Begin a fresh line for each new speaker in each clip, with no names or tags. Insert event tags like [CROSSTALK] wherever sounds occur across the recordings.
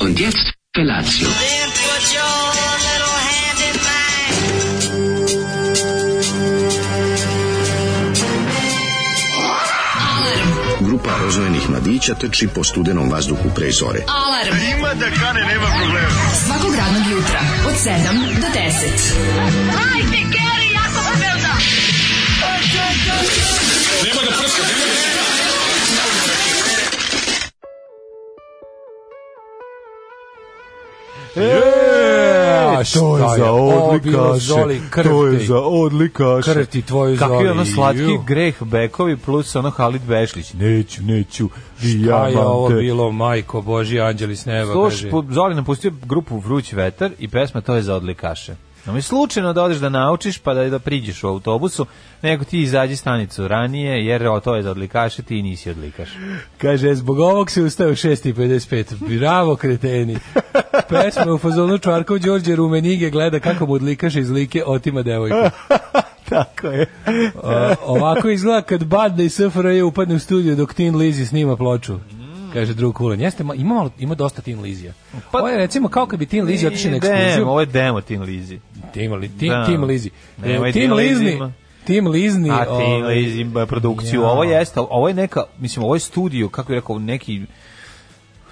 Und jetzt Felatio.
Then put your little hand in mine.
Grupa rozvojenih mladića teči po studenom vazduhu pre zore.
Alarm. Ima da kane, nema problema. Svakog radnog jutra, od 7 do 10.
E,
to je za odlikaše,
Zoli, krv
to je
ti.
za odlikaše.
Krv ti tvoju
Kakvi
Zoli,
ono slatki
ju.
greh bekovi plus ono Halid Bešlić. Neću, neću,
A je ovo
dijamante.
bilo, majko, boži, anđeli s neba,
Sluš,
kaže.
po- Zoli napustio grupu Vruć vetar i pesma To je za odlikaše. No mi slučajno da odeš da naučiš pa da, da priđeš u autobusu, nego ti izađi stanicu ranije, jer o, to je za odlikaše, ti nisi odlikaš.
Kaže, zbog ovog se ustao 6.55. Bravo,
[LAUGHS]
kreteni. Pesma u fazonu Čvarkov Đorđe Rumenige gleda kako mu odlikaš iz like otima
[LAUGHS]
devojku.
Tako je. E,
[LAUGHS] O, ovako izgleda kad Banda i SFRJ upadne u studiju dok Tin Lizzy snima ploču. Kaže drug Kulen. Jeste, ma- ima, malo, ima dosta Tin Lizija.
Pa-
Ovo je recimo kao kad bi Tin Lizzy otišao na ekskluziju.
Demo, ovo je demo Tin Lizi.
Tim, li, tim,
Da.
tim Lizi.
Nemoj
tim
Tin Lizi
Lizni.
ima.
Tim Lizni.
A Tin
ovaj,
Lizi ima produkciju.
ja.
Ovo jeste, ovo je neka, mislim, ovo je studio, kako bih rekao, neki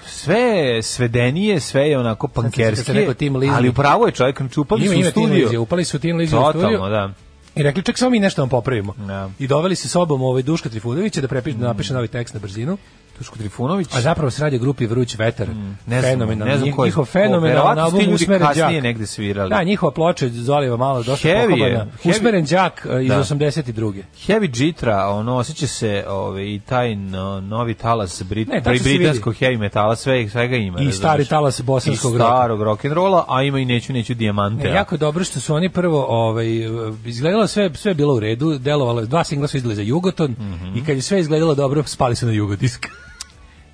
sve je svedenije, sve je onako
se sjećam kad sam
pankerski,
rekao Tim Lizni.
ali upravo je čovjek, čupali
Ima,
su u
ima Tin Lizzy,
studio.
upali su Tin Lizzy u studiju.
Totalno, da.
I rekli, ček, samo mi nešto vam popravimo.
Da. Mm.
I doveli se sobom ovaj Duška Trifunovića da, prepiše, da napiše novi tekst na brzinu.
Tuško Trifunović.
A zapravo se radi o grupi Vruć vetar.
Mm. ne znam,
fenomenalno.
ne znam ko je-
njihov
ko- verovatno
fenomenalan
su ti
album
ljudi
Usmeren
kasnije
đak.
negde svirali.
Da, njihova ploča Zolijeva malo dosta
Heavy je,
pokopana.
heavy.
Usmeren đak e, iz
Da.
82.
Heavy Jitra, ono, osjeća se ove, i taj no, novi talas brit,
Ne,
ne,
tačno se
britanskog heavy metala, sve, svega ima.
I
razumeš?
stari talas bosanskog
da, I da.
roka.
starog rock'n'rolla, a ima i Neću, neću dijamante.
Ne, jako je dobro što su oni prvo ovaj izgledalo sve sve je bilo u redu, delovalo je- dva singla su izdali za Jugoton
Mhm.
i kad je sve izgledalo dobro, spali su na Jugodisk.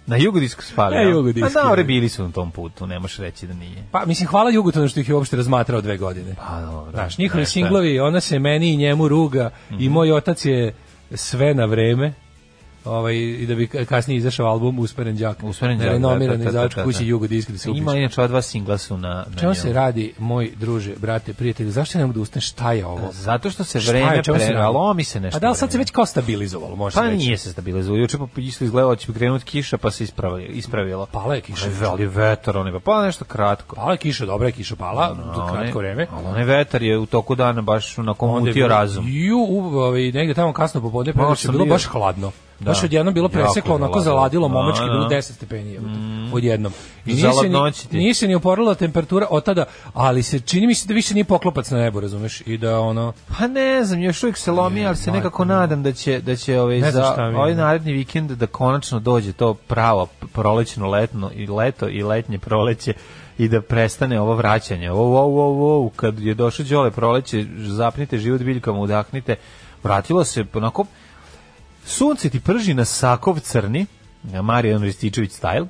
Na jugodisku spali.
Na
a?
Jugodisku,
Pa da,
je.
ore bili su na tom putu, ne možeš reći da nije.
Pa mislim hvala Jugotonu što ih je uopšte razmatrao dve godine.
Pa dobro.
Znaš, njihovi
Znaš šta?
singlovi, ona se meni i njemu ruga i
Mhm.
moj otac je sve na vreme. Ovaj, i da bi ka- kasnije izašao album Usperen đak.
Usmeren đak, da, da,
Renomiran
da,
izdavač
da, da,
kući
da.
Jugodisk da se upiše.
Ima inače ova dva singla su na, na
Čemu
njemu.
se radi, moj druže, brate, prijatelju? Zašto ne mogu da ustaneš? Šta je ovo?
Zato što se
Šta je,
vreme
čemu se
prera,
radi?
lomi se nešto.
A da li sad se
vreme.
već kao stabilizovalo, možeš
Pa
reći?
nije se stabilizuo. Juče pa isto izgledalo da će krenuti kiša, pa se ispravilo. ispravilo.
Pala je kiša.
Ali veli vetar, on je pa pala nešto kratko.
Pala je kiša, dobra je kiša pala,
A
do
onaj-
kratko vreme.
Ali onaj vetar je u toku dana baš onako
Onda je
mutio
bilo-
razum.
Ju, u, ovaj, negde tamo kasno popodne, pa
Malo
je
sam
bilo
bio.
baš hladno.
Da.
Baš odjednom bilo
Jako je
preseklo, onako
hladno.
zaladilo, momački,
Da,
bilo
da.
10 stepeni mm. odjednom. I nije se,
Zaladnoći
ni,
ti.
nije se ni oporila temperatura od tada, ali se čini mi se da više nije poklopac na nebu, razumeš? I da ono,
Pa ne znam, još uvijek se lomi, ali se nekako nadam da će, da će ovaj,
Ne znam
za
šta mi je.
ovaj naredni vikend da konačno dođe to pravo prolećno letno i leto i letnje proleće i da prestane ovo vraćanje. Ovo, ovo, ovo, ovo, kad je došlo đole proleće, zapnite život biljkama, udahnite. Vratilo se onako sunce ti prži na sakov crni, na Marijan Rističević style,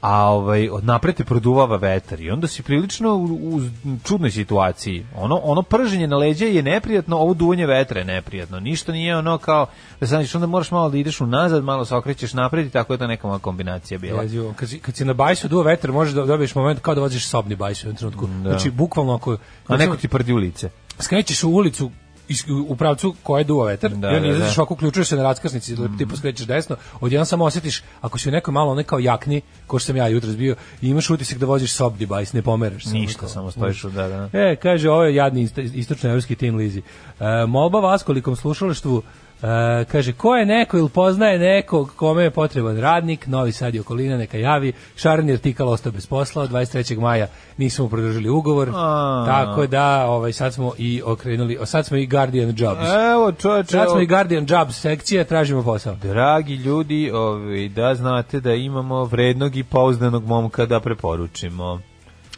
a ovaj od napred te produvava vetar i onda si prilično u, u čudnoj situaciji. Ono ono prženje na leđa je neprijatno, ovo duvanje vetra je neprijatno. Ništa nije ono kao da znaš, onda moraš malo da ideš unazad, malo se okrećeš napred i tako je to neka moja kombinacija bila.
jezivo. kad, si, kad si na bajsu duo vetar, možeš da dobiješ moment kao da voziš sobni bajs u jednom trenutku. Znači, bukvalno ako...
Da. A neko ti prdi u lice.
skrećeš u ulicu iz- u pravcu koja je duva vetar,
Da,
i onda
da,
izađeš
da. Mhm.
ovako, uključuješ se na raskrsnici, mm. ti poskrećeš desno, odjedan samo osjetiš, ako si u nekoj malo onaj kao jakni, ko što sam ja jutros bio, i imaš utisak da voziš sob device, ne pomeraš se.
Ništa,
Ono kao.
samo stojiš u da, da.
E, kaže, ovo je jadni ist- istočnoevropski tim Lizi. E, molba vas kolikom slušalaštvu, e, kaže, ko je neko ili poznaje nekog kome je potreban radnik, Novi Sad i okolina neka javi, Šaran je tikal ostao bez posla, od 23. maja nismo mu produžili ugovor,
A.
tako da ovaj, sad smo i okrenuli, o, sad smo i Guardian Jobs.
Evo, čoveče,
Sad smo
E, evo- Da.
i Guardian Jobs sekcije, tražimo posao.
Dragi ljudi, ovaj, da znate da imamo vrednog i pouzdanog momka da preporučimo.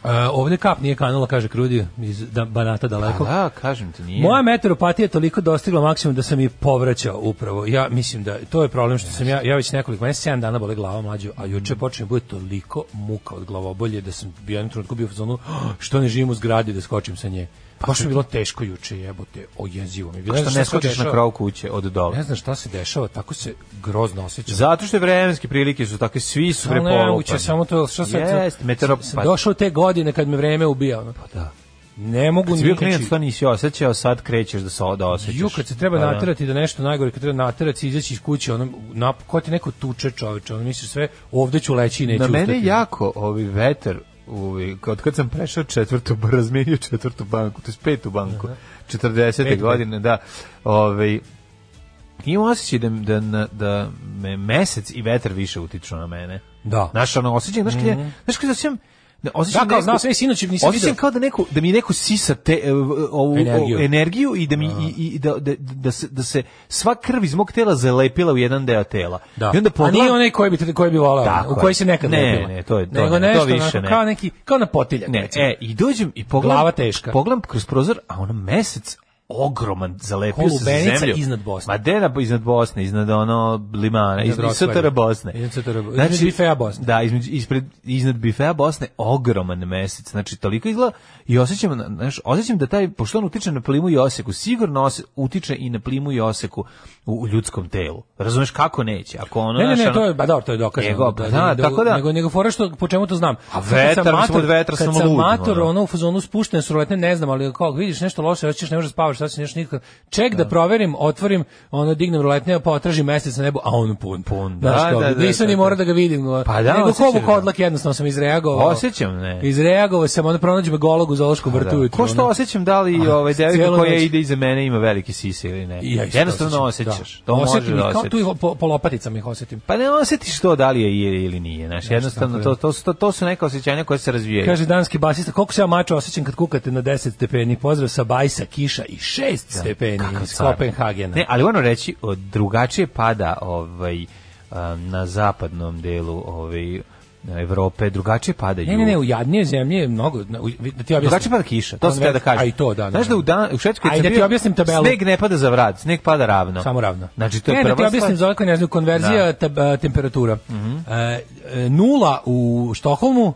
E, ovde kap nije kanula, kaže Krudi, iz da, Banata daleko.
Da, kažem ti, nije.
Moja meteoropatija je toliko dostigla maksimum da sam i povraćao upravo. Ja mislim da to je problem što sam ja, ja već nekoliko, mene 7 dana boli glava mlađo, a juče
Mm.
počne da bude "Ah, toliko muka od glavobolje da sam bio u jednom trenutku bio u zonu što ne živim u zgradi da skočim sa nje.
Pa
Baš mi je bilo teško juče, jebote, ojezivo mi. je bilo.
Što
znaš
ne
se
skočiš na
dešava?
krov kuće od dole.
Ne znam šta se dešava, tako se grozno osjećam.
Zato što vremenske prilike su takve, svi su
Samo nemoguće,
prepolupani.
samo to, šta sam,
Jest, pa- meteoro-
sam došao te godine kad me vreme ubija, ono.
Da.
Ne mogu
Si bio
nikad
klinac,
čitati.
to nisi osjećao, sad krećeš da se da osjećaš.
znači- Ju, kad se treba
Pa da.
naterati da nešto najgore, kad treba naterati, izaći iz kuće, ono, nap, ko ti neko tuče čoveče, ono misliš sve, ovde ću leći i neću
Na mene
ustati.
jako ovi veter Uvi, od kad sam prešao četvrtu, [LAUGHS] ba- razmenio četvrtu banku, to je petu banku, 40.
Petu
godine, da, ovaj, imam osjećaj da, da, na- da me mesec i vetar više utiču na mene.
Da. Mhm.
Znaš, ono, osjećaj, znaš kada, znaš kada osjećam, da osjećam
Da, kao,
neku-
znao sam, ej, sinoć nisam
osjećam
video.
kao da, neko, da mi neko sisa te, e, ovu energiju,
Energiju.
energiju i da mi i, i da, da, da, se, da se sva krv iz mog tela zalepila u jedan deo tela.
Da.
I onda
A
pogledam,
nije onaj koji bi koji bi volao,
Tako
u
je.
koji se nekad
Ne,
lepila.
ne, to je- to
Nego
ne, to
nešto
više
onako,
ne.
kao neki kao na potiljak.
Ne,
recimo.
e, i dođem i pogledam,
Glava teška.
pogledam kroz prozor, a ono mesec ogroman zalepio
Ko
se za
lubenica
zemlju.
iznad Bosne.
Ma de na, iznad Bosne, iznad ono limana, iznad, iznad
Wroclava.
STR Bosne.
Iznad STR Bosne. Iznad bifea Bosne.
Da, između, ispred, iznad bifea Bosne ogroman mesec. Znači, toliko izgleda i osjećam, na- znaš, osjećam da taj, pošto on utiče na plimu i oseku, sigurno ose- utiče i na plimu i oseku u, u ljudskom telu. Razumeš kako neće? Ako ono,
Ne, ne,
znaš,
ne,
ono-
to je, ba da, to je dokazano.
Nego,
da,
pa da, tako da-
Nego, nego fora što, po čemu to znam. Sad
A
kad sam
vetar, mislim,
mator-
od vetra
kad
sam
sam
lud,
mator,
ono.
ono, u fazonu spuštene su roletne, ne znam, ali kao, vidiš nešto loše, hoćeš, ne možeš da spavaš, sad si nešto nikako. Ček da, proverim, otvorim, ono, dignem roletne, pa otražim mesec na nebu, a on pun.
Pun,
Znaš,
da,
kao,
da, da,
nisam
da,
ni
da.
morao da ga vidim.
Pa da,
Nego
osjećaš
kovu
ga.
odlak jednostavno sam izreagovao.
Osjećam, ne.
Izreagovao sam, ono, pronađe me golog u zološkom vrtu.
Da.
ujutru,
Ko što
ono.
osjećam da li
A,
ovaj devojka
cijelu
koja
noć.
ide iza mene ima velike sise ili ne.
I ja isto
Jednostavno
osjećam,
osjećaš.
da.
To može
Osjetim ih,
da
kao tu
osjetiš.
i po, po lopaticama ih osjetim.
Pa ne osjetiš to da li je ili- ili nije. Znaš, jednostavno
tako
to,
je.
to, su, to, to su neka osjećanja koja se razvijaju.
Kaže danski basista, koliko se ja mačo osjećam kad kukate na 10 stepeni. Pozdrav sa Bajsa, kiša i 6 stepeni
Da. Kakav
iz
car.
Kopenhagena.
Ne, ali ono reći, o, drugačije pada ovaj, a, na zapadnom delu ovaj, Evrope, drugačije pada
ne, ne, ne, u jadnije zemlje je mnogo... na- u- Da ti
Drugačije
objasnim.
pada kiša, to
On
sam teo da
već-
kažem.
A i to, da. da,
Znaš da u, dan, u Švedskoj... kad
Ajde,
sam
da ti
bio,
objasnim tabelu.
Sneg ne pada za vrat, sneg pada ravno.
Samo ravno.
Znači, to je
ne,
prva
da ti objasnim
stvar. Da. Mhm.
za ove koji ne znaju, konverzija tab- a, temperatura. E, e, nula u Štoholmu,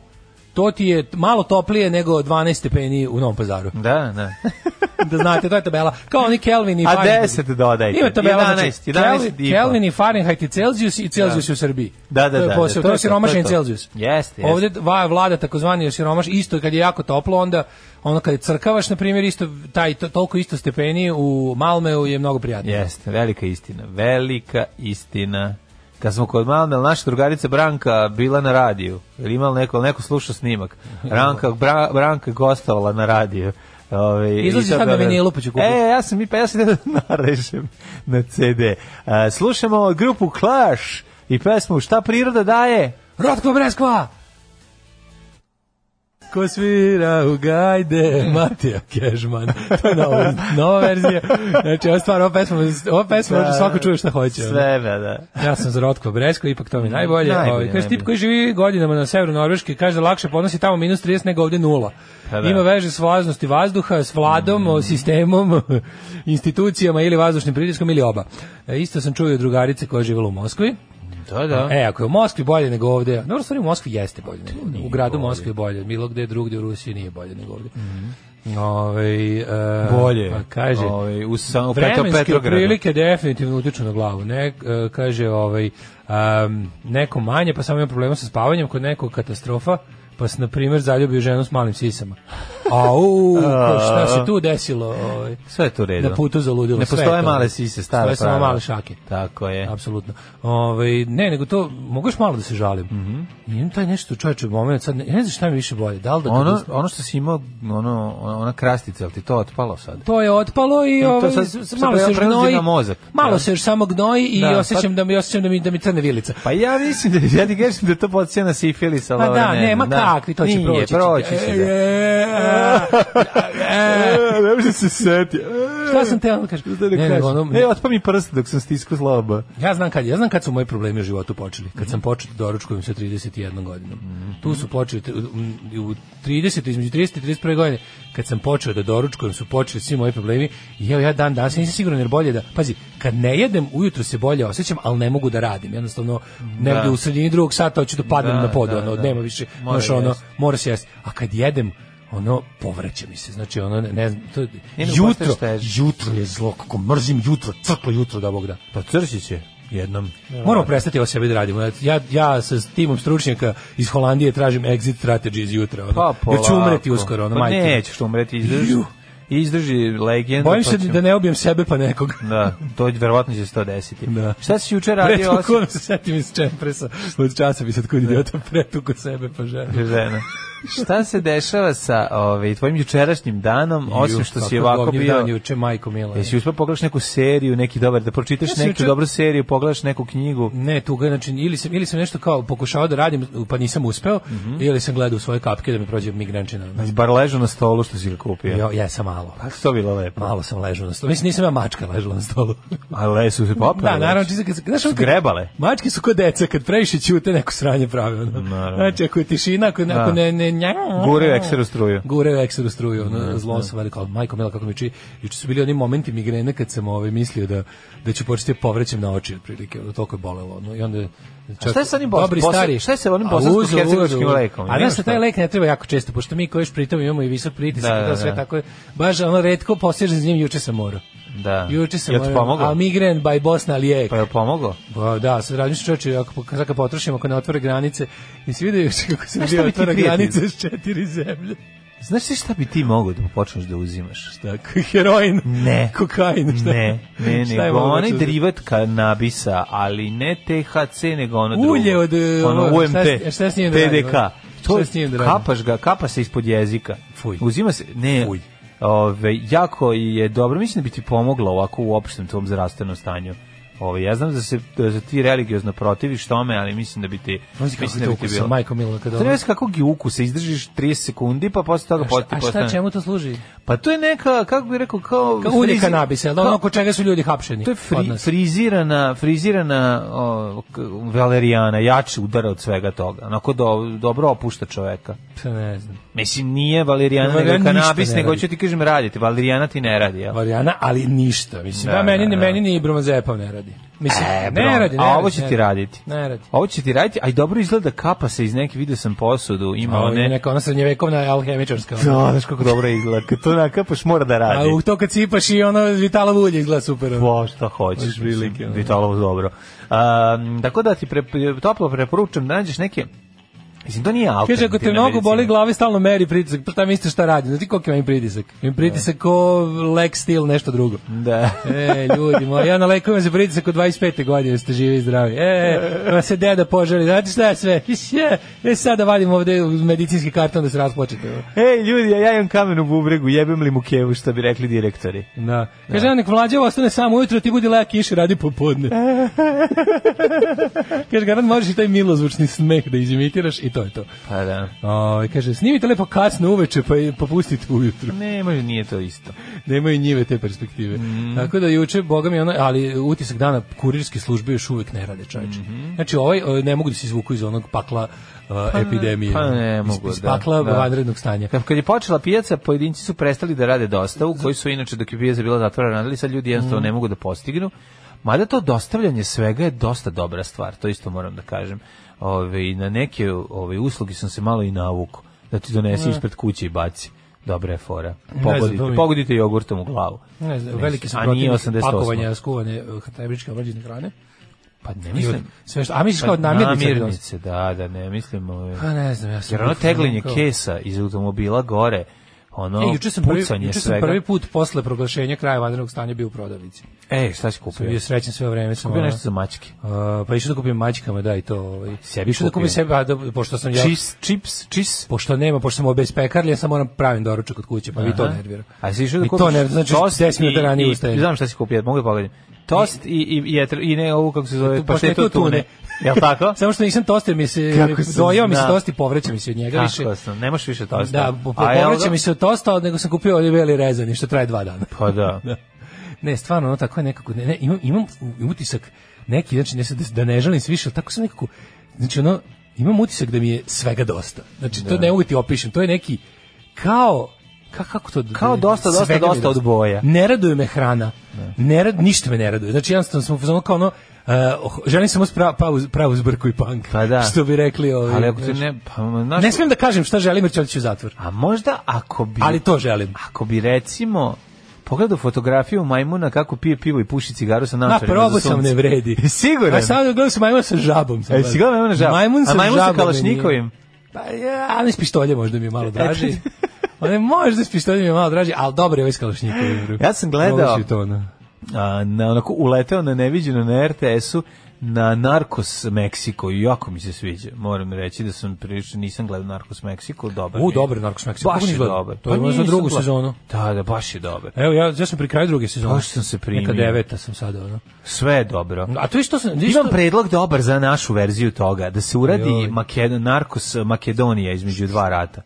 to ti je t- malo toplije nego 12 stepeni u Novom pazaru.
Da, da.
da znate, to je tabela. Kao oni Kelvin i
A
Fahrenheit.
10 dodajte.
Ima tabela,
11,
znači,
11 i
Kelvin,
po.
Kelvin i Fahrenheit i Celsius i Celsius u Srbiji.
Da, da,
to je
da,
Posao, to
da, to
je
je to, to
siromašen
je to.
Celsius.
Jeste, jeste.
Ovde va- vlada takozvani siromaš, isto kad je jako toplo, onda ono kad je crkavaš, na primjer, isto taj, to, toliko isto stepeni u Malmeu je mnogo prijatnije.
Jeste, velika istina, velika istina. Kad smo kod Malme, naša drugarica Branka bila na radiju, ili imala neko, neko slušao snimak, Branka, Bra, Branka je gostovala na radiju. Ove,
Izlazi sad na vinilu, pa ću kupiti.
E, ja sam i pa ja sam da [LAUGHS] narežem na CD. A, slušamo grupu Clash i pesmu Šta priroda daje?
Rotko Breskva! Ko svira u [LAUGHS] gajde, Matija Kežman. To je nova, nova verzija. Znači, ova stvar, ova pesma, ova pesma može svako čuje šta hoće. ono.
Sve, da, da.
Ja sam za Rotko Bresko, ipak to mi je najbolje.
Najbolje,
Ovaj, kaže
najbolje.
tip koji živi godinama na severu Norveške, kaže da lakše podnosi tamo minus 30 nego ovde nula.
Pa da. Mm.
Ima veže s vlažnosti vazduha, s vladom, o sistemom, [LAUGHS] institucijama ili vazdušnim pritiskom ili oba. E, isto sam čuo i od drugarice koja je živjela u Moskvi.
Da, da.
E, ako je u Moskvi bolje nego ovde, dobro stvari u Moskvi jeste bolje nego ovde. U gradu Moskvi je bolje, bilo gde drugde u Rusiji nije bolje nego ovde. Ovaj, e,
Mhm. Bolje. Ovaj.
Pa kaže,
Ove, u, sa, u Petro,
Vremenske
Petrogradu.
prilike definitivno utiču na glavu. Ne, e, kaže ovaj am, neko manje, pa samo ima problema sa spavanjem, kod nekog katastrofa, pa se na primjer zaljubio ženu s malim sisama. A
[LAUGHS]
u, šta se tu desilo? Ovaj,
Sve je to u redu.
Na putu za ludilo.
Ne
sve
postoje
je to.
male sise, E. stara
Postoje samo
pravila.
male šake.
Tako je.
Apsolutno. Ovaj ne, nego to mogu još malo da se žalim. Mhm. Imam taj nešto čoveče moment sad ne, ne znam šta mi je više bolje. Da li da
Ono, ono što si imao, ono, ona krastica, ali ti to otpalo sad?
to je otpalo i
To
ovaj,
sad-
s-
sad
malo se još
prelazi
gnoji.
na mozak.
Malo
Da.
se još samo gnoji i
Da,
osjećam
pa-
da mi osjećam da mi da mi crne vilica.
Pa ja mislim da ja ti kažem da to podsjeća na sifilis, ali
Pa
ovo
da,
ne,
nema
da.
kakvi, to će
Nije,
proći. E,
proći će, da. E, ne može se seti. E,
Šta sam teo da kažem?
da
Ne,
ne,
nego ono-
kažem. E, otpa mi prst dok sam stiskao zloba.
Ja znam kad, ja znam kad su moji problemi u životu počeli. Kad sam počeo da doručkujem sa 31 godinom. Tu su počeli te- u- u 30 između 30 i 31 godine kad sam počeo da doručkujem su počeli svi moji problemi. I evo ja dan danas nisam siguran jer bolje da pazi, kad ne jedem ujutro se bolje osjećam, ali ne mogu da radim. Jednostavno negde u sredini drugog sata hoću da padnem
Da,
na pod,
da,
ono,
da.
nema više,
Mora
znaš, ono,
jest.
mora se jesti. A kad jedem, ono povraća mi se znači ono ne, ne znam to,
ne,
jutro
postaješ teži.
jutro je zlo kako mrzim jutro crklo jutro da bog da
Pa Cršić je.
jednom moramo prestati o sebi da radimo ja ja sa s timom stručnjaka iz Holandije tražim exit strategy iz jutra ono.
Pa polako.
jer ću umreti uskoro ono
Pa
majke mi.
nećeš umreti, izdrži.
Ju.
Izdrži legendu.
bojim
pa
se
ćemo-
da ne ubijem sebe pa nekog
[LAUGHS] Da, to je verovatno će se to desiti.
Da.
Šta si juče radio?
Pretuko
osim- Da.
ono se setim iz čempresa od časa bi sad kod idiota pretuko sebe pa želim
žena. Šta se dešava sa ovaj, tvojim jučerašnjim danom, osim što si ovako bio...
dan juče majko mila
Jesi uspio pogledaš neku seriju, neki dobar, da pročitaš
Ja sam
neku
juče-
dobru seriju, pogledaš neku knjigu?
Ne, tuga, znači ili sam ili sam nešto kao pokušavao da radim pa nisam uspeo
Mhm.
ili sam gledao u svoje kapke da mi prođe migrenčina.
Znači, bar ležu na stolu što si ga kupio.
Jo, ja sam malo.
Pa to bilo lepo.
Malo sam ležao na stolu. Mislim nisam ja mačka ležala na stolu.
A le su se popele.
da, naravno, čisto kad znaš, ono kad-
Grebale.
Mačke su kod deca, kad previše ćute neko sranje pravi. ono.
Naravno. Da.
Znači, ako je tišina, ako, ne- ako ne... ne, ne
Gure u ekseru struju.
Gure u ekseru struju, ono, zlo sam veliko, ali majko mila kako mi čini, juče su bili oni momenti migrene kad sam ovaj, mislio da, da ću početi povrećem na oči, otprilike, ono, toliko je bolelo, ono, i onda je čak,
šta je sa onim bos-
dobri
bos-
stari,
šta je sa onim
A,
bosansko-hercegovačkim
uzo, uzo,
lekom?
A
Nema
znaš da
šta.
taj lek ne treba jako često, pošto mi koji još pritom imamo i visok pritisak,
Da,
da,
da,
sve
da.
tako je, baš ono, redko posežem s njim, juče sam morao.
Da.
Juče sam
Jel ti
morao,
pomogao?
a migren by Bosna lijek.
Pa je pomogao?
Pa da, sad razmišljam čoveče, ako sad kad potrošimo, ako ne otvore granice, nisi vidio još [LAUGHS] kako se
šta
bio
bi ti
otvore
prijatelj?
granice s četiri zemlje.
Znaš ti šta bi ti mogao da počneš da uzimaš?
Tako, [LAUGHS] heroin,
Ne.
kokain, šta?
Ne,
[LAUGHS]
ne,
Šta je
nego
moguće da
onaj
za-
derivat kanabisa, ali ne THC, nego ono drugo.
Ulje od, e,
ono,
ono,
UMT,
šta s- šta s njim da radim,
TDK.
ono?
To
Šta s njim da radim?
kapaš ga, kapa se ispod jezika.
Fuj.
Uzima se, ne,
Fuj.
Ove, jako je dobro, mislim da bi ti pomoglo ovako u opštem tom zdravstvenom stanju. Ove, ja znam da se, da se ti religiozno protiviš tome, ali mislim da bi ti...
Pazi kako
mislim
je to ukusan, majko mila, kada ono-
Treba se kakvog je ukusa, izdržiš 30 sekundi, pa posle toga
Šta-
poti-
A šta
postane-
čemu to služi?
Pa to je neka, kako bih rekao, kao...
Kao ulje
frizi-
kanabisa, jel da ono
kao-
oko čega su ljudi hapšeni?
To je
od
fri,
nas?
frizirana, frizirana o, k- valerijana, jači udara od svega toga. Onako do, dobro opušta čoveka.
Pa ne znam.
Mislim, nije valerijana, nego je
Valerijana ništa
kanabis,
ne
nego
radi.
ću ti kažem raditi. Valerijana ti ne radi, jel?
Varijana, ali ništa. Mislim,
Da,
da, meni,
da,
ni
da.
meni ni Bromazepam ne radi. Mislim, ne
Bron,
radi, ne
E, A
radi,
ovo će
ne
ti raditi.
Ne radi.
Ovo će ti raditi, a i dobro izgleda kapa se iz neke, vidio sam posudu, ima
Ovo je
one...
neka ona srednjevekovna alhemičarska. ono.
Da, znaš kako dobro izgleda. Kad to nakapaš, mora da radi.
A u to kad sipaš i ono Vitala Vulje izgleda super. ono.
Pa šta hoćeš, prilike. Vitalovo dobro. Um, tako da ti pre, toplo preporučam da nađeš neke Mislim, to nije alternativna
Kaže, ako te mnogo
medicina.
boli glave, stalno meri pritisak. Pa šta mislite šta radi? Znate koliko imam pritisak? Imam pritisak ko Lex Steel, nešto drugo.
Da.
E, ljudi moji, ja na lekovima za pritisak od 25. godine, ste živi i zdravi. E, pa se deda poželi, znate šta je sve? Je, e, sad da vadim ovde medicinski karton da se raspočete. ono.
[LAUGHS] Ej, ljudi, a ja imam kamen u bubregu, jebem li mu kevu, što bi rekli direktori.
Da. Kaže, ja nek mlađe ostane samo ujutro, ti budi lejak kiši, radi popodne. Kaže, garant možeš i taj milozvučni smeh da izimitiraš i to je to.
Pa da.
Ovaj kaže snimite lepo kasno uveče pa i- pa pustite ujutru. [LAUGHS]
Ne, može, nije to isto.
Nemaju njive te perspektive.
Mhm.
Tako da juče boga mi ono, ali utisak dana kurirske službe još uvek ne rade, čoveče. Znači ovaj o, ne mogu da se izvuku iz onog pakla uh, epidemije.
Mhm. pa ne
Iz-
mogu,
iz,
da,
pakla
da.
vanrednog stanja.
Kad kad je počela pijaca, pojedinci su prestali da rade dostavu, koji su inače dok je pijaca bila zatvorena, radili sad ljudi jednostavno
Mm.
ne mogu da postignu. Mada to dostavljanje svega je dosta dobra stvar, to isto moram da kažem. Ove, i na neke ove, usluge sam se malo i navuku, da ti donesi ispred kuće i baci. Dobra je fora.
znam,
Pogodite,
to mi-
pogodite jogurtom u glavu.
Ne znam, veliki sam
A nije
protivnik
88.
pakovanja skuvane uh, hatabričke obrađene hrane.
Pa ne
I od,
mislim. pa
sve što, a misliš kao od namirnica?
namirnice, da, da, ne mislim. Ove,
Pa ne znam, ja sam...
jer ono
bukvalno
teglinje
kao-
kesa iz automobila gore, ono
E, juče sam prvi,
pucanje
juče sam
svega.
prvi put posle proglašenja kraja vanrednog stanja bio u prodavnici.
E, šta si
Sam
kupio?
bio srećan sve vreme. Sam
Kupio
ono-
nešto za mačke.
Uh, pa išao da kupim mačkama, da, i to. Ovaj.
Sebi
Išao da
kupio?
kupim sebi, a da, pošto sam ja...
Čis, čips, čis.
Pošto nema, pošto sam obez pekarlje, ja sam moram pravim doručak kod kuće, pa mi to
Aha.
nervira.
A si išao da
I
kupiš
to nervira, znači
tost
10 minuta
i-
ranije
i-
ustajem.
Znam šta si kupio, mogu da pogledim. Tost i, i, i, jetr, i ne ovu, kako se zove,
Tu paštetu
paštetu
od tune.
tune. Jel
[LAUGHS]
tako?
Samo što nisam toster, mi se
Kako sam
dojao, mi se
znao.
tost i povreća mi se od njega više.
Kako sam, nemaš više tosta.
Da, po, po,
A jel
povreća
da-
mi se od tosta, nego sam kupio ovdje veli rezani, što traje dva dana.
Pa da.
Ne, stvarno, ono tako je nekako, ne, ne, imam, imam utisak neki, znači ne, sad da, da ne želim se više, ali tako sam nekako, znači ono, imam utisak da mi je svega dosta. Znači,
Da.
to ne mogu ti opišem, to je neki, kao, ka, kako to? da-
Kao dosta, dosta,
svega mi je
dosta od boja. Da.
Ne raduje me hrana, ne. rad, ništa me ne raduje, znači jednostavno sam u fazonu kao ono, Uh, želim samo spra, pravu, pravu zbrku i punk.
Pa da.
Što bi rekli ovi.
Ali ako ti
znaš.
ne, pa, znaš,
Ne smijem da kažem šta želim, jer ću otići u zatvor.
a možda ako bi...
Ali to želim.
Ako bi recimo pogledao fotografiju majmuna kako pije pivo i puši cigaru sa
Na
naočarima
probu
za sunce.
sam ne
[LAUGHS]
vredi.
Jesi Siguran?
A sad gledam se majmun sa žabom. sam
E,
gledao.
si gledao majmuna žab?
Majmun sa
A majmun sa
žabom meni je-
kalašnikovim?
Pa ja, E, pa da. ali s pištoljem možda mi je malo draži. Ali možda s pištoljem mi je malo draži, ali dobro je ovaj s kalašnjikovim.
Ja sam gledao-
Probaš i to, no.
a, na, onako uleteo na neviđeno na RTS-u na Narcos Meksiko i jako mi se sviđa. Moram reći da sam prilično nisam gledao Narcos Meksiko, dobar.
U,
mi je.
dobar je Narcos Meksiko. Kako
Baš
nisi
je
gledao?
dobar.
To je možda
nisam
drugu
gledao.
sezonu.
Da, da, baš je dobar.
Evo, ja, ja sam pri kraju druge sezone.
Baš sam se primio.
Neka deveta sam sada, ono.
Sve je dobro.
A to je što sam... vidiš
Imam
što-
predlog dobar za našu verziju toga, da se uradi
Joj.
Makedo, Narcos uh, Makedonija između dva rata.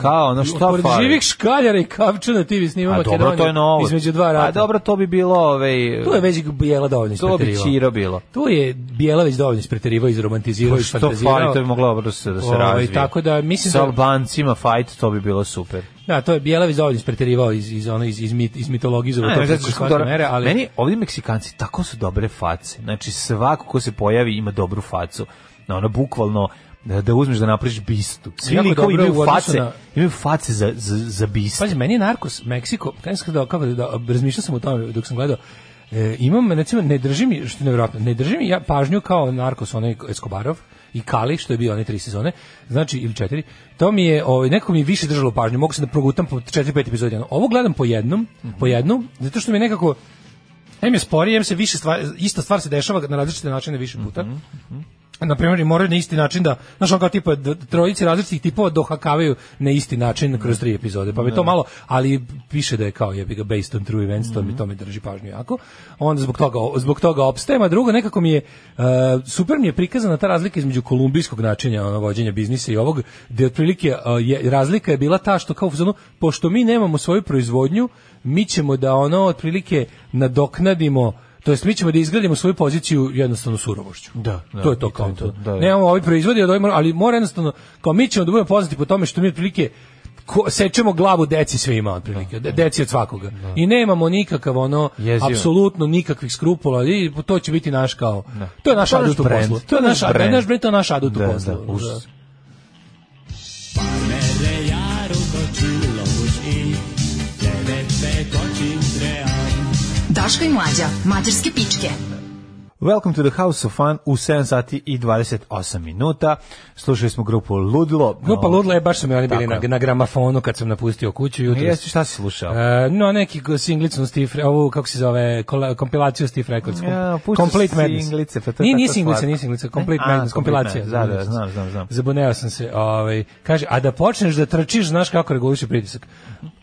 Kao ono što
Pored
fali.
živih škaljara i kavčana ti vi snima
A
Makedoniju.
dobro, to je novo.
Između dva rata.
A dobro, to bi bilo, ovaj,
Tu je već Bijela dovoljno
to bi
ispreterivao.
Čiro bilo.
Tu je Bijela već dovoljno ispreterivao, izromantizirao,
Pa Što
isfantazirao.
fali, to bi moglo dobro da se, da se
Ovaj,
razvije.
tako da mislim
S
da-
Albancima fight, to bi bilo super.
Da, to je Bijelavić dovoljno ispreterivao iz iz ono iz iz, mit, iz mitologizovao to
Ne,
preko
znači,
svake
dobro,
mere, ali
Meni ovdje Meksikanci tako su dobre face. Znači, svako ko se pojavi ima dobru facu. Na ono, bukvalno, da, da uzmeš da napraviš bistu. Svi
Jako
likovi
dobro u
imaju
odnosu
face,
na-
imaju face za, za, za bistu.
Pazi, meni je Narcos, Meksiko, kako sam da, kako da, da, razmišljao sam o tome dok sam gledao, e, imam, recimo, ne drži mi, što je nevjerojatno, ne drži mi ja pažnju kao Narcos, onaj Escobarov, i Kali, što je bio one tri sezone, znači, ili četiri, to mi je, ovaj, nekako mi je više držalo pažnju, mogu sam da progutam po četiri, pet epizodi, ono. ovo gledam po jednom, po jednom, zato što mi je nekako, em je sporije, em se više stvar, ista stvar se dešava na različite načine više puta, na primjer, i moraju na isti način da, znaš, on kao tipa, d- trojici različitih tipova dohakavaju na isti način kroz tri epizode, pa mi to malo, ali piše da je kao, jebi ga, based on true events, to mi to mi drži pažnju jako, onda zbog toga, zbog toga opstajem, a drugo, nekako mi je, e, super mi je prikazana ta razlika između kolumbijskog načinja ono, vođenja biznisa i ovog, gde otprilike e, je, razlika je bila ta što kao, u fazonu, pošto mi nemamo svoju proizvodnju, mi ćemo da ono, otprilike, nadoknadimo To jest mi ćemo da izgradimo svoju poziciju jednostavno surovošću.
Da, da,
to je to
i to
kao
je to,
to.
da, da.
Nemamo ovi proizvodi od ovih, mora- ali mora jednostavno kao mi ćemo da budemo poznati po tome što mi otprilike ko, sečemo glavu deci svima otprilike, de- deci od svakoga. I nemamo nikakav ono
Da, Jezivo.
apsolutno nikakvih skrupula i to će biti naš kao. To je naš
Da. To je naš
adut u
brand.
poslu. To je naš adut,
brand.
naš brand, to je naš adut u
Da,
poslu.
da, užas.
Da.
Daško i mlađa, mađarske pičke.
Welcome to the House of Fun u 7 sati i 28 minuta. Slušali smo grupu Ludilo.
Grupa
No,
Ludla je baš su mi oni bili
Tako
na,
je.
na gramafonu kad sam napustio kuću jutros.
Jesi, šta si slušao?
E, no, neki go- singlicu Steve, ovu, kako se zove, kola- kompilaciju Steve Records. kom-
Ja, pušta
Complete Madness.
singlice, pa to je
nije, nije
tako
singlica,
slatko.
nije singlica, Complete
Ne? A,
Madness,
Complete
kompilacija.
Madness, da, da, znam, znam, znam.
Zabuneo sam se, ovaj, kaže, a da počneš da trčiš, znaš kako reguliše pritisak.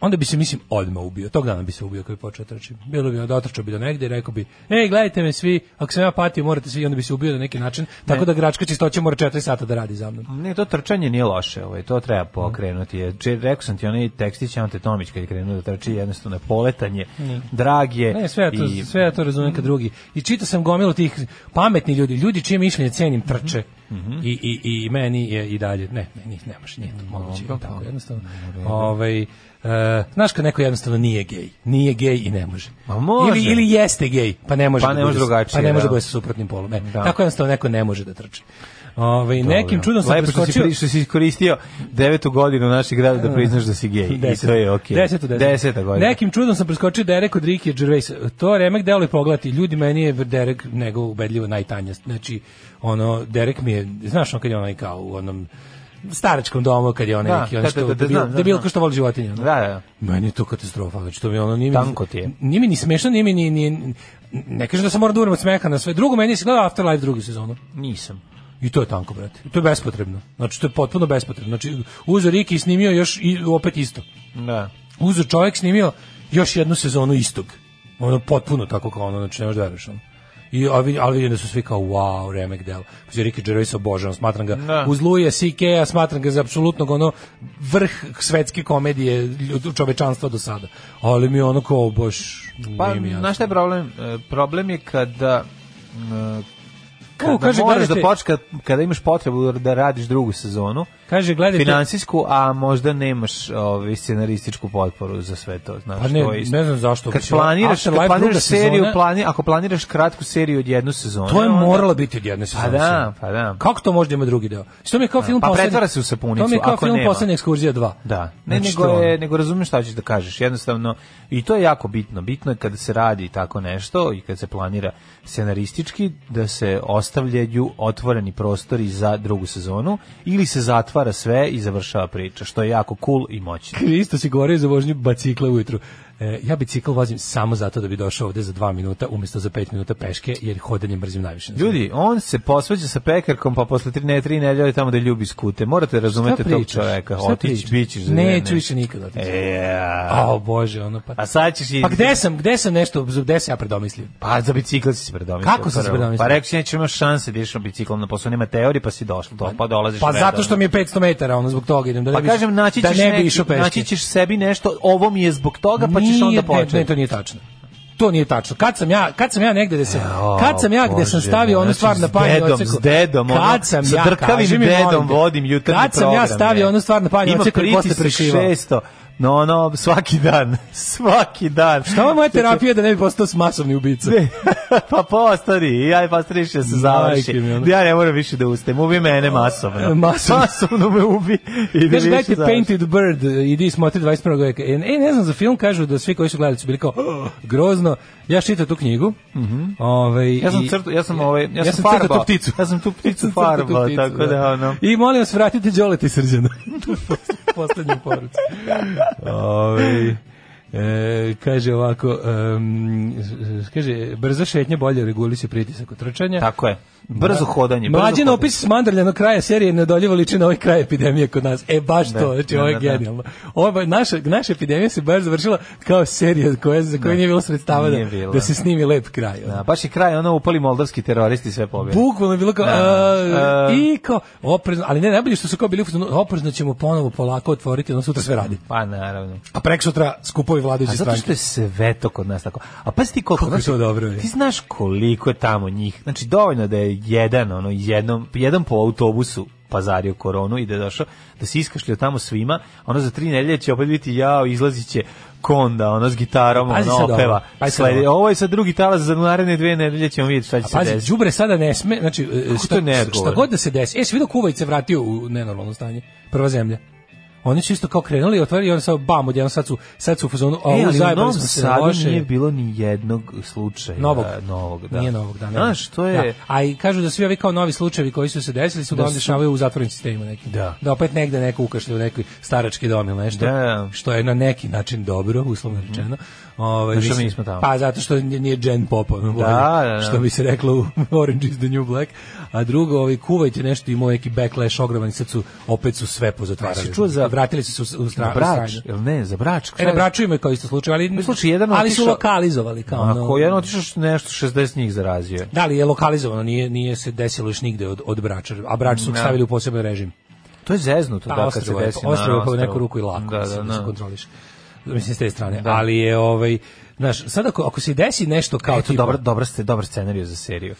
Onda bi se, mislim, odmah ubio. Tog dana bi se ubio kad bi počeo trči. Bilo bi, da otrčao bi do negde i rekao bi, ej, gledajte me svi, ako sam ja patio, morate svi, onda bi se ubio na neki način, tako da gračka čistoće mora 4 sata da radi za mnom.
Ne, to trčanje nije loše, ovaj, to treba pokrenuti. Je. Če, rekao sam ti onaj tekstić Ante Tomić kad je krenuo da trči, jednostavno je poletanje, drag je.
Ne, sve ja to,
i-
sve ja to razumem kad drugi. I čitao sam gomilu tih pametni ljudi, ljudi čije mišljenje cenim trče.
Mhm.
I, i, I meni je i dalje, ne, meni ne može, nije to moguće, tako jednostavno.
Mhm,
Ovaj, e, znaš kad neko jednostavno nije gej, nije gej i ne može.
Ma može.
Ili, ili jeste gej, pa ne može,
Pa
da
ne
bude
može
s-
drugačije,
pa ne može
da.
da bude sa suprotnim polom. E,
Da.
Tako jednostavno neko ne može da trči. Ovaj, nekim čudom sam
Lepo što si,
preskočio...
pri- što si iskoristio devetu godinu našeg grada da priznaš da si gej. I to je okej.
Desetu, desetu.
Deseta godina.
Nekim čudom sam preskočio Derek od Ricky Gervais. To remek delo i pogledati. Ljudi, meni je Derek nego ubedljivo najtanja. Znači, ono, Derek mi je, znaš on kad je onaj kao u onom staračkom domu, kad je onaj
Da,
neki, on
da,
što,
da, da, da,
debil,
znam, da,
debil
znam.
ko što voli životinje. ono.
Da, da.
Meni je to katastrofa, znači to mi je ono nije mi,
Tanko ti je.
Nije mi ni smešno, nije mi ni, ni ne kažem da se moram da umrem od smeha na sve. Drugo, meni se gleda Afterlife drugu sezonu.
Nisam.
I to je tanko, brate. To je bespotrebno. Znači, to je potpuno bespotrebno. Znači, uzo Riki i snimio još i opet isto
Da.
uzo čovjek snimio još jednu sezonu istog. Ono potpuno tako kao ono, znači ne možeš da veruješ ono. I, ali, vidi- ali vidim da su svi kao, wow, remek delo. Znači, Ricky Gervais obožavam, smatram ga
Da.
uz Luja CK-a, smatram ga za apsolutnog ono vrh svetske komedije ljud- čovečanstva do sada. Ali mi je ono kao baš...
Pa,
nije mi jasno.
znaš šta je problem? E, Problem je kada m, Kada
U, kaže,
moraš da
gledajte-
počeš kad, kada imaš potrebu da radiš drugu sezonu,
Kaže, gledajte...
finansijsku, a možda nemaš ovaj scenarističku potporu za sve to, znaš,
Pa ne,
to je isto.
ne znam zašto.
Kad
Mislim,
planiraš, kad
Afterlife druga
planiraš seriju,
sezona-
plani, ako planiraš kratku seriju od jednu sezonu,
To je
Pa da, onda-
moralo biti od jedne sezone.
da,
sve.
pa da.
Kako to možda ima drugi deo? Što mi je kao film
pa
poslednji-
pretvara se u sapunicu,
To mi je kao
ako
film
nema.
poslednja ekskurzija 2.
Da, ne,
Znači,
nego,
to
je,
ono.
nego razumem šta ćeš da kažeš, jednostavno, i to je jako bitno, bitno je kada se radi tako nešto i kada se planira scenaristički, da se ostavljaju otvoreni prostori za drugu sezonu, ili se zatvara sve i završava priča, što je jako cool i moćno.
Kristo si govorio za vožnju bicikla ujutru. E, ja bicikl vozim samo zato da bi došao ovde za 2 minuta umjesto za 5 minuta peške, jer hodanje mrzim najviše. na
Ljudi, on se posvađa sa pekarkom, pa posle tri, ne, tri nedelje je tamo da ljubi skute. Morate razumete
Šta
tog
pričaš?
čoveka.
Šta
Otić,
pričaš?
bićiš za
Neću
vreme.
više nikad otići.
E, a,
O bože, ono pa.
a sad ćeš i...
Pa gde sam, gde sam nešto, gde sam ja predomislio?
Pa za bicikl si se predomislio.
Kako sam se
prvo.
predomislio?
Pa rekao si nećeš imaš šanse da ideš na biciklom na posao, nema teorije, pa si došao, to, pa dolaziš.
Pa
redovno.
zato što mi je 500 metara, ono zbog toga idem da ne
Pa
bi-
kažem, naći
da
ćeš,
ne bi
neki-
išao peške.
naći ćeš sebi nešto, ovo mi je zbog toga, pa ćeš onda
Nije, ne,
početi.
Ne, to nije tačno. To nije tačno. Kad sam ja, kad sam ja negde gde sam,
Jao,
kad sam ja gde sam
E, Bože,
stavio onu
znači,
stvar na
s
panj
dedom,
odseku.
s dedom, ono,
kad sam
sa
ja,
drkavim
kaži mi, molim
dedom
te.
vodim jutarnji
Kad sam ja
program, je.
stavio onu stvar na panj
Ima
odseku i posle
pritisak
prešivao.
600, no ono, svaki dan, [LAUGHS] svaki dan.
Šta
[LAUGHS]
vam moja
Znači,
terapija da ne bi postao s masovni ubica?
Ne, pa postari, ja je postariš da se završi.
Majke mi, ono.
Ja ne moram više da ustajem, ubi mene masovno.
[LAUGHS] Masovno.
masovno me ubi. I
Kaže, gledajte Painted Bird, eh, idi smotri 21. veka. E, ne, ne znam, za film kažu da svi koji su gledali su bili kao, "Oh, grozno. Ja čitam tu knjigu. ovaj,
Mhm. Ja sam
i-
crtu, ja sam ovaj, ja, sam,
crtao
farbao.
tu pticu.
Ja
[LAUGHS]
sam tu pticu
Crtao tu
farbao,
pticu,
tako da ono.
I molim vas, vratite Đoleta i [LAUGHS] Srđana. Poslednju porucu. Ove, e, kaže ovako, em, s- s- kaže, brza šetnja bolje reguliše pritisak od trčanja.
Tako je. Brzo hodanje. brzo
Mlađen
hodanje.
opis mandrljanog kraja serije nedoljivo liči na ovaj kraj epidemije kod nas. E, baš to, znači,
da,
ovo je
da, da.
genijalno. Ovo, je ba- naša, naša epidemija se baš završila kao serija koja, za koju nije bilo sredstava da,
Nije bilo.
da se snimi lep kraj. ono.
Da, baš je kraj, ono upali moldavski teroristi i sve pobjede.
Bukvalno je bilo kao,
Da.
a, i kao, oprezno, ali ne, najbolje što su kao bili u fazonu, oprezno ćemo ponovo polako otvoriti, ono sutra sve radi.
Pa naravno.
A prek sutra skupovi
A
vladajuće
zato
stranke.
što je sve to kod nas tako. A pazi ti koliko,
Kako je to dobro, je.
Ti znaš koliko je tamo njih. Znači dovoljno da je jedan ono jednom jedan po autobusu pazario koronu i da je došao da se iskašljio tamo svima, ono za tri nedelje će opet biti jao, izlazit će konda, ono s gitarom,
Pazi
ono
sad ovo,
opeva.
pazi sad
Sledi-
ovo.
ovo je sad drugi talas, za naredne dve nedelje ćemo vidjeti šta će se
Pazi,
desiti.
đubre sada ne sme, znači, e,
Kako to
šta,
je neodgovorno?
šta god da se desi. E, si vidio Kuvajt se vratio u nenormalno stanje, prva zemlja. Oni su isto kao krenuli, otvorili i onda sad bam, odjednom sad su, sad su u fazonu, a
E,
u
ali u
zajebali
Novom
smo se
Sadu
loše.
nije bilo ni jednog slučaja
novog.
novog da.
Nije novog, da. ne.
Znaš, to je...
Da. A i kažu da svi ovi kao novi slučajevi koji su se desili su da,
Da
da
su-
dešavaju u zatvorenim sistemima nekim.
Da.
da opet negde neko ukašlja u neki starački dom ili nešto.
Da.
Što je na neki način dobro, uslovno rečeno. Ovaj,
Zašto mi
mislim-
nismo tamo?
Pa zato što nije nije Jen Pop, ono,
Da, da, da.
što bi se reklo u [LAUGHS] Orange is the New Black. A drugo, ovaj, Kuvajt je nešto imao neki backlash ogroman i sad su, opet su sve pozatvarali.
Ja sam čuo za-
Vratili su se u, u stra-
Za
u
brač,
stranju.
jel ne, za brač.
E, na braču imaju kao isto slučaj, ali,
Slučaj, jedan
ali
otišao-
su lokalizovali. Kao, ono-
Ako jedan otišao što nešto 60 njih zarazio.
Da li je lokalizovano, nije, nije se desilo još nigde od, od Brača, a Brač su
Ne.
stavili u poseban režim.
To je zeznuto
Da,
da, kad se
ostrvo je,
desi. na
ostrvo je pa u
ostrvu.
neku ruku i lako,
Da, da,
mislim, da, se
da.
kontroliš. Mislim, s te strane. Ali je, ovaj, znaš, sad ako, ako se desi nešto kao
Eto,
tipa...
dobar, dobar, ste, dobar scenariju za seriju.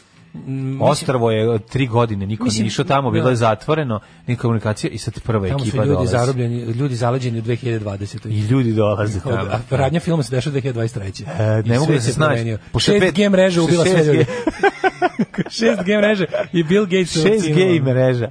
Ostrvo je od tri godine, niko
Mm,
nije
mislim,
išao tamo, bilo
da.
je zatvoreno, nije komunikacija i sad prva
Tamo su
ekipa
ljudi
dolazi.
zarobljeni, ljudi zaleđeni u 2020.
I ljudi dolaze
Od,
tamo.
a radnja filma se dešava 2023.
E, ne
I
mogu
svet
da se
se
snađu.
promenio.
Pošto je
6G
pet-
mreža ubila sve
6G.
ljude. 6G mreže i Bill Gates.
Šest gej mreža.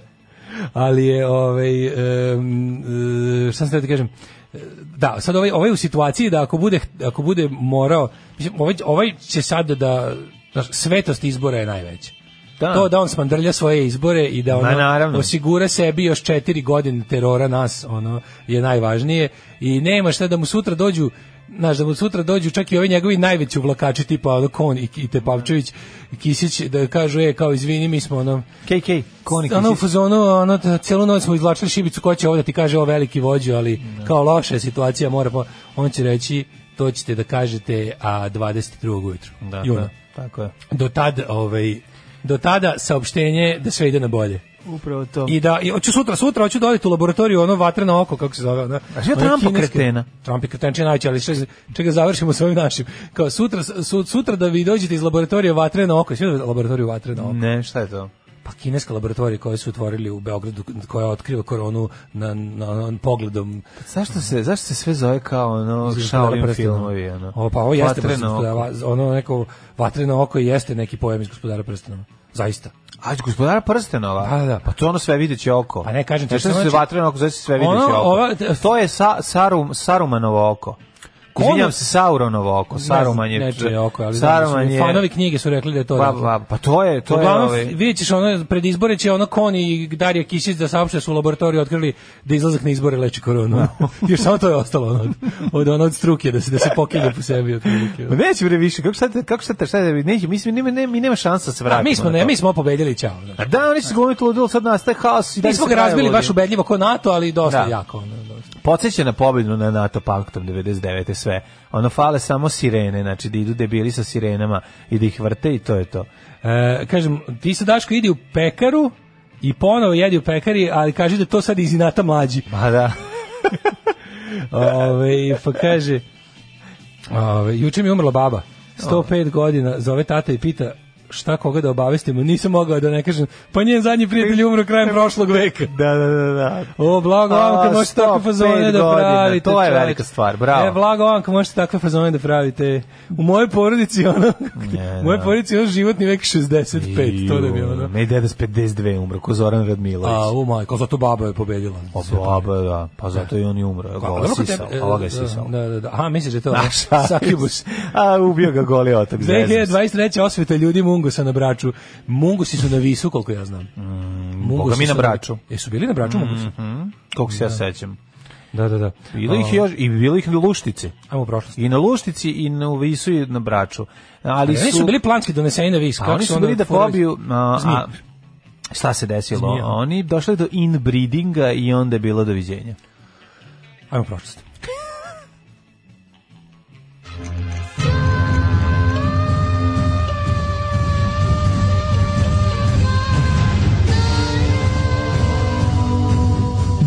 ali je ovaj em, e, šta sam teo da ti kažem E, da sad ovaj ovaj u situaciji da ako bude ako bude morao mislim ovaj ovaj će sad da znaš, svetost izbora je najveća
Da.
To da on smandrlja svoje izbore i da ono
Ma, naravno.
osigura sebi još četiri godine terora nas, ono je najvažnije i nema šta da mu sutra dođu znaš, da mu sutra dođu čak i ovi njegovi najveći uvlakači tipa ono, Kon i, i Tepavčević i Kisić da kažu e kao izvini mi smo ono
KK, konik.
ono u fazonu, ono, t- celu noć smo izvlačili šibicu, ko će ovdje ti kaže ovo veliki vođu, ali
Da.
kao loša je situacija, mora, po- on će reći, to ćete da kažete, a 22. ujutru.
Da,
juna.
da, tako je.
Do tad, ovaj, do tada saopštenje da sve ide na bolje.
Upravo to.
I da i hoću sutra sutra hoću da odete u laboratoriju ono vatreno oko kako se zove ona.
A što je
ona
Trumpa
kineska-
kretena?
Trump je kretenčina najče, ali še- čega završimo sa ovim našim. Kao sutra su, sutra da vi dođete iz laboratorije vatreno oko, sve laboratoriju vatreno oko.
Ne, šta je to?
Pa kineska laboratorija koju su otvorili u Beogradu koja otkriva koronu na, na, na pogledom
Zašto se, zašto se sve zove kao ono Shaolin filmovi? Ono?
O, pa ovo jeste
Vatreno
Vatreno
oko.
ono neko vatreno oko jeste neki pojam iz gospodara prstenova. Zaista.
A gospodara prstenova?
Da, da.
Pa to ono sve videće oko.
Pa ne, kažem ti,
Znaš šta
što
se
znači-
vatreno oko, zove se sve videće
Ono,
oko.
ova-
to je sa, sarum, Sarumanovo oko.
Ono-
Izvinjam se, Sauronovo oko. Saruman je...
nečije oko, ali
Saruman je...
fanovi knjige su rekli da je to.
Pa,
dakle.
pa, pa to je, to je...
Uglavnom,
ovaj-
vidjet ćeš ono, pred izbore će ono Kon i Darija Kisić da saopšte su u laboratoriju otkrili da izlazak na izbore leči
[LAUGHS]
koronu. Još samo to je ostalo ono, od, od, ono, od struke, da se, da se pokinje po sebi. otprilike.
Ma neće bre više, kako sad, kako sad, šta je, neće, mislim, nema, nema, mi nema šansa da
A
se vratimo.
mi smo,
na
ne,
to.
mi smo pobedili, čao. znaš.
A da, oni su glumiti ludilo, sad nastaje haos. i dalje
Mi smo
se
ga
kraj
razbili
vodi.
baš ubedljivo ko NATO, ali dosta
Da.
jako. Ono, dosta.
Podseća na pobjedu na NATO paktom 99. sve. Ono fale samo sirene, znači da idu debili sa sirenama i da ih vrte i to je to.
E, kažem, ti se Daško idi u pekaru i ponovo jedi u pekari, ali kaži da to sad iz inata mlađi.
Ma da.
Ove, pa kaže, ove, juče mi je umrla baba, 105 godina, zove tata i pita šta koga da obavestimo, nisam mogao da ne kažem, pa njen zadnji prijatelj je umro krajem prošlog veka.
[LAUGHS] Da, da, da, da.
O, blago vam
A,
kad možete takve
105
fazone da
godina,
pravite.
to je
čoveče.
velika stvar, bravo.
E, blago vam kad možete takve fazone da pravite. U mojoj porodici, ono,
Ne,
u mojoj
da.
porodici je ono životni vek 65, to da bi ono.
Ne, deda s 52 umro, ko Zoran
A,
Radmilović.
u majko, zato baba je pobedila.
A, ba, da, pa zato i on i umro. Ovo ga sisao, ovo ga je sisao.
Da, da, da. Aha, misliš [LAUGHS] da je to
A,
ono,
šta?
Sakibus.
A, ubio ga goli otak. zezam se.
2023. osveta ljudi Mungosa na Braču. Mungosi su na visu, koliko ja znam.
Boga mi
su
na Braču.
Jesu bili na Braču Mungosi?
Koliko se ja sećam.
Da, da, da.
Bilo ih je još, i bilo ih na Luštici.
Ajmo u prošlost.
I na Luštici, i na Visu, i na Braču. Ali
Oni
su,
su bili planski doneseni na vis.
a
kako
oni
su
su
onda
bili da
furali?
pobiju... A, a,
Zmiju.
šta se desilo?
Zmija.
Oni došli do inbreedinga i onda je bilo doviđenja.
E, Ajmo u prošlost.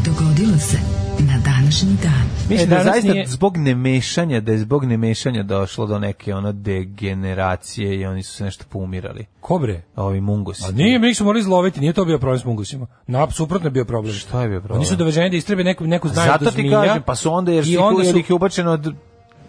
Dogodilo se na današnji dan.
Mislim
E,
da je
danas
zaista
nije-
zbog nemešanja, da je zbog nemešanja došlo do neke ono degeneracije i oni su se nešto poumirali.
Kobre.
Ovi mungusi.
A Pa nije, mi ih smo morali izloviti, nije to bio problem s Mungusima. Na, suprotno je bio problem.
Šta je bio problem?
Oni su doveženi da istrebe neku, neku znaju
Zato
do
ti
zmija.
kažem, pa su onda, jer,
I
si,
onda
jer
su-
ih je ubačeno od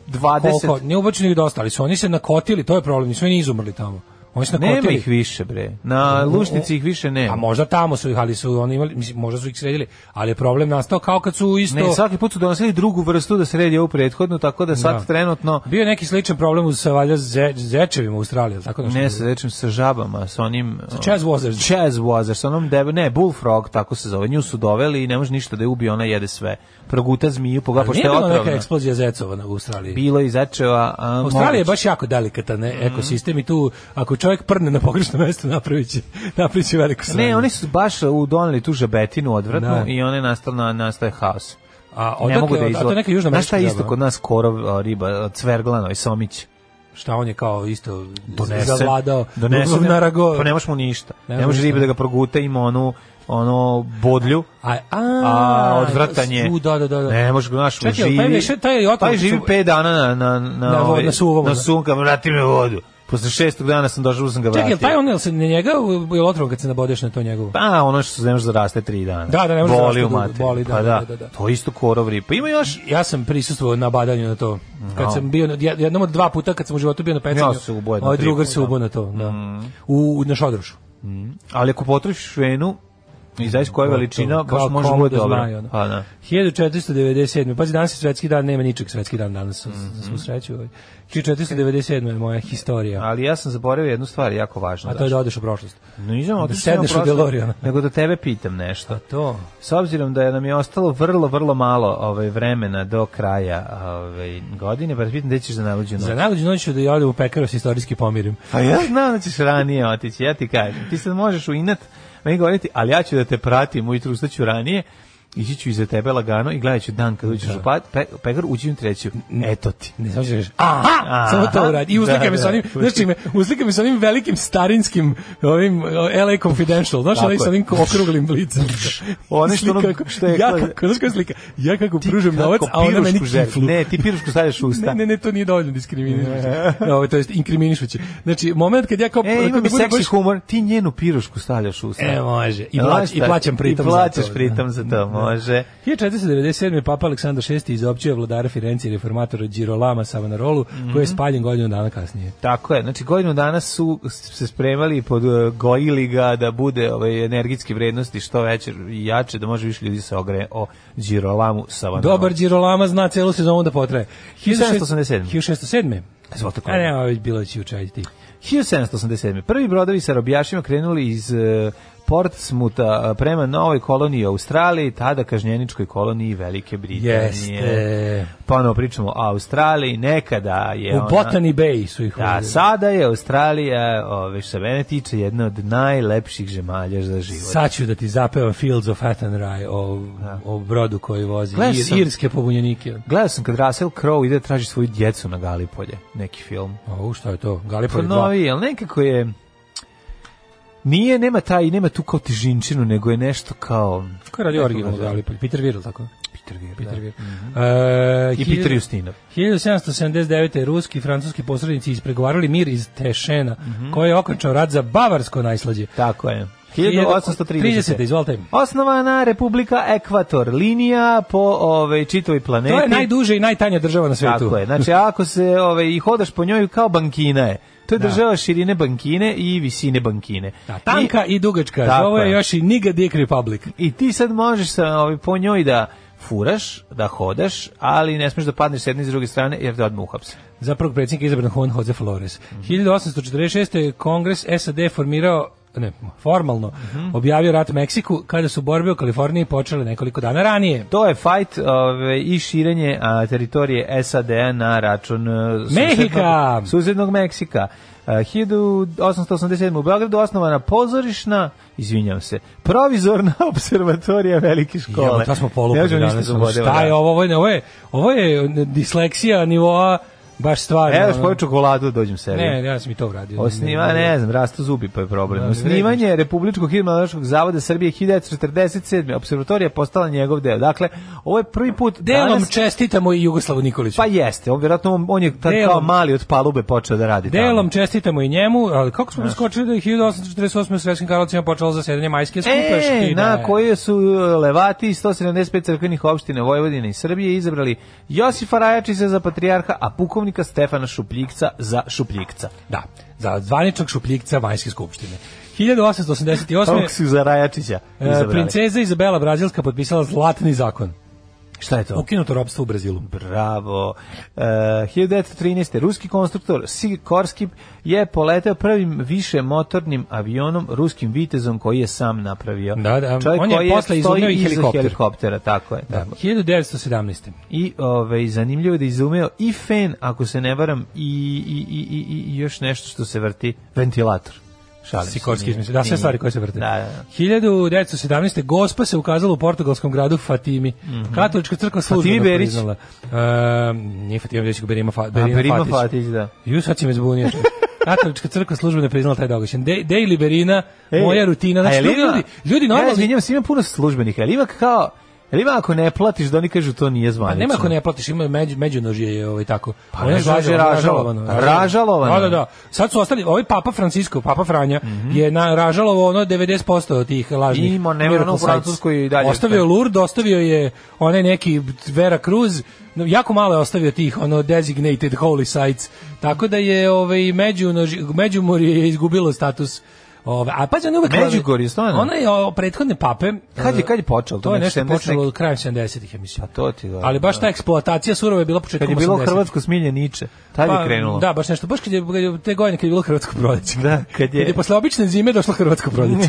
20...
Koliko? Ne ubačeni ih dosta, ali su oni se nakotili, to je problem, nisu oni izumrli tamo. Oni su nakotili.
Nema ih više, bre. Na Lušnici ih više nema.
A možda tamo su ih, ali su oni imali, mislim, možda su ih sredili, ali je problem nastao kao kad su isto...
Ne, svaki put su donosili drugu vrstu da sredi ovu prethodnu, tako da sad
Da.
trenutno
Bio je neki sličan problem uz sa valjda ze, zečevima u Australiji, ali tako nešto.
ne sa rečem sa žabama, sa onim
Chaz Wazers.
Chaz Wazers, sa onom debe, ne, Bullfrog, tako se zove. Nju su doveli i ne može ništa da je ubije, ona jede sve. Proguta zmiju, pogleda,
Pa Nije
pošto je
bila neka
otrovna.
eksplozija zecova na- u Australiji.
Bilo je i začeva... a,
Australija je
moguće.
baš jako delikatan e, ekosistem i tu ako čovjek prne na pogrešno mesto [LAUGHS] napraviće napraviće veliko sranje.
Ne, oni su baš uh, udoneli tu žabetinu odvratnu
Da.
i one nastao na nastaje haos.
a
ne mogu
odakle,
da
od- a to
izlo-
je neka južna
Znaš šta je isto
žaba,
kod nas korov a, riba, a, cverglano i somić?
Šta on je kao isto
donese,
zavladao.
donese,
Lugov narago.
pa nemaš mu ništa.
Ne
Ne,
može
može
ništa.
ribe da ga proguta, ima onu, ono bodlju,
A, a,
a odvrtanje.
U, da, da, da. da.
Ne može ga naš
Čekaj,
živi.
taj više- taj je otrov-
taj živi 5 dana na na na
Na vo-
ovaj-
na suvom,
Na
da.
suvom kad vrati me vodu. Posle šestog dana sam došao, sam ga vratio.
Čekaj, jel taj on, jel se na njega, jel otrovo kad se nabodeš na to njegovo?
Pa, ono što se ne može da raste 3 dana.
Da, da, ne može da
boli
raste
u
dugo,
materinu.
boli, da,
pa
da, da,
da,
da.
To je isto korov riba. Pa Ima još
Ja sam prisustvovao na badanju na to. Kad
No.
sam bio na- jed- jednom od dva puta kad sam u životu bio na pecanju.
Ja se ubojem na
Ovaj
tri
drugar
puta. Mm.
se ubo na to, da. U, u na šodrošu.
ali ako potrošiš venu i znaš koja je veličina, baš
Kao
može
komodo
bude dobro.
znaju, ono.
Pa da.
1497. Pazi, danas je svetski dan, nema ničeg svetski dan danas, mm
Mhm.
-hmm. svu sreću. ovaj. 1497. je moja historija.
Ali ja sam zaboravio jednu stvar jako važnu.
A to je da odeš u prošlost.
Nisam otišao
sedneš u DeLorean.
Nego da tebe pitam nešto.
To.
S obzirom da je nam je ostalo vrlo, vrlo malo ovaj, vremena do kraja ovaj, godine, pa te pitam gde ćeš za najluđu noć.
Za najluđu noć ću da ja odem u pekaru se istorijski pomirim.
Pa ja znam da ćeš ranije otići, ja ti kažem. Ti sad možeš u inat meni govoriti, ali ja ću da te pratim ujutru, ustaću ranije ići ću iza tebe lagano i gledat ću dan kad uđeš
Da.
u pad, pe, pekar, uđi u treću. Eto ti.
Ne, samo ćeš reći, aha, samo to uradi. I uslika
Da,
mi sa
da.
onim, znaš čime, uslika mi sa onim velikim starinskim, ovim o, LA Confidential, znaš
Tako
onaj sa
je.
onim okruglim blicom.
Ono što ono
Slika kako-
što je-
Ja kako, znaš koja je slika? Ja kako pružim
Kako
novac, a ona meni
pirušku želiš.
kiflu.
Ne, ti pirušku stavljaš u usta.
Ne, ne, ne, to nije dovoljno diskriminirajuće. Ovo, to jest inkriminišuće. Znači, moment kad ja kao...
E, ima
kad
mi
budem
seksi
baš-
humor, ti njenu pirušku stavljaš u usta.
E, može. I,
Znaš
plać, i
šta?
plaćam pritom
I plaćaš
za to. da.
pritom za to, može.
1497. Papa Aleksandar VI izopćio vladara Firenze i reformatora Girolama Savonarolu, koji je
Mhm.
spaljen godinu dana kasnije.
Tako je, znači godinu dana su se spremali i podgojili ga da bude ove energetske vrednosti što veće i jače, da može više ljudi se ogreje o Girolamu Savanaru.
Dobar Girolama zna celu sezonu da potraje.
1787.
1607.
Izvolite, kolega. E,
A ne, ovo je bilo da će učajiti.
1787. Prvi brodovi sa robijašima krenuli iz e, Portsmuta e, prema novoj koloniji u Australiji, tada kažnjeničkoj koloniji Velike Britanije.
Jeste.
Ponovo pričamo o Australiji, nekada je
U
ona...
Botany Bay su ih
Da,
uzeli.
sada je Australija, ove, što se mene tiče, jedna od najlepših žemalja za život.
Sad ću da ti zapevam Fields of Attenry o, o brodu koji vozi
Da. Gledao
ir,
sam-
irske pobunjenike.
Gledao sam kad Russell Crowe ide da traži svoju djecu na Galipolje, neki film.
O, šta je to?
Pa
Gallipoli 2.
novi, ali nekako je... Nije, nema taj, nema tu kao težinčinu, nego je nešto kao...
Ko je radio
Kako
original
ga zove?
Gallipoli? Peter Virl, tako?
Peter Weir,
Peter
da.
Weir.
Mhm.
E,
I
hiljadu-
Peter Justinov.
1779. ruski i francuski posrednici ispregovarali mir iz Tešena,
Mhm.
koji je okončao rat za bavarsko najslađe.
Tako je. 1830.
30, izvolite.
Osnovana Republika Ekvator, linija po ove, čitoj planeti.
To je najduže i najtanja država na svetu.
Tako je. Znači, ako se ove, i hodaš po njoj kao bankina je. To je država širine bankine i visine bankine.
[LAUGHS] Da, tanka i, dugačka.
Tako
Ovo je
je.
još i Niga Dick Republic.
I ti sad možeš sa, ovaj, po njoj da furaš, da hodaš, ali ne smeš da padneš s jedne i s druge strane, jer te odmah uhapse.
Za prvog predsjednika je izabran Juan Jose Flores.
Mhm.
1846. je Kongres SAD formirao ne, formalno
Mhm.
objavio rat Meksiku kada su borbe u Kaliforniji počele nekoliko dana ranije.
To je fajt ove, i širenje a, teritorije SAD-a na račun e,
Mehika!
susednog, susednog Meksika. E, 1887. u Beogradu osnovana pozorišna, izvinjam se, provizorna [LAUGHS] observatorija velike škole.
Ja, to smo
Ne
polupili
možemo ništa
danas.
da
ono,
ubodemo,
Šta je
da.
ovo? Ovo je, ovo je, ovo je disleksija nivoa baš stvarno.
Evo još
ono.
poju čokoladu dođem sebi.
Ne, ja sam i to uradio.
Osniva, ne znam, rastu zubi pa je
Da,
problem. Osnivanje Republičkog hidrološkog zavoda Srbije 1947. Observatorija je postala njegov deo. Dakle, ovo je prvi put
Delom
danas...
čestitamo i Jugoslavu Nikoliću.
Pa jeste, on vjerojatno on, on je tad kao
Delom.
mali od palube počeo da radi. tamo.
Delom čestitamo i njemu, ali kako smo preskočili da je 1848. u Svetskim Karlovcima počelo zasedanje majske skupe?
E,
škide?
na koje su uh, levati iz 175 crkvenih opština Vojvodine i Srbije izabrali Josifa Rajačića za patrijarha, a pukovnika Stefana Šupljikca za Šupljikca.
Da, za zvaničnog šupljikca majske skupštine. 1888.
Kako su za Rajačića
e,
izabrali?
princeza Izabela Brazilska potpisala zlatni zakon.
Šta je to?
Ukinuto robstvo u Brazilu.
Bravo. Uh, 1913. Ruski konstruktor Sikorski je poleteo prvim više motornim avionom ruskim vitezom koji je sam napravio.
Da, da,
Čovjek
on je
koji
posle
stoji
izumio i
iza
helikopter.
helikoptera, tako je.
Da,
Tako.
1917.
I ovaj zanimljivo je da je izumeo i fen, ako se ne varam, i, i, i, i, i- i još nešto što se vrti, ventilator. Šalim se,
Sikorski
nije.
izmislio. Da, sve
Nije.
stvari koje se vrte.
Da, da, da.
1917. Gospa se ukazala u portugalskom gradu Fatimi. Katolička crkva službeno
Mhm. Fatimi Berić.
priznala. E, nije Fatimi Berić, nego Berima, Fa,
A,
Berima,
Berima
Fatić.
Fatić, da.
Ju, sad si me
[LAUGHS]
zbunio. Katolička crkva službeno je priznala taj događaj. De, Daily Berina,
E,
moja rutina. Znači,
a jel
ljudi,
ima-
ljudi, ljudi
Ja
normalni,
izvinjam se, ima puno službenika, ali ima kao... Jel ima ako ne platiš da oni kažu to nije
Pa
zvanično?
nema ako ne platiš, ima među, međunožje je ovaj tako.
Pa
Ono je
međunožje
zvađalo-
Ražalovano. Ražalovano.
Da, da, da. Sad su ostali, ovaj Papa Francisco, Papa Franja, je na Ražalovo ono 90% od tih lažnih.
Mhm. Ima, nema,
miracle
ono u
sites.
Francuskoj i dalje
Ostavio je
ostaje.
Lourdes, ostavio je onaj neki Vera Cruz, no, jako malo je ostavio tih ono designated holy sites. Tako da je ovaj međunožje, međumorje je izgubilo status Ove, a pa je uvek
Međugorje, stvarno?
Ona je o, prethodne pape.
Kad je-
e,
kad je počelo?
To je
Znači,
nešto
70
počelo krajem 70-ih, ja mislim.
Pa to ti da.
Ali baš ta eksploatacija surova je bila početkom
Kad je
80-ih.
bilo Hrvatsko smilje Niče, tad je krenulo.
Da, baš nešto. Baš kad je, kad je te godine kad je bilo Hrvatsko proleće.
Da, kad je-
Kad je posle obične zime došlo Hrvatsko
[LAUGHS]
proleće.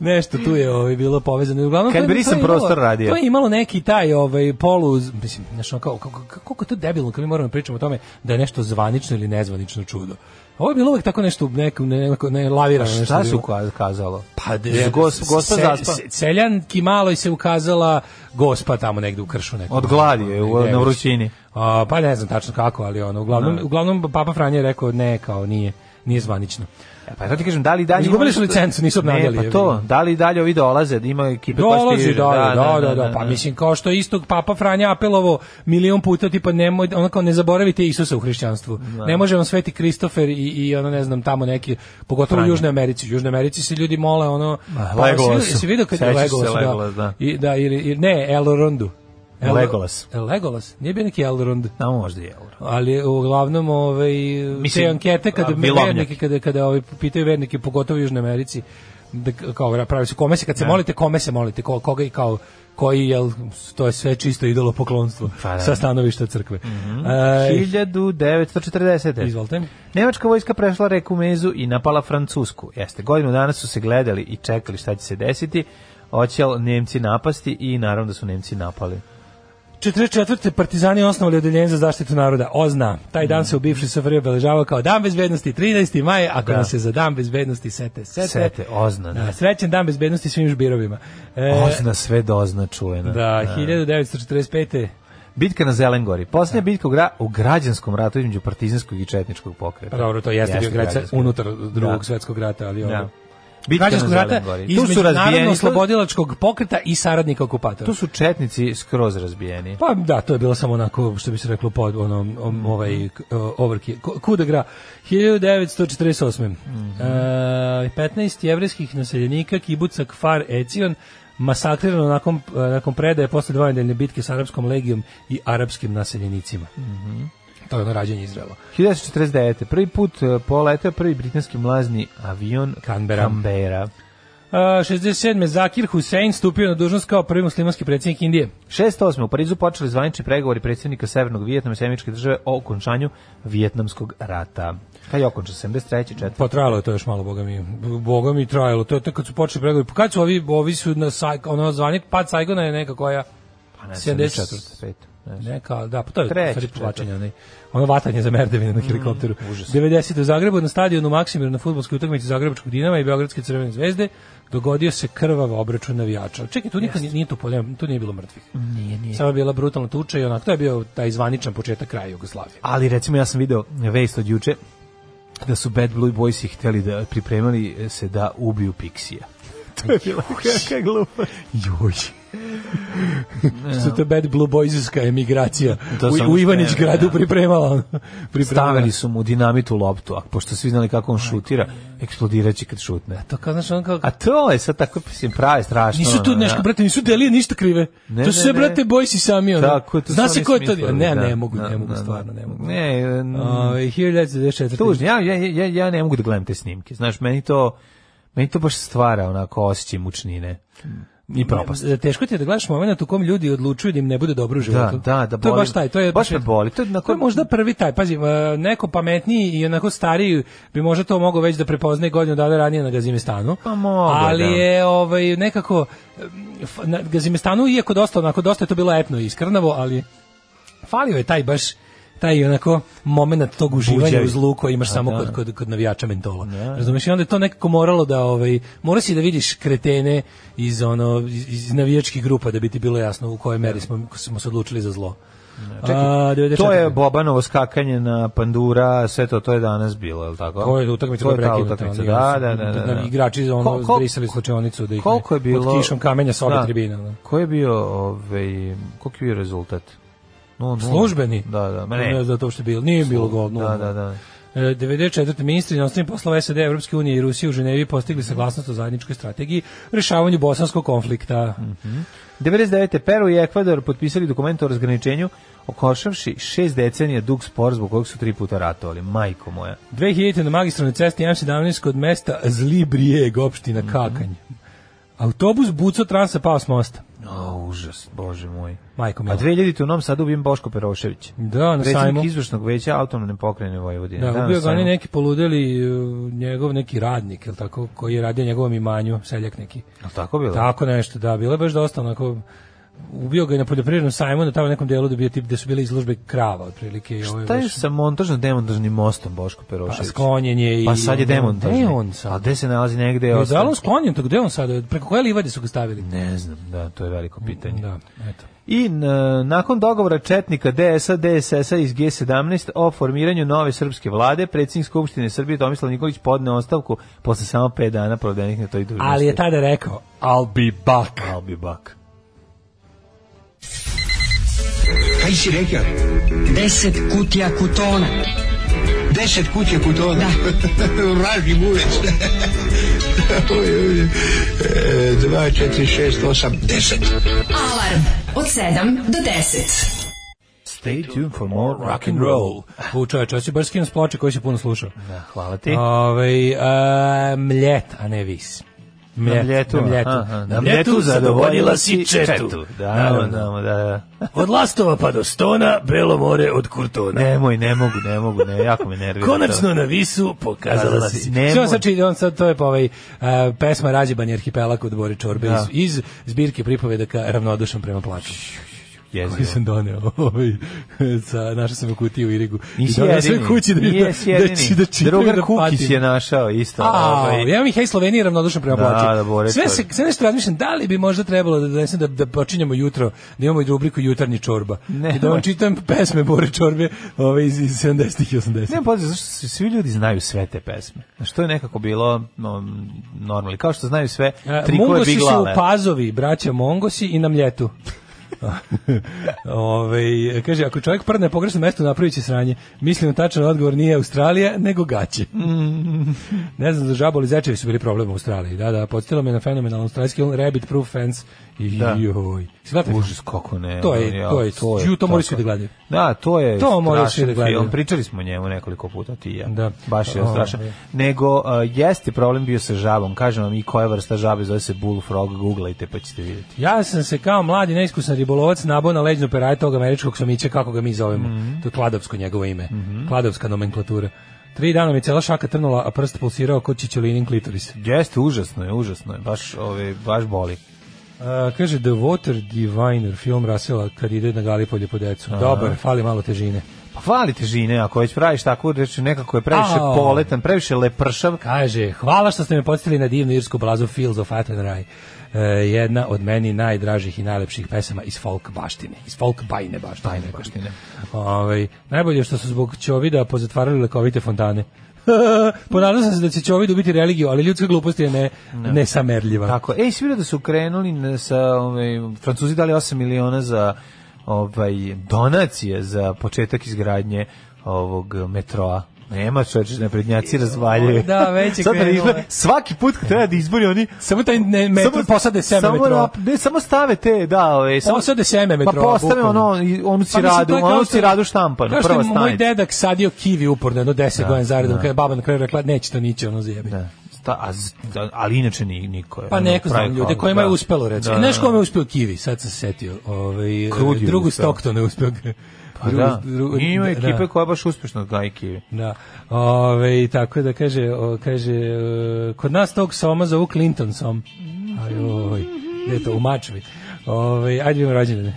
nešto tu je ovaj, bilo povezano. Uglavnom,
Kad
to je- to je
brisan
imalo-
prostor radio.
To je imalo neki taj ovaj, polu, mislim, da znaš, ono, kao, kako, kako je to debilno kad mi moramo pričamo o tome da je nešto zvanično ili nezvanično čudo. Ovo je bilo uvek tako nešto, neko, ne, neko, ne, lavirano nešto.
Pa Šta
je
su
bilo.
ka- kazalo?
Pa, de,
Gos- gospa zaspa.
Celjanki maloj se ukazala gospa tamo negde u kršu nekom.
Od gladi je, u-
Negde,
na vrućini. Da.
A, pa ne znam tačno kako, ali ono, uglavnom, uglavnom Papa Franje je rekao ne, kao nije, nije zvanično.
E, pa sad ti kažem, da li dalje...
Izgubili
imamo
su
što-
licencu, nisu obnavljali,
Ne,
je,
pa to, da li dalje ovi dolaze, da ima ekipe koja
Dolazi,
stiže,
da, da, da, da, pa mislim kao što je istog Papa Franja apelovao milion puta, tipa nemoj, ono kao ne zaboravite Isusa u hrišćanstvu.
Da.
Ne može vam sveti Kristofer i, i ono ne znam tamo neki, pogotovo u Južnoj Americi. U Južnoj Americi se ljudi mole ono...
Ma,
pa, jesi
Legolasu.
vidio- jesi vidio kad je
Sećaš se
Legolas, da.
Legolas, da.
I, da, ili, ili- ne, Elrondu. El-
Legolas.
Legolas, nije bio neki Elrond.
Da, možda je euro.
ali uglavnom ovaj
Mislim,
te ankete kada
a, vilovnjak.
vernike kada kada ovaj pitaju vernike pogotovo u Južnoj Americi da k- kao pravi se kome se kad se
Da.
molite kome se molite ko, koga i kao koji jel to je sve čisto idolo poklonstvo
Pa, da. Mhm.
sa stanovišta crkve. E,
1940.
izvolite.
Nemačka vojska prešla reku Mezu i napala Francusku. Jeste, godinu dana su se gledali i čekali šta će se desiti. Hoće li Nemci napasti i naravno da su Nemci napali.
44. partizani osnovali odeljenje za zaštitu naroda OZNA. Taj dan se u bivšoj SFRJ obeležavao kao Dan bezbednosti 13. maj, ako
Mhm. Da.
nas se za Dan bezbednosti sete, sete.
Sete, ozna, da.
Da, srećen Dan bezbednosti svim žbirovima. E,
Ozna sve dozna čujena.
Da, 1945.
Bitka na Zelengori.
Da.
Posljednja bitka u, gra, u građanskom ratu između partizanskog i četničkog pokreta.
Pa dobro, to jeste, bio grad sa-
građanski.
unutar drugog
Da.
svetskog rata, ali ovo.
Da. Bitka na
Građanskog rata
Zelengori. Tu
između
su razbijeni, tu,
narodno-oslobodilačkog pokreta i saradnika okupatora.
tu su četnici skroz razbijeni.
Pa da, to je bilo samo onako, što bi se reklo, pod onom, om- ovaj, k- o- overki, ko- kuda gra. 1948. E, 15 jevrejskih naseljenika, kibuca Kfar Ecion, masakrirano nakon, e, nakon predaje posle dvojnedeljne bitke s arapskom legijom i arapskim naseljenicima. Mhm. To je ono rađenje Izraela.
1949. Prvi put e, poletao prvi britanski mlazni avion
Canberra.
Canberra.
A, 67. Zakir Hussein stupio na dužnost kao prvi muslimanski predsjednik Indije.
6.8. u Parizu počeli zvanični pregovori predsjednika Severnog Vijetnama i Sjemeničke države o okončanju Vijetnamskog rata. Kad je okončan? 73. četvrti.
Potrajalo Pa je to još malo, boga mi. Boga mi trajalo. To je to kad su počeli pregovori. Pa kad su ovi, ovi su na Saj- ono zvanik, pad Saigona je neka koja...
Pa ne,
74.
74. pet, ne znam.
Neka, da, pa to je
Treći,
stvari
četvrti.
povlačenje, onaj, ono vatanje za merdevine na helikopteru. 90. u Zagrebu na stadionu Maksimir na futbolskoj utakmici Zagrebačkog Dinama i Beogradske crvene zvezde dogodio se krvav obračun navijača. Čekaj, tu niko nije, nije tu, po- nema- tu nije bilo mrtvih. Nije, nije. Samo je bila brutalna tuča i onako, to je bio taj zvaničan početak kraja Jugoslavije.
Ali recimo ja sam video vest od juče da su Bad Blue Boysi htjeli da pripremali se da ubiju Pixija. [LAUGHS] to je bila kakva glupa.
Joj. Što to bad blue boyska emigracija
To sam
u, u
još
Ivanić
spremio,
gradu
da.
pripremala. ono, pripremala.
Stavili su mu dinamit u loptu, a pošto svi znali kako on šutira, eksplodiraće kad šutne.
To kao, znaš, ono kao,
A to je sad tako, mislim, prave strašno.
Nisu tu
ono,
nešto,
da.
brate, nisu delije ništa krive.
Ne,
to
ne,
su sve,
ne.
brate, bojsi sami. Ono.
Tako, to
Zna
su
se
oni
ko je to?
smislili,
Ne,
da,
ne mogu,
da,
ne mogu,
da,
stvarno,
da.
ne mogu.
Ne, n-
Ovaj, 1994.
tužno. Ja, ja, ja, ja ne mogu da gledam te snimke. Znaš, meni to, meni to baš stvara onako osjećaj mučnine i propast.
E, Teško ti je da gledaš moment u kom ljudi odlučuju da im ne bude dobro u životu.
da, da
To je
boli.
baš taj, to je
Baš me boli, to je onako-
to je možda prvi taj. Pazi, e, neko pametniji i onako stariji bi možda to mogao već da prepoznaje godinu dana ranije na Gazimestanu.
Pa mogao,
Ali
da.
je ovaj nekako e, f- na Gazimestanu iako dosta onako dosta je to bilo etno i iskrnavo, ali falio je taj baš taj onako moment tog uživanja
Buđavi.
u zlu koji imaš samo
da.
kod, kod, kod navijača mentola. Razumeš? I onda je to nekako moralo da, ovaj, mora si da vidiš kretene iz, ono, iz, iz navijačkih grupa da bi ti bilo jasno u kojoj meri smo, smo se odlučili za zlo. A, 94.
Da. To je Bobanovo skakanje na pandura, sve to, to je danas bilo, je li tako?
To je utakmica koja je
ta
prekinuta.
utakmica,
oni
da,
su-
da, da, da, da.
Igrači ono,
Ko- ko-
zbrisali slučajnicu da ih
Koliko je
ne-
bilo?
pod kišom kamenja sa obe tribine. da. ono.
Ko je bio, ovaj, koliko je bio rezultat? No, no.
Službeni?
Da, da, ma
Ne,
ne.
zato što bilo, nije bilo gol.
Da, da, da.
E, 94. ministri inostranih poslova SAD, Evropske unije i Rusije u Ženevi postigli saglasnost o zajedničkoj strategiji rešavanju bosanskog konflikta.
Mhm. 99. Peru i Ekvador potpisali dokument o razgraničenju okošavši šest decenija dug spor zbog kojeg su tri puta ratovali. Majko moja.
2000. na magistralnoj cesti M17 kod mesta Zlibrijeg, opština Kakanj. Autobus buco transa pao s mosta.
O, užas, bože moj.
Majko
A
mila.
2000. u Novom Sadu ubijem Boško Perošević.
Da, na sajmu.
Predsjednik izvršnog veća autonomne pokrajine Vojvodine.
Da,
na
ubio ga
sajmu.
oni neki poludeli e, njegov neki radnik, jel tako, koji je radio njegovom imanju, seljak neki. da,
Jel tako bilo? Pa
Tako nešto, da, bilo je baš dosta onako ubio ga je na poljoprivrednom sajmu na tamo nekom delu da bio tip gde su bile izložbe krava otprilike i ovo
Šta je sa montažno-demontažnim mostom Boško Perošević?
Pa sklonjen je i-
Pa sad je demontažni.
Gde je on sad?
A gde se nalazi negde? je
je
ostao?
da li on sklonjen to gde on sad preko koje livade su ga stavili
Ne znam, da, to je veliko pitanje.
da eto
I n- nakon dogovora četnika DSA, DSS-a iz G17 o formiranju nove srpske vlade, predsjednik Skupštine Srbije Tomislav Nikolić podne ostavku posle samo 5 dana provedenih na toj dužnosti.
ali je tada rekao I'll be back
I'll be back.
Kaj si rekao?
Deset kutija kutona. Da.
Deset kutija kutona. [LAUGHS] Vraži buvec. Oj, oj, oj. E, Dva, četiri, šest, osam, deset.
Alarm od 7 do 10.
Stay tuned for more rock and
roll
roll.
u čoveče hoće baš skinu s ploče koji se puno slušao
Da, hvala ti.
Ovaj a, mljet, a ne vis.
Na mljetu,
na mljetu.
aha, na mljetu zadovoljila si četu. Da,
Naravno.
da, da. [LAUGHS]
Od Lastova pa do Stona, Belo more od Kurtona.
Nemoj, ne mogu, ne mogu, ne, jako me nervira. to.
na visu pokazala
Pokazala si. Nemoj.
Sve on sad čini, on sad, to je pa ovaj, a, pesma Rađeban i arhipelag od Bore Čorbe
Da.
iz, iz zbirke pripovedaka Ravnodušan prema plaću.
Jezivo.
Koji sam doneo [LAUGHS] ovaj, sa, našao sam u kutiju u Irigu. I
Nisi
doneo sve
jedini.
kući da,
Nisi
da, da,
jedini.
či- da čitam i
Drugar
da
Kukić
patim.
je našao isto.
A,
ovaj.
ja mi hej Slovenija ravnodušno prema
Da,
plaću.
da, Bore,
sve
to
se
je.
sve nešto razmišljam da li bi možda trebalo da donesem da da počinjemo jutro, da imamo i rubriku jutarnji čorba.
Ne.
I da vam čitam pesme Bore Čorbe, ove iz, iz 70-ih i 80-ih.
Ne, pazi, zašto svi- svi ljudi znaju sve te pesme. Što je nekako bilo no, normalno. Kao što znaju sve
E,
trikove
Mongosi
Big
su
Lala.
pazovi, braća Mongosi i na
[LAUGHS]
mljetu. Ove, kaže, ako čovjek prdne na pogrešno mesto, napravit će sranje. Mislim, tačan odgovor nije Australija, nego
[LAUGHS]
gaće. ne znam, za žaboli zečevi su bili problem u Australiji. Da, da, podsjetilo me na fenomenalno australijski on rabbit proof fence. I,
Da.
Joj. Si gledate film?
Užas, kako ne.
To je-
ja,
to je- ju, to moraju svi da
tako.
gledaju.
Da, to je
To moraju svi
strašan
da gledaju.
film. Pričali smo o njemu nekoliko puta ti i ja.
Da.
Baš je
Ovaj.
strašan. Nego, a, jeste problem bio sa žabom. Kažem vam i koja vrsta žabe zove se bullfrog. Googlajte pa ćete vidjeti.
Ja sam se kao mladi neiskusan ribolovac nabao na leđnu peraj tog američkog somića, kako ga mi zovemo.
Mhm.
To je kladovsko njegovo ime. Kladovska nomenklatura. Tri dana mi cela šaka trnula, a prst pulsirao kod čičelinin klitoris.
Jeste, užasno je, užasno je. Baš, ove, baš boli.
A, kaže The Water Diviner, film Rasela kad ide na Galipolje po decu. Dobar, fali malo težine.
Pa fali težine, ako već praviš takvu reč, nekako je previše
Au.
poletan, previše lepršav.
Kaže, hvala što ste me podsjetili na divnu irsku blazu Fields of Athenry. E, jedna od meni najdražih i najlepših pesama iz folk baštine. Iz folk bajne baštine.
Bajne baštine.
Ovaj, najbolje je što su zbog Ćovida pozatvarali lekovite fontane. [LAUGHS] Ponadao sam se da će Ćovid ubiti religiju, ali ljudska glupost je ne, nesamerljiva.
Tako, ej, svi da su krenuli na- sa, ovaj, Francuzi dali 8 miliona za ovaj, donacije za početak izgradnje ovog metroa. Nema čoveče, naprednjaci razvaljuju.
Da, već je
Sad da
krenulo.
izgleda- svaki put kad treba da izbori oni...
Samo taj ne, metro, posade seme
samo
metroa.
nap- ne, samo stave te, da, ove, samo,
Posade seme metroa,
Pa postave
bukvalno.
ono, i- onu
Pa mislim,
ciradu,
to je kao
onu
što-
ciradu štampanu,
kao što
prva
je Moj
stanica.
dedak sadio kivi uporno, jedno 10 godina zaredom, kada je baba na kraju rekla, neće to niće, ono zajebi.
Da. Sta, a, z- da, ali inače ni, niko je.
Pa
ono,
neko znam
pravi
ljude
kao-
kojima je
da.
uspelo recimo.
Da,
Znaš
da,
kome
da.
je uspeo kivi, sad sam se setio. Ovaj, e,
Krudi je
drugu
uspeo.
Stockton je uspeo. [LAUGHS]
Pa da, ima ekipe koja baš uspešno gaji kivi.
Da. Ove, tako da kaže, o, kaže e, kod nas tog soma zovu Clinton som. Aj, oj, gde je to, u Mačvi. Ove, ajde vidimo rođendane.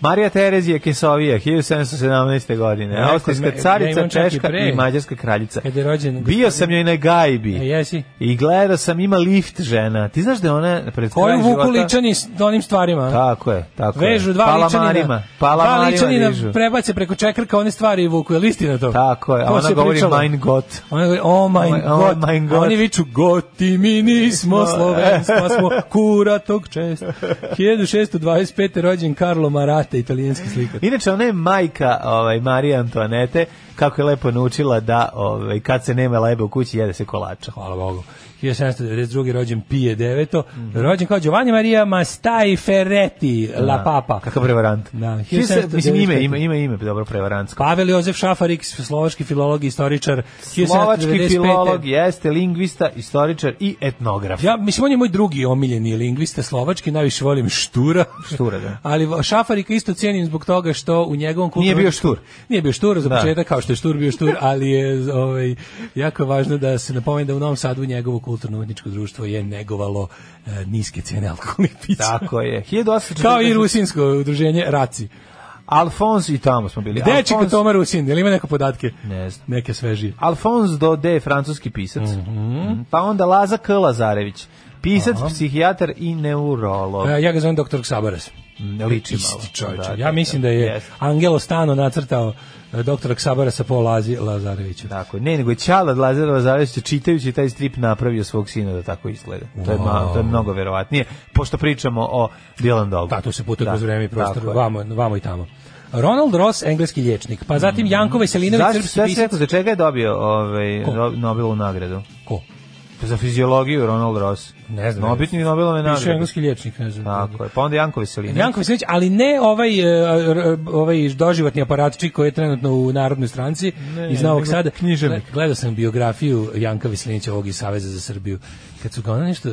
Marija Terezija Kesovija, 1717. godine,
Rekao
austrijska
sam, ja
carica,
imam čak i
češka
pre.
i mađarska kraljica.
Kad je rođen
Bio sam joj na gajbi
E, jesi?
i gledao sam, ima lift žena. Ti znaš da je ona pred kraj
Koju vuku
života- Pa,
ličani s onim stvarima? a?
Tako je, tako je.
Vežu dva ličanina.
Palamarima,
Dva
palamarima
ličanina
dižu.
prebace preko čekrka one stvari i vuku. Je li istina to?
Tako je, a
To
ona
se
govori
pričalo.
mein Gott.
Ona govori, oh my,
Oh my-
god.
oh my
A
God.
oni viču, goti mi
[LAUGHS]
nismo slovenska, smo kura tog čest. 1625. rođen Carlo Marate, italijanski slikar.
Inače, ona je majka ovaj, Marije Antoanete, kako je lepo naučila da ovaj, kad se nema lebe u kući, jede se kolača.
Hvala Bogu. 1792. rođen Pije IX.
Mhm.
Rođen kao Giovanni Maria Mastai Ferretti, La Papa.
Da. Kakav prevarant.
Pa, Da,
Hiljadu sedamsto- Mislim, ime,
1795.
ime, ime, ime, dobro, prevarantsko.
Pavel Jozef Šafarik, slovački filolog i istoričar.
Slovački
1795..
filolog jeste lingvista, istoričar i etnograf.
Ja, mislim, on je moj drugi omiljeni lingvista slovački, najviše volim Štura.
Štura, da.
Ali Šafarika Čovjeka isto cijenim zbog toga što u njegovom kulturnom...
Nije bio štur.
Nije bio štur, za
Da.
početak, kao što je štur bio štur, ali je ovaj, jako je važno da se napomeni da u Novom Sadu njegovo kulturno-umetničko društvo je negovalo e, niske cijene alkoholnih pića.
Tako je. 1840.
Kao i rusinsko udruženje Raci.
Alfons i tamo smo bili.
Gde je Čika
Alfons-
Toma Rusin? Je li ima neke podatke?
Ne znam.
Neke svežije.
Alfons Dode, francuski pisac. Mhm. Pa onda Laza K. Lazarević, pisac, psihijatar i neurolog.
E, ja ga zovem doktor Ksabaras.
Ne liči malo.
Isti čovječe.
Da,
ja mislim da je
jeste.
Angelo Stano nacrtao e, doktora Ksabarasa po Lazi Lazareviću.
Tako, ne, nego je Ćala Lazar Lazarević je čitajući taj strip napravio svog sina da tako izgleda. To je, ma, to je mnogo verovatnije, pošto pričamo o Dylan Dogu.
Da, tu se putuje kroz vreme i prostor,
Tako je.
vamo, vamo i tamo. Ronald Ross, engleski liječnik, pa zatim Janko Veselinović,
Mm. Zašto
srpski
sve si
pisac.
rekao, za čega je dobio ovaj,
Ko?
Ro- Nobelovu nagradu?
Ko?
Za fiziologiju Ronald Ross.
Ne znam.
Nobitni Nobelove
Piše
nagrade.
engleski liječnik, ne znam.
Tako je. Pa onda Janko Veselinović.
Janko Veselinović, ali ne ovaj, e, r- r- ovaj doživotni aparatčik koji je trenutno u Narodnoj stranci
Ne,
iz Novog
nego
Sada.
književnik.
Gle- Gledao sam biografiju Janka Veselinovića ovog iz Saveza za Srbiju. Kad su ga ono nešto...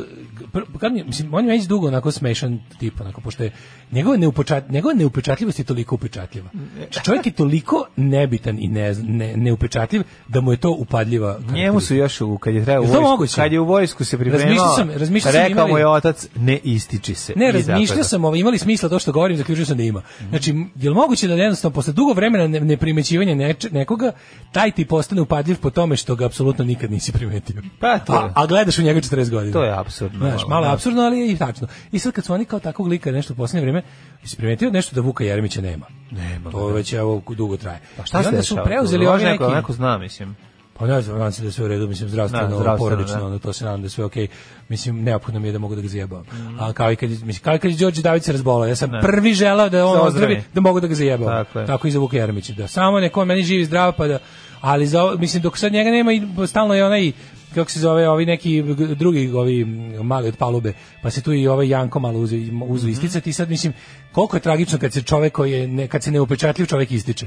pr- Kad mi, mislim, on je već dugo onako smešan tip, onako, pošto je njegova, neupečat, njegova neupečatljivost je toliko upečatljiva. Znači, Čovjek je toliko nebitan i ne, ne, neupečatljiv da mu je to upadljiva
Njemu su još u kad je trebao
Jel to moguće?
kad je u vojsku se pripremao.
Razmišljao sam- razmišljao sam
rekao
imali-
mu je otac ne ističi se.
Ne,
I tako
razmišljao
da.
sam, ovo, imali smisla to što govorim, zaključio sam da ima. Znači, je li moguće da jednostavno posle dugo vremena ne- neprimećivanja neče, nekoga, taj ti postane upadljiv po tome što ga apsolutno nikad nisi primetio?
Pa, to je.
a, a gledaš u njega 40 godina.
To je apsurdno.
Znaš, malo je
Da.
apsurdno, ali je i tačno. I sad kad su oni kao takvog lika nešto u posljednje vrijeme, jesi primetio nešto da Vuka Jeremića nema? Nema. To već evo dugo traje.
da. Pa šta
I
se
onda su
dešava?
preuzeli
Može
ovi neki...
neko, neko zna, mislim.
Pa ne znam, nadam se da je sve u redu, mislim, zdravstveno,
Da, zdravstveno, da.
porodično, ono, to se nadam da je sve okej. Mislim, neophodno mi je da mogu da ga zajebavam.
Mhm.
A kao i kad, je- mislim, kao i kad je Đorđe David se razbolao, ja sam prvi želao da on
Se ozdravi.
ozdravi, da mogu da ga zajebavam.
Tako je.
i za Vuka Jeremića, da samo neko meni živi zdrav, pa da, ali za, ovo- mislim, dok sad njega nema, i stalno je onaj, kako se zove, ovi neki g- drugi ovi m, mali od palube, pa se tu i ovaj Janko malo uzu, uzu
Mhm.
isticati i sad mislim, koliko je tragično kad se čovek koji je, ne, kad se neupečatljiv čovek
[LAUGHS]
ističe.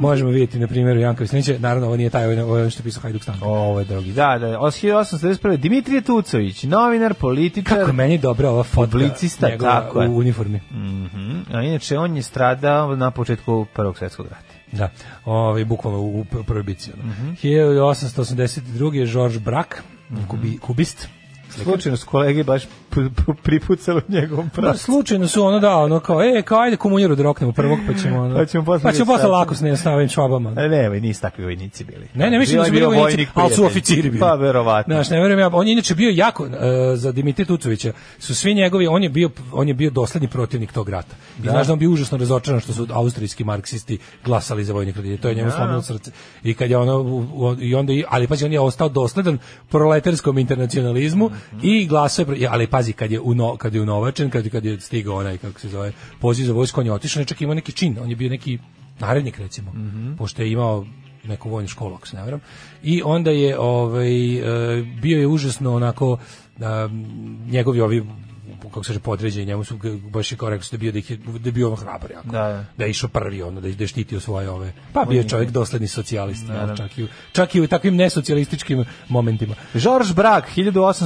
Možemo vidjeti na primjeru Janka Veselinića, naravno ovo nije taj, ovo je- ovo je što je pisao Hajduk Stanko.
Ovo je drugi. Da, da, 1871. Dimitrije Tucović, novinar, političar.
Kako je meni dobra ova fotka
Publicista,
njegova
tako je.
u uniformi.
Mhm. A inače, on je stradao na početku Prvog svjetskog rata.
Da, ovaj, bukvalno u u prvoj bici. ono.
Mhm.
1882. je Georges Braque, kubi, kubist.
Slučajno s kolege baš p- p- pripucalo njegovom
Da,
prasu.
slučajno su ono da, ono kao, e, kao ajde komunjeru da roknemo prvog, pa ćemo, ono,
Pa ćemo posle
pa ćemo
vidjeti
posle
šta
lako s ne stavim čobama. ono.
E, Ne, vi nisi takvi vojnici bili.
Ne, ne, mislim da su bili
Bio je bio
vojnici,
vojnik
ali su
prijatelj.
oficiri bili.
Pa, verovatno.
Znaš, ne verujem ja, on je inače bio jako, e, za Dimitrija Tucovića, su svi njegovi, on je bio, on je bio dosledni protivnik tog rata. I znaš da on bio užasno razočaran što su austrijski marksisti glasali za vojne kredite, to je
Da,
njemu slomilo srce. I kad je ono, u- u- i onda, i- ali pazi, on je ostao dosledan proletarskom internacionalizmu
Mhm.
i glasao je, pro- i- ali pazi, kad je, uno, kad je unovačen, kad, kad je stigao onaj, kako se zove, poziv za vojsku, on je otišao, on je čak imao neki čin, on je bio neki narednik, recimo,
Mhm.
pošto je imao neku vojnu školu, ako se ne varam. I onda je ovaj, e, bio je užasno onako a, njegovi ovi kako se kaže podređeni njemu su g- baš je kao rekao da je bio da, ih je, da je bio on hrabar jako.
Da, da.
je išao prvi ono da je, da je štitio svoje ove. Pa bio je čovjek dosledni socijalista, čak i u, čak i u takvim nesocijalističkim momentima.
Georges Braque,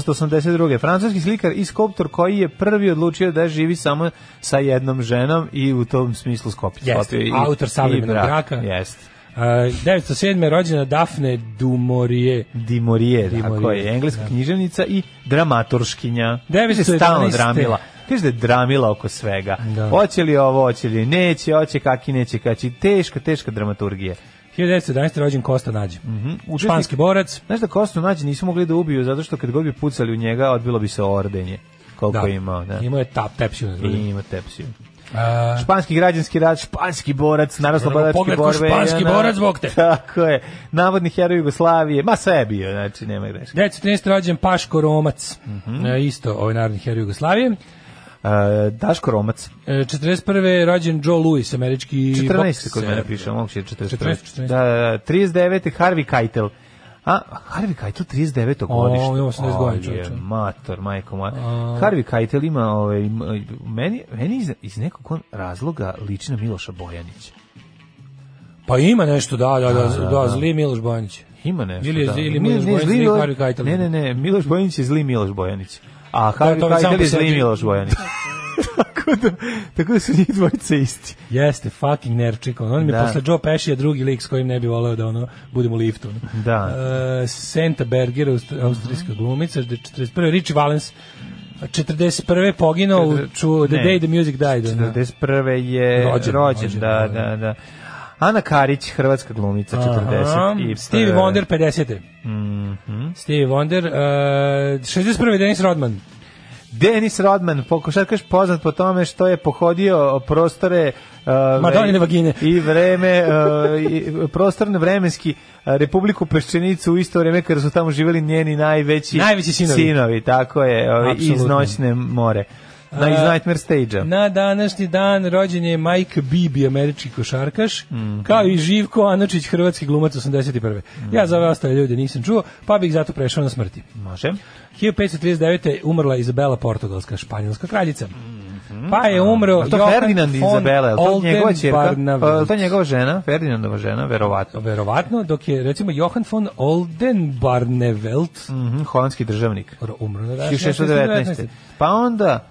1882. Francuski slikar i skulptor koji je prvi odlučio da živi samo sa jednom ženom i u tom smislu skopio.
Jeste,
sklopio i-
autor savremenog
i brak.
braka.
Jeste.
A, 907. je E, rođena Dafne Dumorije.
Dimorije, tako
Mourier,
je, engleska književnica i dramaturškinja.
911.
Kaže, stalno dramila. Kaže da je dramila oko svega.
Da.
Hoće li ovo, hoće li neće, hoće kaki, neće kači. Teška, teška dramaturgija.
1911. je rođen Kosta Nađe.
Mhm. Učesnik-
Španski borac.
Znaš da Kostu nađe nisu mogli da ubiju zato što kad god bi pucali u njega odbilo bi se ordenje. Koliko
Da.
je imao, da.
Imao je ta tepsiju na
I
grudi.
ima tepsiju.
A,
Španski građanski rat, španski borac, naroslobodalačke
Pogled ko
borbe.
španski
ja, na-
borac, bog te.
[LAUGHS] Tako je. Navodni heroj Jugoslavije. Ma sve je bio, znači nema greške.
1913. rođen Paško Romac,
Mhm.
E, isto ovaj narodni heroj Jugoslavije.
E, Daško Romac,
E, 41. je rođen Joe Louis, američki
14.
bokser.
kod mene piše, moguće je
14.
14. Da, da, da, 39. Harvey Keitel. A, Harvey Keitel 39. godište.
ima 18 godina,
Ali je
čovječe.
Mator, majko moja. Harvey Keitel ima, ovaj, m- meni, meni iz, iz nekog razloga liči na Miloša Bojanića.
Pa ima nešto, da, da, da, da, zli Miloš Bojanić.
Ima nešto,
Ili je
da.
zli- ili
Ne,
Miloš
ne,
Bojanić,
zli
ili
Milo-
Harvey Keitel. Da,
Ne, ne, ne, Miloš Bojanić je zli Miloš Bojanić. A Harvey
to je samo
Keitel
po
je zli
[LAUGHS] sebi.
Miloš Bojanić. Tako tako da, tako da su njih dvojica isti.
Jeste, fucking nerčik. On, on mi je
Da.
posle Joe Pesci drugi lik s kojim ne bi voleo da ono, budem u liftu. ono.
Da.
E, Senta Berger, aust- austrijska glumica, da je 41. Richie Valens, 41. poginuo u ču, The
Ne.
Day the Music Died. ono.
41. je
Da. Rođen,
rođen,
rođen,
da,
da.
da, da. Ana Karić, hrvatska glumica, 40.
Aha. Stevie Wonder, 50.
Mhm.
Stevie Wonder, e, 61. Dennis Rodman.
Denis Rodman, pokošarkaš poznat po tome što je pohodio prostore uh,
Madonine vagine.
i vreme uh, i prostorno vremenski uh, Republiku Peščenicu u isto vreme kada su tamo živeli njeni najveći
Najveći sinovi.
tako je, ovaj, iz
Apsolutno.
noćne more. Na, iz
A,
Nightmare Stage-a.
Na današnji dan rođen je Mike Bibi, američki košarkaš,
Mhm.
kao i Živko Anočić, hrvatski glumac 81. Ja za ove ostale ljude nisam čuo, pa bih zato prešao na smrti.
Može.
1539. umrla Izabela Portugalska, španjolska kraljica. Pa je umro
Mhm. A to
Johan
Ferdinand i
von
Izabela, je li to njegova čerka?
Oldenbarnevelt.
Pa, je li to njegova žena, Ferdinandova žena, verovatno.
Pa, Verovatno, dok je recimo Johan von Oldenbarnevelt
Mhm, holandski državnik.
umro na današnji dan, da
1619. Pa onda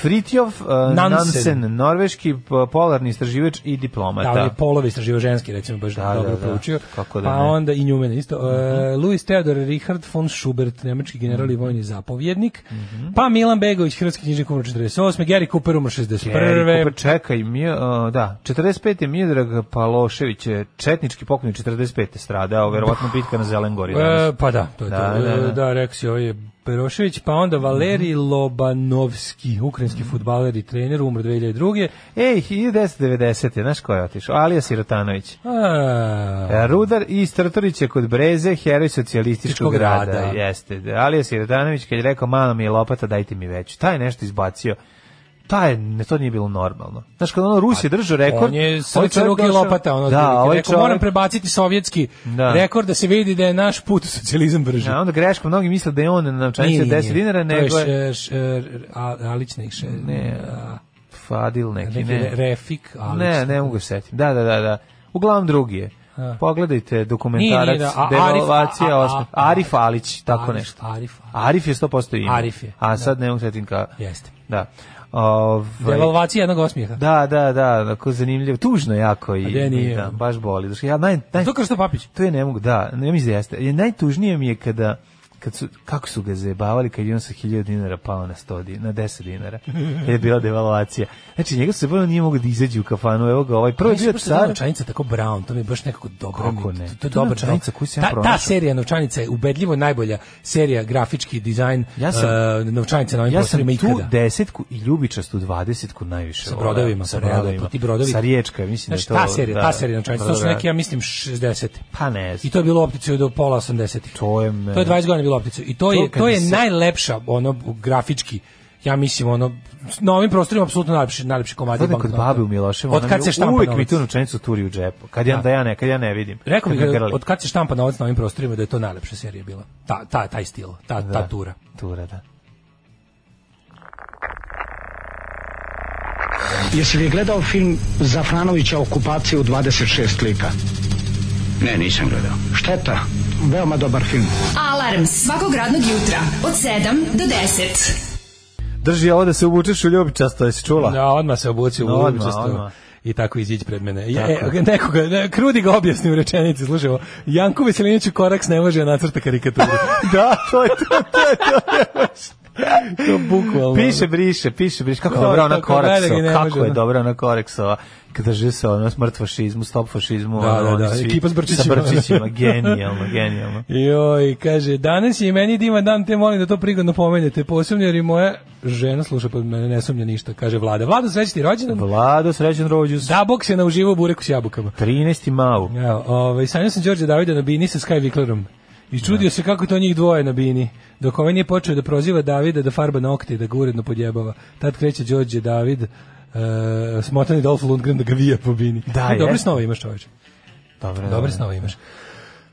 Fritjof uh,
Nansen.
Nansen. norveški p- polarni istraživač i diplomata.
Da, on je polovi istraživo ženski, recimo, baš
Da,
dobro
da, da.
proučio.
Kako da
pa
ne. Mhm.
onda i Newman isto. E, Louis Theodor Richard von Schubert, nemački general
Mhm.
i vojni zapovjednik. Pa Milan Begović, hrvatski knjižnik umro 48. Gary Cooper umro 61.
Gary Cooper, čekaj, mi, uh, da, 45. Miodrag Palošević je četnički pokojnik 45. stradao, verovatno bitka na Zelen gori danas.
E, pa da, to je
Da,
to.
da,
E,
da. Mhm.
Da, rekao si, ovo je Perošević, pa onda Valerij Lobanovski, ukrajinski futbaler i trener, umro 2002.
Ej, 1990. Znaš ko je otišao? Alija Sirotanović.
A,
E, Rudar i Strtorić je kod Breze, heroj socijalističkog
Tičkog
grada.
rada. da.
Jeste. da. Alija Sirotanović kad je rekao, malo mi je lopata, dajte mi veću. Taj je nešto izbacio. Taj, ne, to nije bilo normalno. Znaš, kad ono Rus je držao rekord...
Pa, E, on je sa
ovaj
lice
čovjek
ruke
došao-
lopata, ono,
da,
otprilike.
ovaj
rekao,
čovjek-
moram prebaciti sovjetski
Da.
rekord da se vidi da je naš put u socijalizam brži.
A onda greško, mnogi misle da je on na novčanici od 10 dinara, nego
To
je...
je še- še- a- Alić nek še...
Ne,
a,
Fadil neki,
neki
ne.
re- Refik Alić.
Ne, ne mogu se setiti. Da, da, da, da. Uglavnom drugi je. Pogledajte
Nije, nije,
dokumentarac
da, a Arif-
Devalvacija
a- a-
8. Arif Alić, tako
Arif,
nešto.
Arif, Arif.
Arif je 100% ime.
Arif je, da.
A sad ne mogu setim kao...
Jeste.
Da. Ovaj,
Devalvacija jednog osmijeha.
da, da, da, tako zanimljivo. Tužno jako i,
gde nije?
i da, baš boli. Znaš, ja naj, naj,
To Krsto Papić.
to je ne mogu, da, ne mislim da jeste. Je, najtužnije mi je kada kad su, kako su ga zajebavali kad je on sa 1000 dinara pao na 100 dinara, na 10 dinara. [LAUGHS] Kad je bila devaluacija. Znači, njega se prvo nije mogu da izađe u kafanu. Evo ga, ovaj prvo je
Meni
bio
su baš da ta
car.
novčanica tako brown, to mi je baš nekako dobro.
Kako
mi-
ne?
To, to
To
je
je
dobar
novčanica
brown.
koju sam ja
ta, ta
pronašao.
serija novčanica je ubedljivo najbolja serija grafički dizajn
Ja sam-
e, novčanica na ovim
Ja sam
prostorima
tu
ikada.
desetku i ljubičastu dvadesetku najviše.
Sa
voleo.
brodovima, sa brodovima. Ti brodovi-
Sa riječka, mislim
Znaš,
da je to...
ta serija,
da,
ta serija novčanica, to su
da,
neki, ja mislim, 60.
Pa ne znam.
I to je bilo u optici do pola 80-ih.
To je me-
To je 20 godina bilo u optici. I to, je
To kad
to je
bi se-
najlepša ono grafički. Ja mislim ono na ovim prostorima apsolutno najlepši najlepši komadi
Odem kod
banknota.
babe u Miloševu,
Od kad se štampa
uvek mi
novac?
tu novčanicu turi u džepu. Kad ja, da ja ne, kad ja ne vidim.
Rekao
Kad
bih
me
da
grli.
od kad se štampa novac na ovim prostorima da je to najlepša serija bila. Ta, ta, taj stil, ta,
Da.
ta tura.
Tura, da.
Jesi li gledao film Zafranovića okupaciju 26 lika?
Ne, nisam gledao.
Šteta, veoma dobar film.
Alarm svakog radnog jutra od 7 do 10.
Drži ovo da se obučeš u ljubičasto, jesi čula?
Ja, Da, odmah se obuci u
Pa. Da, Odmah,
uličasto.
odmah.
I tako iziđi pred mene. Ja,
Tako.
e, nekoga, ne, krudi ga objasni u rečenici, slušaj ovo. Janko Veselinović u koraks ne može, a nacrta karikaturu.
da, to je to, to je to.
to bukvalno.
piše, briše, piše, briše. Kako je
Dobro,
dobra ona
kako je, gledaj ga, ne
Koreksova,
može,
kako je
da.
dobra ona Koreksova. Kada žive se ono smrt fašizmu, stop fašizmu.
Da,
ono,
da,
oni
da,
svi
ekipa s brčićima.
Sa brčićima, genijalno, genijalno.
Joj, kaže, danas je i meni divan dan, te molim da to prigodno pomenete, posebno jer i moja žena sluša, pa mene ne sumnja ništa, kaže Vlada. Vlada, sreći ti rođendan,
Vlado, srećen rođus.
da bok se nauživo u bureku s jabukama.
13. mau.
Evo, ovaj, sanjao sam Đorđe Davida na bini sa Sky Viklerom. I čudio se kako to njih dvoje na bini. Dok ovaj nije počeo da proziva Davida da farba nokte i da ga uredno podjebava. Tad kreće Đorđe David, e, smotani Dolph Lundgren da ga vija po bini.
Da,
Dobre
je.
snove imaš čoveče.
Dobro,
Dobre snove imaš.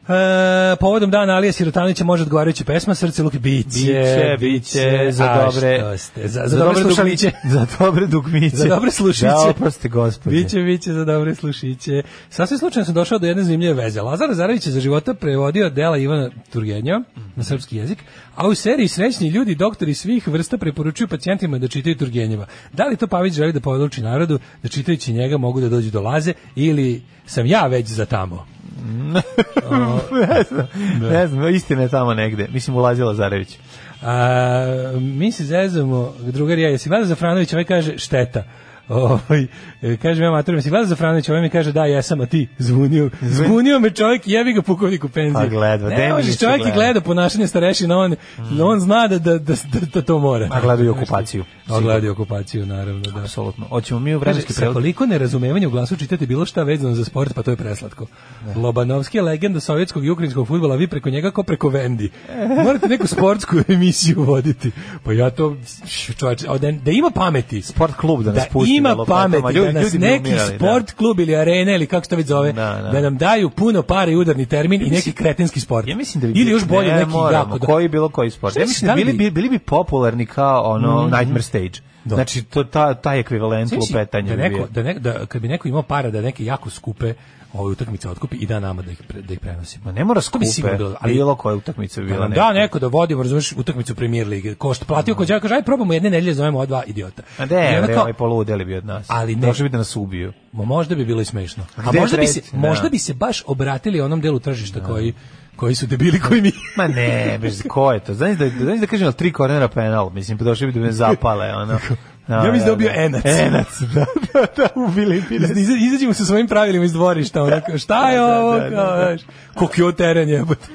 E, povodom dana Alija Sirotanića može odgovarajući pesma Srce Luke Biće,
Biće, biće, za
A,
dobre...
što ste, za, za, dobre slušaliće.
[LAUGHS] Za dobre dugmiće.
Za dobre slušiće.
Da, oprosti, gospode.
Biće, biće za dobre slušiće. Sasvim slučajno sam došao do jedne zanimljive veze. Lazar Lazarević je za života prevodio dela Ivana Turgenjeva na srpski jezik, a u seriji Srećni ljudi doktori svih vrsta preporučuju pacijentima da čitaju Turgenjeva. Da li to Pavić želi da poduči narodu da čitajući njega mogu da dođu do laze ili sam ja već za tamo?
[LAUGHS] ne znam, ne znam, istina je tamo negde. Mislim, ulazila Zarević.
A, mi se zezamo, drugar i ja, jesi Vlada Zafranović, ovaj kaže šteta. Ovaj, e, kaže ja maturim, jesi Vlada Zafranović, ovaj mi kaže da, jesam, a ti zvunio, zvunio me čovjek, jebi ga pukovnik u penziji.
Pa gleda,
ne
Denis
možeš
je
čovjek i
gleda.
gleda ponašanje starešina, on, on zna da, da, da, da, da to mora.
A gledaju okupaciju.
A gleda i okupaciju, naravno, da.
Apsolutno. Hoćemo mi u
Kaže,
vremenski
sa
prevod.
koliko nerazumevanja u glasu čitate bilo šta vezano za sport, pa to je preslatko.
Da.
Lobanovski je legenda sovjetskog i ukrajinskog futbola, vi preko njega ko preko Vendi. Morate neku sportsku [LAUGHS] emisiju voditi. Pa ja to, čovječ, da, da ima pameti.
Sport klub da nas
Da
pusti na
ima
lopatama.
pameti,
Ljudi-
da nas
ljudi bi
neki
umirali, da.
sport klub ili arena ili kako se to već zove,
Da, da.
da nam daju puno pare i udarni termin i neki kretenski sport.
Ja mislim da bi
Ili još bolje
ne,
neki
moramo,
jako. da-
koji bilo koji sport.
Šta
Ja
misliš,
mislim da
da li
bili
bi- Mhm.
bi bili bi popularni kao ono Nightmare Stage.
Da.
Znači to ta taj ekvivalent
Znaš,
lupetanja
da
bi bio.
neko, da, neko, da kad bi neko imao para da neke jako skupe ove utakmice otkupi i da nama da ih pre- da ih prenosimo.
Ma ne mora
To bi sigurno
skupe,
bilo, ali-
ali bilo koja utakmica bi
Da
bila
nam da
neka.
neko da vodimo, razumeš, utakmicu Premier lige. Ko što platio kod đaka, kaže aj probamo jedne nedelje da zovemo ova dva idiota.
A
da. I
ne,
onda
bre,
kao,
ovaj poludeli bi od nas.
Ali ne.
Došli bi da nas ubiju.
ma možda bi bilo i smešno. A
gde je
možda bi se
treći? Da.
možda bi se baš obratili onom delu tržišta koji koji su debili koji mi.
Ma ne, bez [LAUGHS] ko je to? Znaš da, znaš da kažem, ali tri kornera penal, mislim, pa došli bi da me zapale, ono.
[LAUGHS] Ja mislim da je bio Enac.
Enac, da, da, da, ubili
[LAUGHS]
bi nas.
Iza- Izađemo sa svojim pravilima iz dvorišta, ono, kao, šta je
Da, da,
ovo,
da,
kao,
da.
znaš, kokio teren jebote.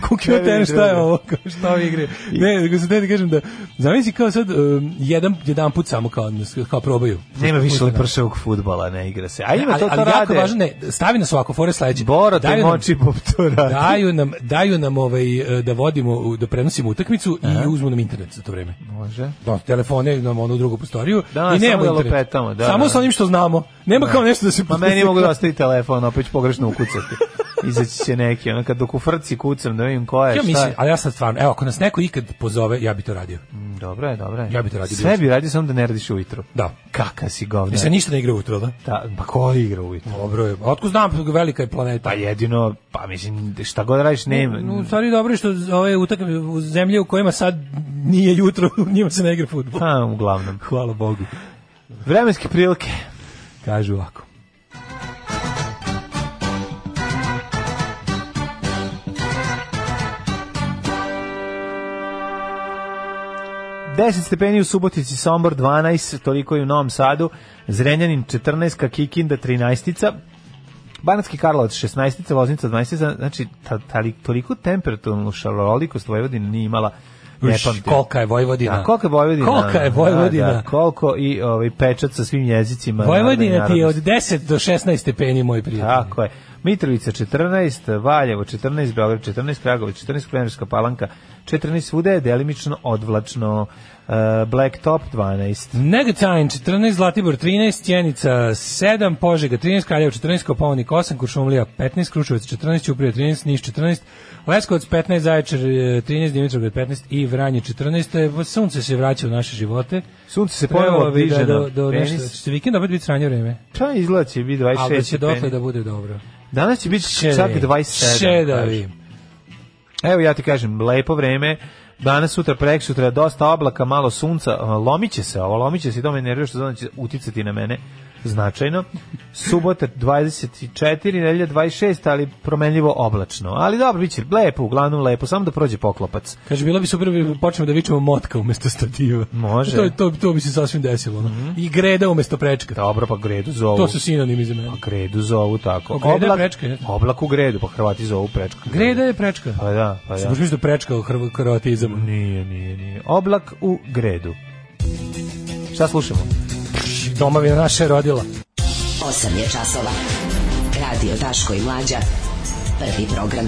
Kokio
Ne vidim
teren, šta je
drugo.
ovo, kao, šta ovi igre. Ne, nego sam te da kažem da, zamisli kao sad, um, jedan, jedan put samo kao, kao probaju.
Nema više
Pusti nam.
leprševog fudbala, ne igra se. A ima
da. ali,
to, to
ali jako
rade.
važno, da ne, stavi nas ovako, fore sledeće.
Boro te
Daju nam-
moči pop to radi.
Daju nam, daju nam ovaj, e, da vodimo, u- da prenosimo utakmicu i uzmu nam internet za to vreme.
Može.
Da, telefone nam ono u drugu prostoriju
Da,
i
samo
nemamo
da
internet.
lupetamo, da,
samo
da.
sa onim što znamo. Nema kao nešto da se...
Ma meni mogu da ostavi telefon, opet ću pogrešno ukucati. Izaći će neki, ono kad dok u frci kucam da vidim ko je,
Ja
šta
mislim,
je.
ali ja sad stvarno, evo, ako nas neko ikad pozove, ja bi to radio.
Mm, Dobro je, dobro je.
Ja bi to radio
Sve
bilo.
bi radio, samo da ne radiš ujutru.
Da.
Kaka si govna.
I se ništa ne igra ujutro, da?
Da, pa ko igra ujutru?
Dobro je. A Otko znam, velika je planeta.
Pa jedino, pa mislim, šta god radiš, ne...
No, u stvari dobro je što ove utakmice u zemlje u kojima sad nije jutro, [LAUGHS] u njima se ne igra fudbal.
Pa, uglavnom.
Hvala Bogu.
Vremenske prilike.
Kažu ovako.
Deset stepeni u Subotici, Sombor 12, toliko i u Novom Sadu, Zrenjanin 14, Kikinda 13, Banatski Karlovac 16, Loznica 12, znači ta, ta, li- toliko temperaturnu šarolikost Vojvodina nije imala, ne
Uš,
pamtim.
Kolika je Vojvodina.
A koliko je Vojvodina?
Da, Kolika je Vojvodina.
Da, da, koliko i ovaj, pečat sa svim jezicima.
Vojvodina
naroda i
ti je Da, od
narodnosti.
10 do 16 stepeni, moj prijatelj.
Tako je. Mitrovica 14, Valjevo 14, Beograd 14, Kragovic 14, Kremljska palanka 14, svuda je delimično odvlačno. Uh, Blacktop 12.
Negatajn 14, Zlatibor 13, Cijenica 7, Požega 13, Kraljevo 14, Kopovonik 8, Kuršumlija 15, Kruševac 14, Ćuprija 13, Niš 14, Leskovac 15, Zaječar e, 13, Dimitrovgrad 15 i Vranje 14. E, Sunce se vraća u naše živote.
Sunce se
Trebalo
ponovo
bi
diže
da,
na
do, do nešto,
penis.
će vikend opet biti sranje vreme,
Pa izgleda će biti 26
ali da će
stepeni.
dokle da bude dobro.
Danas će biti čak 27.
Šedavi.
kažu. Evo ja ti kažem, lepo vreme. Danas, sutra, prek sutra, dosta oblaka, malo sunca. A, Lomiće se ovo, lomiće se i to me nervira što znači uticati na mene značajno. Subota 24, nedelja 26, ali promenljivo oblačno. Ali dobro, bit će lepo, uglavnom lepo, samo da prođe poklopac.
Kaže, bilo bi super da počnemo da vičemo motka umesto stativa.
Može. Mhm.
To, je- to, to bi se sasvim desilo. ono. I greda umesto prečka.
Dobro, pa gredu zovu.
To su sinonimi za mene.
Pa gredu zovu, tako.
Pa greda je prečka, je.
oblak u gredu, pa Hrvati zovu prečka.
Greda je prečka.
Pa da, pa
Što
da.
možeš misliti da prečka u hrv- Znači, kroatizam?
Nije, nije, nije. Oblak u gredu. Šta slušamo?
Domovina naša je rodila.
8 je časova. Radio Daško i Mlađa. Prvi program.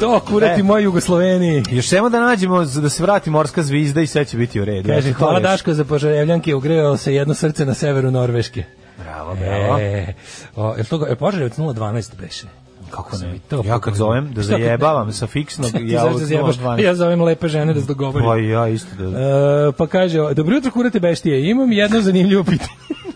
To, kurati
E.
moj Jugosloveniji.
Još samo da nađemo, z- da se vrati morska zvizda i sve će biti u redu.
Kaže,
Eto, to
hvala
još.
Daško za požarevljanke, ugrevalo se jedno srce na severu Norveške.
Bravo, bravo.
E, o, je to, je Požarevac 012 beše?
Kako
sam
ne?
i to
ja kad
pogledao.
zovem da
Šta?
zajebavam sa fiksnog,
[LAUGHS] Ti
ja
znaš
od
da zajebaš?
012.
Ja zovem lepe žene da se dogovorim.
Pa i ja isto da...
E, pa kaže, o, dobro jutro kurate beštije, imam jedno zanimljivo pitanje.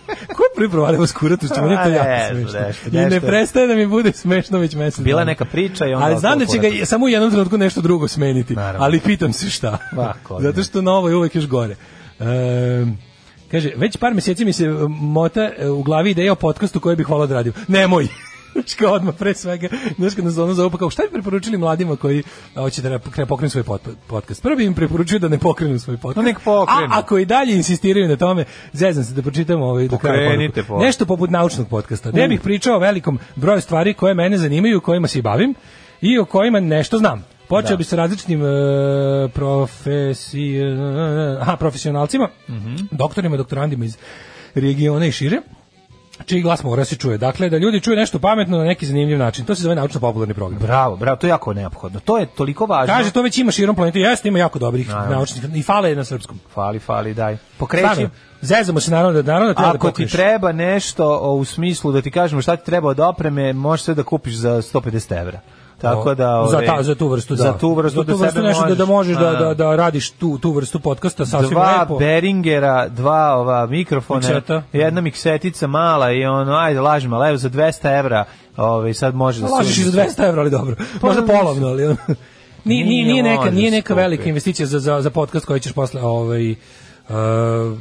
[LAUGHS] Ko prvi provalio vas kurat u čemu? To je
A, ne,
jako smešno.
nešto,
I ne
nešto.
prestaje da mi bude smešno već mesec.
Bila je
dana.
neka priča i onda...
Ali znam da će ga
okolo
samo u jednom trenutku nešto drugo smeniti,
Naravno.
ali pitam se šta.
[LAUGHS] Ma, ko
Pa, Zato što novo je uvek još gore. Ehm, kaže, već par meseci mi se e, mota e, u glavi ideja o podcastu koji bih volao da radim. Nemoj! [LAUGHS] Znači kao odmah pre svega, znaš kad nas ono zove, pa kao šta bi preporučili mladima koji a, hoće da ne pokrenu svoj pot- podcast? Prvi im preporučuju da ne pokrenu svoj podcast.
No, nek pokrenu.
A ako i dalje insistiraju na tome, zezam se da pročitam ovaj do kraja
Pokrenite
poruku.
podcast.
Nešto poput naučnog podcasta. Gde bih pričao o velikom broju stvari koje mene zanimaju, kojima se i bavim i o kojima nešto znam.
Da.
Počeo bi sa različitim e, profesi, e, aha, profesionalcima,
Mhm.
doktorima, doktorandima iz regiona i šire čiji glas mora se čuje. Dakle, da ljudi čuju nešto pametno na neki zanimljiv način. To se zove naučno-popularni program.
Bravo, bravo, to je jako neophodno. To je toliko važno.
Kaže, to već ima širom planetu. Jeste, ima jako dobrih naučnih. I fale je na srpskom.
Fali, fali, daj. Pokreći.
Stvarno, zezamo se naravno da naravno da treba da
Ako ti
pokriješ.
treba nešto o, u smislu da ti kažemo šta ti treba od opreme, možeš sve da kupiš za 150 evra. Tako da
O, za
ove,
ta, za tu vrstu da.
za tu vrstu
za tu
da
vrstu
sebe
nešto da, da možeš da,
A,
da, da radiš tu tu vrstu podcasta sasvim
dva
lepo.
Beringera, dva ova mikrofona,
Mikseta.
jedna miksetica mala i ono, ajde lažem, ali evo za 200 evra ovaj, sad može da se...
Lažeš i za 200 evra, ali dobro. Možda
Pa mislim.
polovno, ali ono. Nije, nije, nije
Nije
neka, nije
može
neka
skupi.
velika investicija za, za, za podcast koji ćeš posle ovaj, uh,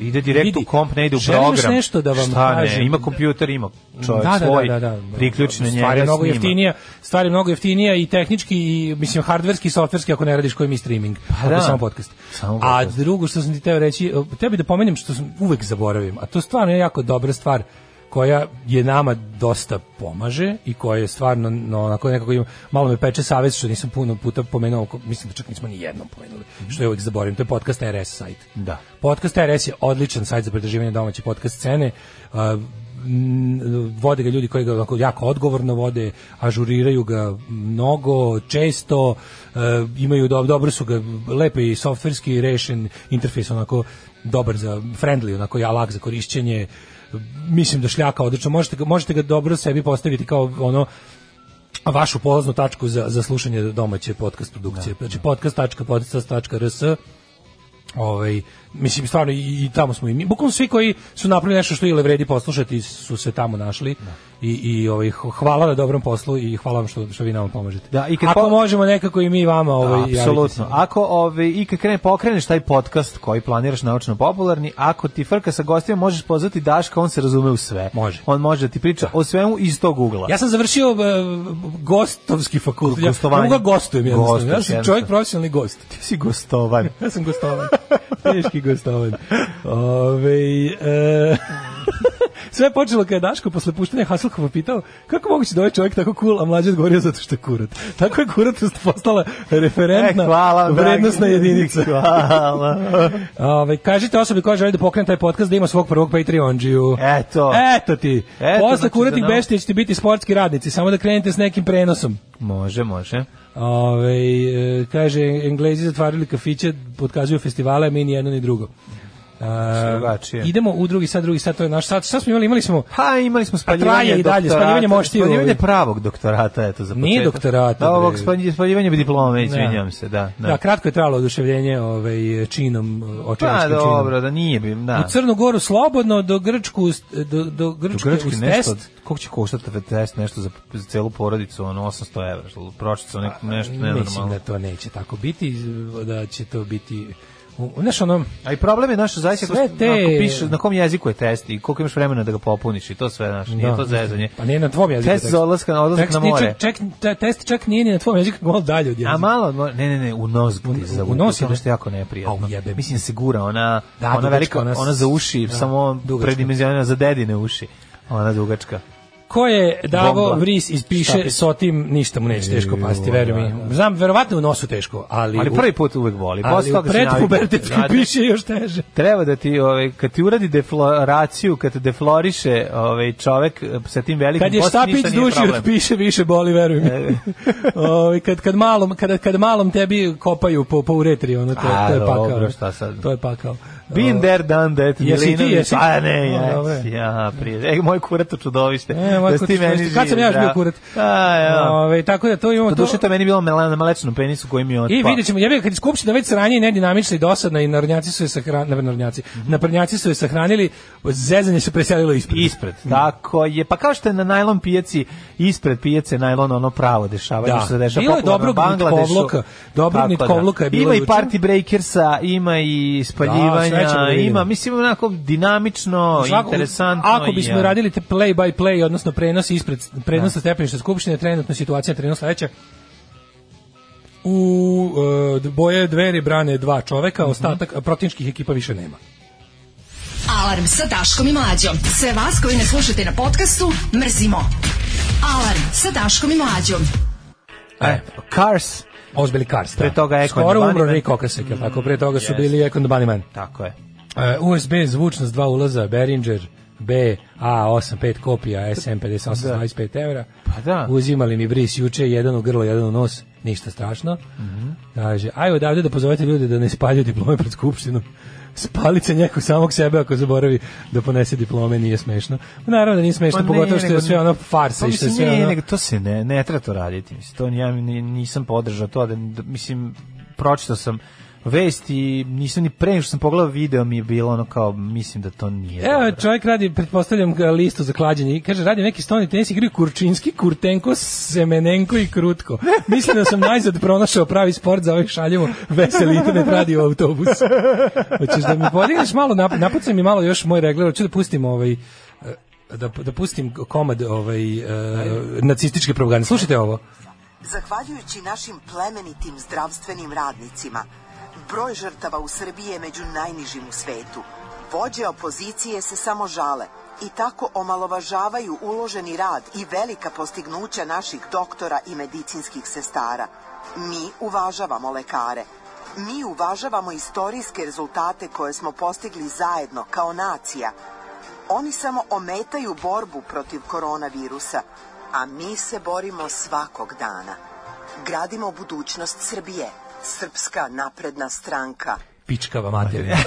Ide direkt u komp, ne ide u
želim još
program.
nešto da vam
Šta
kažem?
ne, ima kompjuter, ima čovjek
da, da,
svoj,
da, da, da.
priključi na njega,
Stvar je mnogo
snima.
jeftinija, stvar je mnogo jeftinija i tehnički i mislim hardverski i softverski ako ne radiš koji mi streaming, ako
da.
je samo podcast.
Samo
a
podcast.
drugo što sam ti teo reći, o, tebi da pomenem što sam uvek zaboravim, a to stvarno je jako dobra stvar koja je nama dosta pomaže i koja je stvarno no, onako nekako ima, malo me peče savez što nisam puno puta pomenuo, ko- mislim da čak nismo ni jednom pomenuli, što je uvek zaboravim, to je podcast RS sajt.
Da.
Podcast RS je odličan sajt za pretraživanje domaće podcast scene. Uh, m, vode ga ljudi koji ga onako jako odgovorno vode, ažuriraju ga mnogo, često, uh, imaju do, dobro su ga lepo i softverski rešen interfejs onako dobar za friendly, onako ja lak za korišćenje. Mislim da šljaka odlično. Možete ga, možete ga dobro sebi postaviti kao ono vašu polaznu tačku za, za slušanje domaće podcast produkcije.
Da,
Znači podcast.podcast.rs ovaj, mislim, stvarno i, i tamo smo i mi. Bukvalno svi koji su napravili nešto što ili vredi poslušati su se tamo našli
Da.
i, i ovaj, h- hvala na dobrom poslu i hvala vam što, što vi nama pomažete.
Da, i kad
Ako
po-
možemo nekako i mi vama ovaj, javite se.
Apsolutno. Ako ove, i kad krene pokreneš taj podcast koji planiraš naučno popularni, ako ti frka sa gostima, možeš pozvati Daška, on se razume u sve.
Može.
On može da ti priča o svemu iz tog ugla.
Ja sam završio e, gostovski fakultet. Ja, ja
Gostovanje.
mogu da gostujem jednostavno. ja
Gostuješ,
sam
jednostavno.
čovjek profesionalni gost.
Ti si gostovan.
Ja sam gostovan. Teški gostovan. Ove, e, [LAUGHS] sve je počelo kada je Daško posle puštenja Hasselhoffa pitao kako moguće da ovaj čovjek tako cool, a mlađe odgovorio zato što je kurat. Tako je kurat postala referentna
[LAUGHS] E, hvala, dragi.
vrednostna jedinica.
[LAUGHS] Hvala.
Ove, kažite osobi koja želi da pokrene taj podcast da ima svog prvog Patreonđiju.
Eto.
Eto ti.
Eto,
Posle
znači
kuratih
da nam-
beštija ćete biti sportski radnici, samo da krenete s nekim prenosom.
Može, može.
Ove, e, kaže, Englezi zatvarili kafiće, podkazuju festivale, mi ni jedno ni drugo. E,
Drugačije.
idemo u drugi sad, drugi sad, to je naš sad. Šta smo imali? Imali smo...
Pa imali smo spaljivanje
traje i dalje,
doktorata.
spaljivanje moštiju.
Spaljivanje pravog doktorata, eto, za početak.
Nije doktorata,
Da,
bre.
ovog spalj- spaljivanje diplome, izvinjam se, da.
Da, kratko je trajalo oduševljenje ovaj, činom,
Pa
očevičkim činom.
dobro, da nije bi, da.
U Crnu Goru slobodno, do Grčku, do, do
U
Grčke,
Grčki
uz
nešto,
test.
koliko će koštati taj test nešto za za celu porodicu, ono 800 evra, što pročica neko nešto
Mislim
nenormalno.
da to neće tako biti, da će to biti... u- Znaš, ono,
A i problem je naš zaista ako,
Sve te-
ako pišeš na kom jeziku je test i koliko imaš vremena da ga popuniš i to sve, znaš, nije
Da.
to zezanje.
pa nije na tvom jeziku.
Test za odlaska na odlazak
Tekst
na
nije
more.
Čak, čak, te- test čak nije ni na tvom jeziku, malo dalje od jezika.
A malo, odmor- ne, ne, ne, u nos ti za
pa, u nos ide?
je nešto jako neprijatno.
Au, jebe.
Mislim da se gura, ona,
Da,
ona
dugačka,
velika,
ona
ona,
s-
za uši,
da,
samo
dugačka.
predimenzionirana za dedine uši. Ona dugačka.
Ko je Davo
Bomba.
Vris ispiše
Štapić.
s otim ništa mu neće teško pasti, veruj mi. Znam, verovatno u nosu teško, ali...
Ali
u-
prvi put uvek voli.
ali
Posle
u
toga se navikne.
predpubertetski
Znate,
piše još teže.
treba da ti ovaj kad ti uradi defloraciju, kad te defloriše ovaj čovek eh, sa tim velikim
Kad je
postom,
štapić
ništa nije
duši
problem. E,
od [LAUGHS] piše, više boli, veruj mi. [LAUGHS] Ovaj, kad, kad, malom, kada, kad malom tebi kopaju po, po uretri, ono, to,
A,
to je pakao.
dobro, šta sad?
To je pakao.
Been there, done that.
Jesi ti,
Milinović.
jesi?
A ne, ja,
O, dobro je.
ja, prije. E, moj kurat u čudovište.
E, moj
da si ti
kurat u
meni
čudovište. Kad sam
živ,
ja još
da.
bio kurat?
A, ja.
Ove, tako da to imamo
Pa duše to je meni bilo mele- na malečnom penisu koji mi je otpao.
I vidjet ćemo, ja bih kad je skupština već sranje i nedinamična i dosadna i narodnjaci su je sahranili, narodnjaci, naprnjaci su je sahranili, zezanje se preselilo ispred.
Ispred, tako je. Pa kao što je na najlon pijaci, ispred pijace najlon ono pravo dešavanje
Da.
što se dešava.
Bilo je
popularno u
dobrog
Bangladešu.
nitkovluka. Dobrog
Tako da.
nitkovluka je bilo
Ima i
juče.
party breakersa, ima i spaljivanja,
Da, sve ćemo da vidimo.
ima, mislim, onako dinamično,
Svako-
interesantno. Da.
Ako bismo
i, e, a,
radili te play by play, odnosno prenos ispred prenos sa stepeništa skupštine, trenutno situacija trenutno sledeća. U e, boje dveri brane dva čoveka,
Mhm.
ostatak a protivničkih ekipa više nema.
Alarm sa Daškom i Mlađom. Sve vas koji ne slušate na podcastu, mrzimo. Alarm sa Daškom i Mlađom.
E, Cars,
Ozbeli Kars. da.
Pre toga Echo and
Skoro
the
umro
Bunnymen.
Rick Okasek, jel tako? Pre toga su
Yes.
bili Ekon Baniman.
tako je.
E, USB zvučnost dva ulaza, Behringer B A85 kopija SM58 da. 25 evra.
Pa da.
Uzimali mi bris juče, jedan u grlo, jedan u nos, ništa strašno.
Mhm.
Kaže, aj odavde da pozovete ljude da ne spaljuju diplome pred skupštinom. Spalit će neko samog sebe ako zaboravi da ponese diplome, nije smešno. Naravno da nije smešno,
Pa ne,
pogotovo što je
nego-
sve ono farsa
Pa
i što je
mislim,
sve
ne,
ono...
nego to se ne, ne treba to raditi. Mislim, to ni- ja ni- nisam podržao to, da, da- mislim, pročitao sam vest i nisam ni pre nego što sam pogledao video mi je bilo ono kao, mislim da to nije
Evo,
dobro.
čovjek radi, pretpostavljam, ga listu za klađenje i kaže, radi neki stoni tenis, igraju Kurčinski, Kurtenko, Semenenko i Krutko. Mislim da sam najzad pronašao pravi sport za ovih šaljevo veseli internet radio autobus. Hoćeš da mi podigneš malo, nap- napucaj mi malo još moj regler, hoću da pustim ovaj eh, da, da pustim komad ovaj, eh, nacističke propagande. Slušajte ovo.
Zahvaljujući našim plemenitim zdravstvenim radnicima, broj žrtava u Srbiji je među najnižim u svetu. Vođe opozicije se samo žale i tako omalovažavaju uloženi rad i velika postignuća naših doktora i medicinskih sestara. Mi uvažavamo lekare. Mi uvažavamo istorijske rezultate koje smo postigli zajedno kao nacija. Oni samo ometaju borbu protiv koronavirusa, a mi se borimo svakog dana. Gradimo budućnost Srbije. Srpska napredna stranka.
Pičkava materija.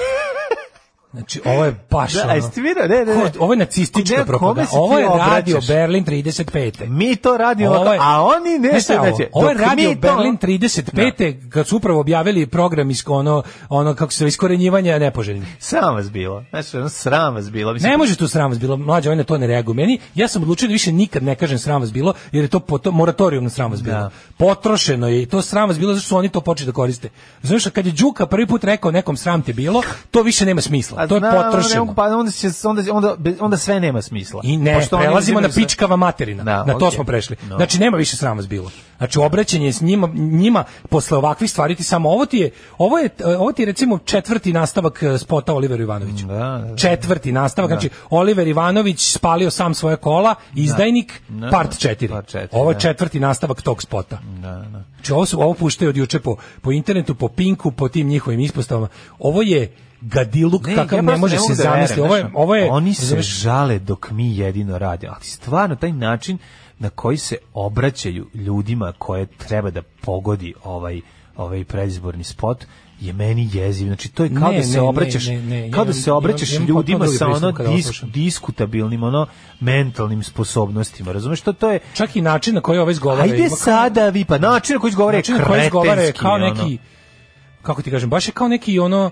Znači, ovo je baš
Da, a
ono-
jeste vidio? Ne, ne, ne.
Ko- Ovo je nacistička
Kome
propaganda.
se ti
Ovo je radio
obraćaš?
Berlin 35.
Mi to radimo,
Ovo je-
a oni ne
Znaš šta
se
je ovo?
znači.
Ovo je
dok mi
radio
to- Da,
Berlin 35. kad su upravo objavili program isko ono, ono kako se zove, iskorenjivanja nepoželjnih.
Sram vas bilo. Znači, ono, sram vas bilo. Mislim,
Ne može tu sram vas bilo, mlađa, on na to ne reaguje. Meni, ja sam odlučio da više nikad ne kažem sram vas bilo, jer je to poto, moratorijum na sram vas bilo.
Da.
Potrošeno je i to sram vas bilo, zašto su oni to počeli da koriste. Znaš, kad je Đuka prvi put rekao nekom sram te bilo, to više nema smisla.
a
To je
znam, ono, ne
potrošeno.
mogu, Pa onda, će, onda, onda, onda sve nema smisla.
I ne,
oni
prelazimo na
uzimaju sve-
pičkava materina.
Da,
na to
okej.
smo prešli.
No.
Znači, nema više sram vas bilo. Znači, obraćanje s njima, njima posle ovakvih stvari ti samo ovo ti je, ovo je, ovo ti je recimo četvrti nastavak eh, spota Oliveru Ivanoviću.
Da, da, da.
Četvrti nastavak, znači Oliver Ivanović spalio sam svoje kola, izdajnik,
Da.
part 4.
Part četiri,
ovo je
da.
četvrti nastavak tog spota.
Da, da.
Znači, ovo, su, ovo puštaju od juče po, po internetu, po Pinku, po tim njihovim ispostavama. Ovo je gadiluk
Ne,
kakav
ja
ne
prosto
može se
mogu da verujem,
zamisliti. Ovo je,
znaš,
ovo je,
oni se
razumeš?
žale dok mi jedino radimo, ali stvarno taj način na koji se obraćaju ljudima koje treba da pogodi ovaj ovaj predizborni spot je meni jeziv. Znači to je kao
Ne,
da se
ne, ne,
obraćaš,
ne, ne,
kao da
imam-
se obraćaš
imam- imam
ljudima
potpuno
sa
drugi
ono
pristup kada
dis-
ovo slušam.
diskutabilnim ono mentalnim sposobnostima. Razumeš to to je
čak i način na koji ovo izgovara.
Ajde
ima-
sada vi pa način na koji izgovore je
način na koji izgovara je
kretenski.
kao
ono.
neki kako ti kažem, baš je kao neki ono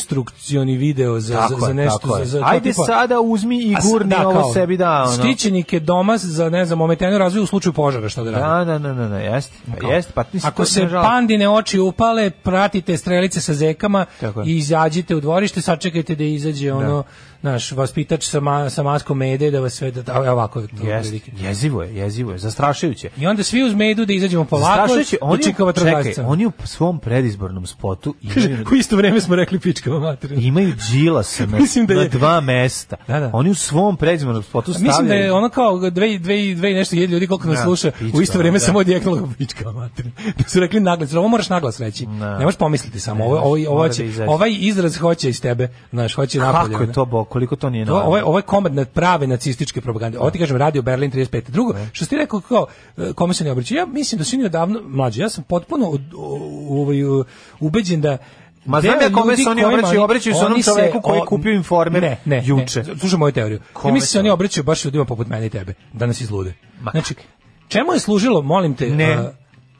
instrukcioni video za,
Tako
za, za
je,
nešto.
tako je.
za, za, kao
Ajde
tipa-
sada uzmi i
A s-
gurni
da,
ovo
kao,
sebi da. Ono.
Štićenik je doma za, ne znam, ometenu razvoju u slučaju požara, što da radi.
Da, da, da, da, da, jeste. Pa jeste, pa mislim,
Ako
to
se
nažalost-
pandine oči upale, pratite strelice sa zekama
Tako je.
i izađite u dvorište, sačekajte da izađe ono
Da.
naš vaspitač sa, ma, sa maskom mede da vas sve da, a, ovako je to.
Jeste,
otprilike.
jezivo je, jezivo je, zastrašujuće.
I onda svi uz medu da izađemo polako,
Zastrašujuće, oni,
dočeka
čekaj,
vatrogasca.
oni u svom predizbornom
[LAUGHS]
spotu imaju,
U isto vreme smo rekli pičkama materina.
imaju
[LAUGHS]
džilasa na,
Mislim da
na
je-
dva mesta.
Da, da.
Oni u svom predizbornom spotu stavljaju...
Mislim da je ono kao dve, i- dve, i- dve i nešto hiljada ljudi koliko nas
Da,
sluša,
pička,
u isto vrijeme
da.
samo odjeknulo pička materina. [LAUGHS] Da su rekli naglas, jer ovo moraš naglas reći.
Da.
Ne možeš pomisliti samo, ovo,
možeš,
ovo, ovo
mora
će-
da izađe.
ovaj izraz hoće iz tebe, znaš, hoće napolje.
Kako je
ne?
to, bo, koliko to nije
da. To, ovo, je,
normalno?
ovo je komad na prave nacističke propagande. Ovo ti
Da.
kažem, radio Berlin 35. Drugo, što si ti rekao kao, e, kome se ne obraća? Ja mislim da su oni odavno, mlađe, ja sam potpuno od- o- ovaj, u- ubeđen da
Ma znam
Deo
ja kome
ljudi
se oni
kojima
obraćaju, obraćaju se onom
oni
čoveku koji je
o-
kupio informer
ne, ne,
juče.
Ne, slušaj moju teoriju.
Kome
Ja mislim da se
se
oni
oni-
obraćaju baš ljudima poput mene i tebe, da nas izlude.
Ma
Znači, čemu je služilo, molim te,
Ne.
a,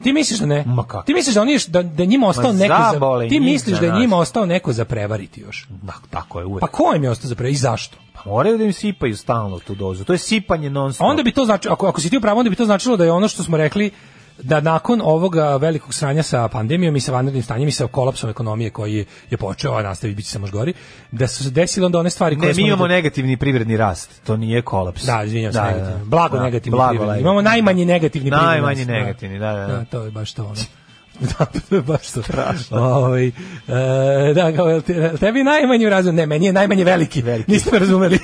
ti misliš da ne?
Ma kako?
Ti misliš da, oni, još- da, da njima ostao
Ma
neko za,
zabole
ti
njih
misliš
za
da je
nas.
njima ostao neko za prevariti još?
Da, tako je uvek.
Pa
Pa,
ko im je ostao za prevariti i zašto?
moraju da im sipaju stalno tu dozu. To je sipanje non stop.
Onda bi to znači ako ako si ti u pravu, onda bi to značilo da je ono što smo rekli da nakon ovoga velikog sranja sa pandemijom i sa vanrednim stanjem i sa kolapsom ekonomije koji je počeo, a nastavi biti će samo još gori, da su se desile onda one stvari koje
Ne, mi
smo
imamo negativni privredni rast. To nije kolaps.
Da, izvinjavam se, negativni. blago
Da,
negativni
blago
privredni.
negativni.
Imamo najmanji negativni privredni.
Najmanji
Da.
negativni, da, da, da.
to je baš
[LAUGHS]
to ono. da, to je baš to. Ovaj, e, da, kao, jel te- jel tebi je najmanji u razvoju? Ne, meni je najmanje veliki.
Veliki.
Niste me
[LAUGHS]
razumeli.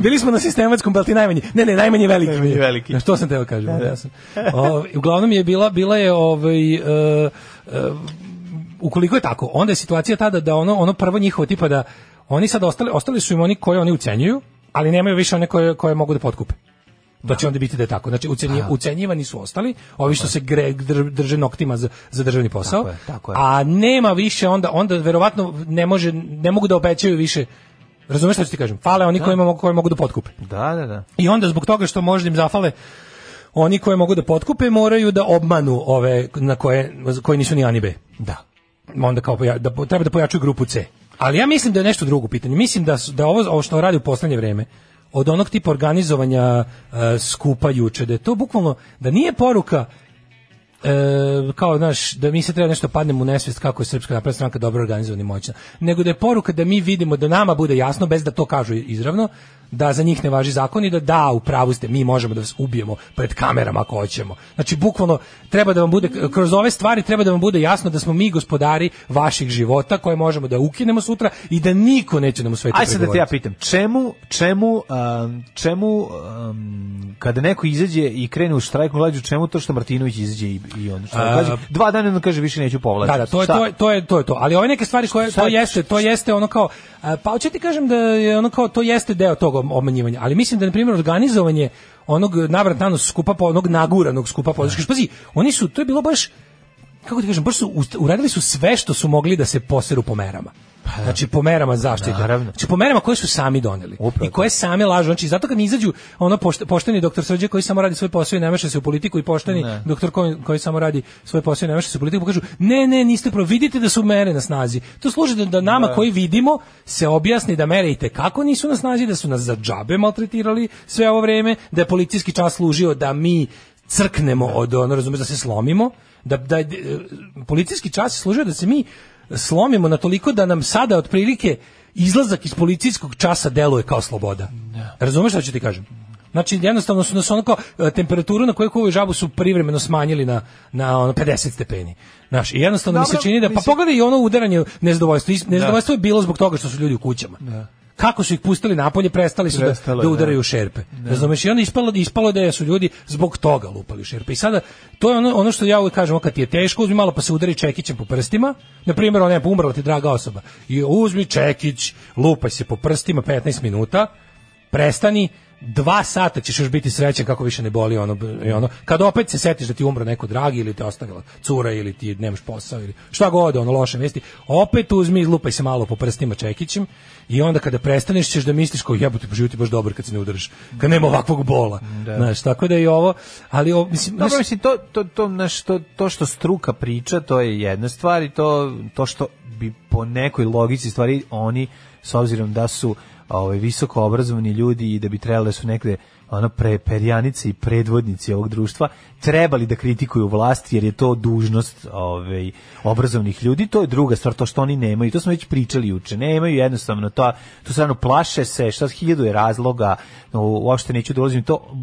Bili smo na sistematskom, pa jel ti najmanji? Ne, ne, najmanji veliki.
Najmanji
mi je.
veliki.
Na što sam teo kažem? Da, sam. Ovaj, uglavnom je bila, bila je ovaj, e, e, ukoliko je tako, onda je situacija tada da ono ono prvo njihovo tipa da oni sad ostali ostali su im oni koje oni ucenjuju, ali nemaju više one koje koje mogu da potkupe. Da će onda biti da je tako. Znači, ucenji, ucenjivani su ostali, ovi što se gre, dr- drže noktima za, za državni posao,
Tako je, tako je.
a nema više onda, onda verovatno ne, može, ne mogu da obećaju više Razumeš što ću ti kažem? Fale oni koji mogu, koji mogu da potkupe.
Da, da, da.
I onda zbog toga što možda im zafale oni koje mogu da potkupe moraju da obmanu ove na koje, koji nisu ni Anibe. Da. Onda kao poja- da, po- treba da pojačaju grupu C. Ali ja mislim da je nešto drugo pitanje. Mislim da, su, da ovo, ovo što radi u poslednje vreme, od onog tipa organizovanja e, skupa juče, da je to bukvalno, da nije poruka e, kao znaš da mi se treba nešto padnemo u nesvest kako je srpska napredna stranka dobro organizovana i moćna nego da je poruka da mi vidimo da nama bude jasno bez da to kažu izravno da za njih ne važi zakon i da da u pravu ste mi možemo da vas ubijemo pred kamerama ako hoćemo znači bukvalno treba da vam bude kroz ove stvari treba da vam bude jasno da smo mi gospodari vaših života koje možemo da ukinemo sutra i da niko neće nam u svetu
Ajde sad da te ja
prigovoriti.
pitam, čemu, čemu, um, čemu um, kada neko izađe i krene u štrajk glađu, čemu to što Martinović izađe i, i on što
A-
kaže, dva dana on kaže više neću povlačiti.
Da, da, to je,
Šta?
to je, to je, to je to. Ali ove neke stvari koje, to
Sad-
jeste, to jeste ono kao, a, pa hoće ti kažem da je ono kao, to jeste deo tog ob- obmanjivanja, ali mislim da, na primjer, organizovanje onog navrat nanos skupa, po, onog naguranog skupa podrške, pazi, oni su, to je bilo baš, kako ti kažem, baš su, ust- uradili su sve što su mogli da se poseru po merama. Znači po merama zaštite.
Pa da. Naravno.
Znači po merama koje su sami doneli
Upravo
i koje sami lažu. Znači zato kad mi izađu ono pošte- pošteni doktor Srđe koji samo radi svoj posao i ne meša se u politiku i pošteni
Ne.
doktor koji, koji samo radi svoj posao i ne meša se u politiku pokažu ne, ne, niste pravo, vidite da su mere na snazi. To služi da, da nama koji vidimo se objasni da mere i kako nisu na snazi, da su nas za džabe maltretirali sve ovo vreme, da je policijski čas služio da mi crknemo od ono, razumeš, da se slomimo, da, da je, e, policijski čas je služio da se mi slomimo na toliko da nam sada otprilike izlazak iz policijskog časa deluje kao sloboda.
Da.
Razumeš šta ću ti kažem? Znači jednostavno su nas ono kao e, temperaturu na kojoj kuvaju žabu su privremeno smanjili na na ono 50 stepeni. Znaš, i jednostavno mi
Dobro,
se čini da pa
mislim- Da.
pogledaj i ono udaranje nezadovoljstvo. Is- Nezadovoljstvo je bilo zbog toga što su ljudi u kućama. Kako su ih pustili napolje, prestali su
Prestalo
da,
je,
da
da.
udaraju šerpe. Razumeš, i onda ispalo, ispalo da su ljudi zbog toga lupali šerpe. I sada, to je ono, ono što ja uvijek kažem, ono, kad ti je teško, uzmi malo pa se udari čekićem po prstima, na primjer, ona je umrla ti draga osoba, i uzmi čekić, lupaj se po prstima 15 minuta, prestani, dva sata ćeš još biti srećan kako više ne boli ono, i ono. Kad opet se setiš da ti umro neko dragi ili te ostavila cura ili ti nemaš posao ili šta god, ono loše vesti, opet uzmi i lupaj se malo po prstima čekićem i onda kada prestaneš ćeš da misliš kao jebote, po život je baš dobar kad se ne udariš, kad nema ovakvog bola. Znaš, tako da i ovo, ali ovo, mislim,
Dobro,
znaš,
mislim, to, to, to, znaš, to, to što struka priča, to je jedna stvar i to, to što bi po nekoj logici stvari oni, s obzirom da su ovaj, visoko obrazovani ljudi i da bi trebali da su negde ono pre perjanice i predvodnici ovog društva trebali da kritikuju vlast jer je to dužnost ovaj obrazovnih ljudi to je druga stvar to što oni nemaju to smo već pričali juče nemaju jednostavno to to stvarno plaše se šta hiljadu je razloga u- uopšte neću da ulazim u to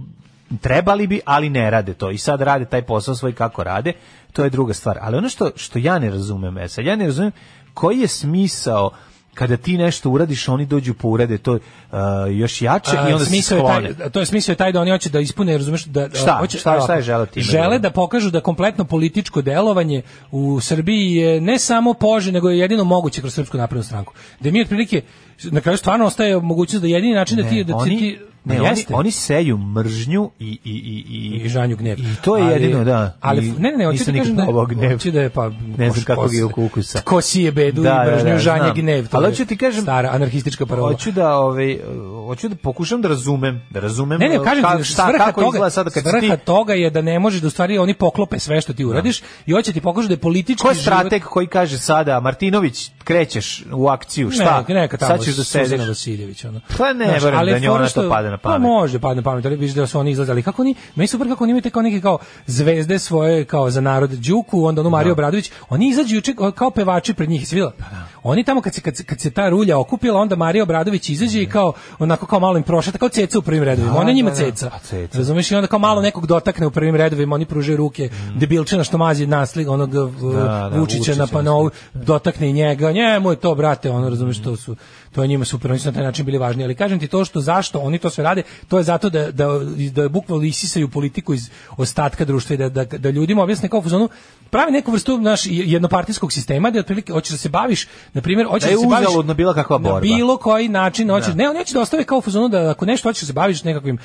trebali bi, ali ne rade to. I sad rade taj posao svoj kako rade, to je druga stvar. Ali ono što, što ja ne razumem, e sad, ja ne razumem koji je smisao kada ti nešto uradiš, oni dođu pa urade to uh, još jače i
A, da
onda se
smisao je
sklone.
Taj, to je smisao je taj da oni hoće da ispune, razumeš, da da
Šta?
hoće
Šta- šta je žele time?
Žele da pokažu da kompletno političko delovanje u Srbiji je ne samo pože, nego je jedino moguće kroz Srpsku naprednu stranku. Da mi otprilike na kraju stvarno ostaje mogućnost da jedini način da ti da ti-
oni,
ti
Ne,
Ma
oni,
jeste.
oni seju mržnju i i i i
i žanju gnev.
I to je
Ali-
jedino, da.
Ali
I
ne, ne, ne, hoću
nisam
da kažem da
nikad probao gnev.
hoću da je pa
ne
ko-
znam kakvog
ko
je
se-
ukusa.
Ko sije bedu
Da, da,
i mržnju
da,
žanje
znam.
gnev. to
Ali
je
hoću ti kažem-
stara anarhistička parola.
Hoću da ovaj hoću da pokušam da razumem, da razumem.
Ne, ne,
uh,
kažem
ka-
ti, svrha
kako
toga,
izgleda sad kad si
svrha
ti Da.
toga je da ne možeš da u stvari oni poklope sve što ti uradiš i hoće ti pokažu da je politički
Ko je
život-
strateg koji kaže sada Martinović krećeš u akciju, šta?
Ne, neka tamo
Sad ćeš da
Suzana
sedeš.
Vasiljević. Ono.
Pa ne,
Znaš,
verujem
ali
da
je
njoj
fora
ona to
što-
padne na pamet.
Pa može da padne na pamet, ali vidiš da su oni izlazali. Kako oni, meni je super kako oni imaju te kao neke kao zvezde svoje, kao za narod Đuku, onda ono
Da.
Mario Obradović, oni izađu juče kao pevači pred njih, svila.
Pa
Oni tamo kad se, kad, se- kad se ta rulja okupila, onda Mario Obradović izađe i kao, onako kao malo im prošeta, kao ceca u prvim redovima, ona njima
da, da.
ceca.
Pa, ceca.
Razumeš, i onda kao malo nekog dotakne u prvim redovima, oni pružaju ruke, debilčina što mazi nasliga onog v-
Mhm. Da, da,
Vučića
Vučića,
na panovu, dotakne i njega, njemu je to, brate, ono, razumeš, to su, to je njima super, oni su na taj način bili važni, ali kažem ti to što, zašto oni to sve rade, to je zato da, da, da bukvalno isisaju politiku iz ostatka društva i da, da, da ljudima objasne kao u fazonu, pravi neku vrstu naš jednopartijskog sistema da otprilike hoćeš da se baviš na primjer hoćeš
Da
da,
je
se baviš
uzaludno bila kakva
na
borba.
bilo koji način hoćeš ne oni hoće da ostave kao u fazonu da ako nešto hoćeš da se baviš nekakvim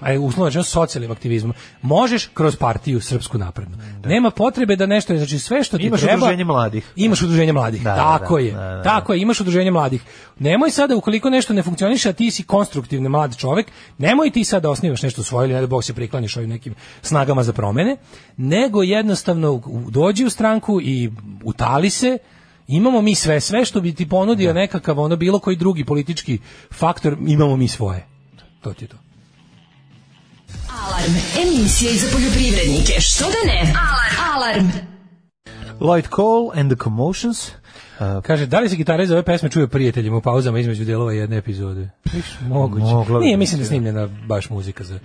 aj uslovno rečeno socijalnim aktivizmom možeš kroz partiju srpsku naprednu nema potrebe da nešto znači sve što ti
Imaš
treba
udruženje mladih.
imaš udruženje mladih.
Da, da,
tako
da,
je.
da, da, da.
Tako je, imaš udruženje mladih. Nemoj sada ukoliko nešto ne funkcioniše, a ti si konstruktivni mlad čovek, nemoj ti sada osnivaš nešto svoje ili ne da Bog se priklanjaš ovim nekim snagama za promene, nego jednostavno u- u- dođi u stranku i utali se Imamo mi sve, sve što bi ti ponudio
Da.
nekakav ono bilo koji drugi politički faktor, imamo mi svoje. To ti je to.
Alarm. Emisija i za poljoprivrednike. Što da ne? Alarm. Alarm.
Lloyd Cole and the Commotions. Uh,
Kaže, da li se gitara iz ove pesme čuje prijateljima u pauzama između delova jedne epizode? Viš, moguće.
Moglo bi
Nije,
biti,
mislim da
da.
snimljena baš muzika za...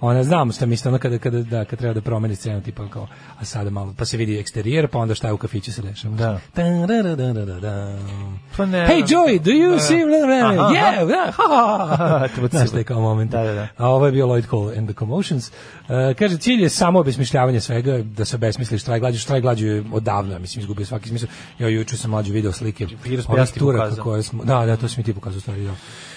Ona, znam šta mislim, ono kada, kada, da, kad treba da promeni scenu, tipa kao, a sada malo, pa se vidi eksterijer, pa onda šta je u kafiću se dešava.
Da.
Ta-ra-ra-ra-ra-ra.
Pa ne,
hey Joey, do you
da.
see...
Aha,
yeah, da, ha, ha,
[LAUGHS]
ha.
To je
Znaš šta je kao moment.
Da, da, da.
A ovo je bio Lloyd Cole and the Commotions. E, kaže, cilj je samo obesmišljavanje svega, da se obesmisliš štrajk glađu. Štrajk glađu je odavno, ja mislim, izgubio svaki smisao. Ja juče sam mlađu video slike.
Virus bi
ovih
ja ti
Turaka
pokazao.
koje smo, da, da, to si mi ti pokazao, u stvari, da.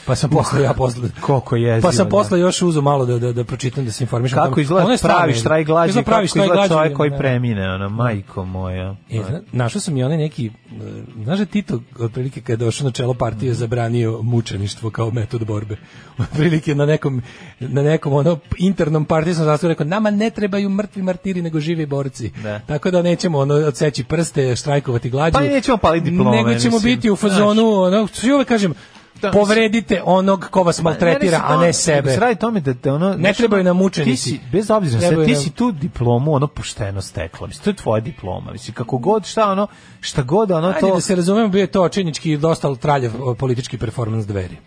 Pa sam posle, ja posle.
Koliko jezivo,
Pa sam
da.
posle još uzeo malo da, da, da pročitam, da se informišem. o
kako
tome.
izgleda
Ono je stvarno-
pravi štrajk glađi,
izgleda
kako
pravi štrajk
izgleda
glađu,
čovjek koji
da.
premine, ona, majko moja.
E, zna- našao sam i onaj neki, e, znaš da je Tito, otprilike kada je došao na čelo partije, zabranio mučeništvo kao metod borbe. [LAUGHS] Otprilike na nekom, na nekom ono internom partijskom sastavu rekao, nama ne trebaju mrtvi martiri, nego živi borci.
Da.
Tako da nećemo ono odseći prste, štrajkovati glađu.
Pa i nećemo paliti diplome,
Nego ćemo
mislim.
biti u fazonu, ono, što ja uvek kažem,
Da,
povredite onog ko vas maltretira, a ne sebe.
Sradi tome da te ono... znaš,
trebaju
ono,
nam učenici.
Ti si, bez obzira, na sve,
Trebaju
ti
nam-
si tu diplomu ono pošteno stekla. Mislim, to je tvoja diploma. Mislim, kako god, šta ono, šta god ono
Ajde
to...
da se razumemo, bio je to činički dosta traljev o, politički performans dveri.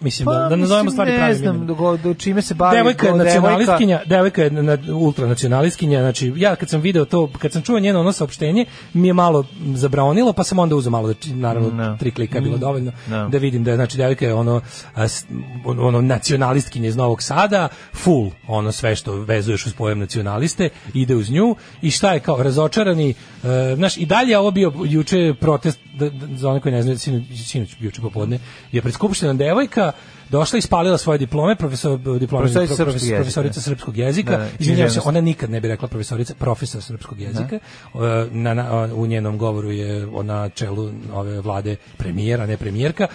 Mislim, da, da
Pa, mislim,
nazovemo stvari
Ne
pravim
znam,
imenom.
do, go- do čime se bavi.
Devojka je
kao
nacionalistkinja, devojka je na, ultranacionalistkinja, znači ja kad sam video to, kad sam čuo njeno ono saopštenje, mi je malo zabraonilo, pa sam onda uzeo malo, da, či- naravno,
No.
tri klika je bilo dovoljno,
No.
da vidim da je, znači, devojka je ono, a, s- ono, ono nacionalistkinja iz Novog Sada, full, ono sve što vezuješ uz pojam nacionaliste, ide uz nju, i šta je kao razočarani, e, znaš, i dalje je ovo bio juče protest, da, da- za one koji ne znaju, sinoć, sinoć juče popodne, je pred skupštinom devojka, došla i ispalila svoje diplome, profesor, diplome,
Profesorica
profes-
srpskog jezika.
profesorica srpskog jezika.
Da, da,
Izvinjavam se,
književnost.
ona nikad ne bi rekla profesorica, profesor srpskog jezika. E, Na, na, u njenom govoru je ona čelu ove vlade premijera, ne premijerka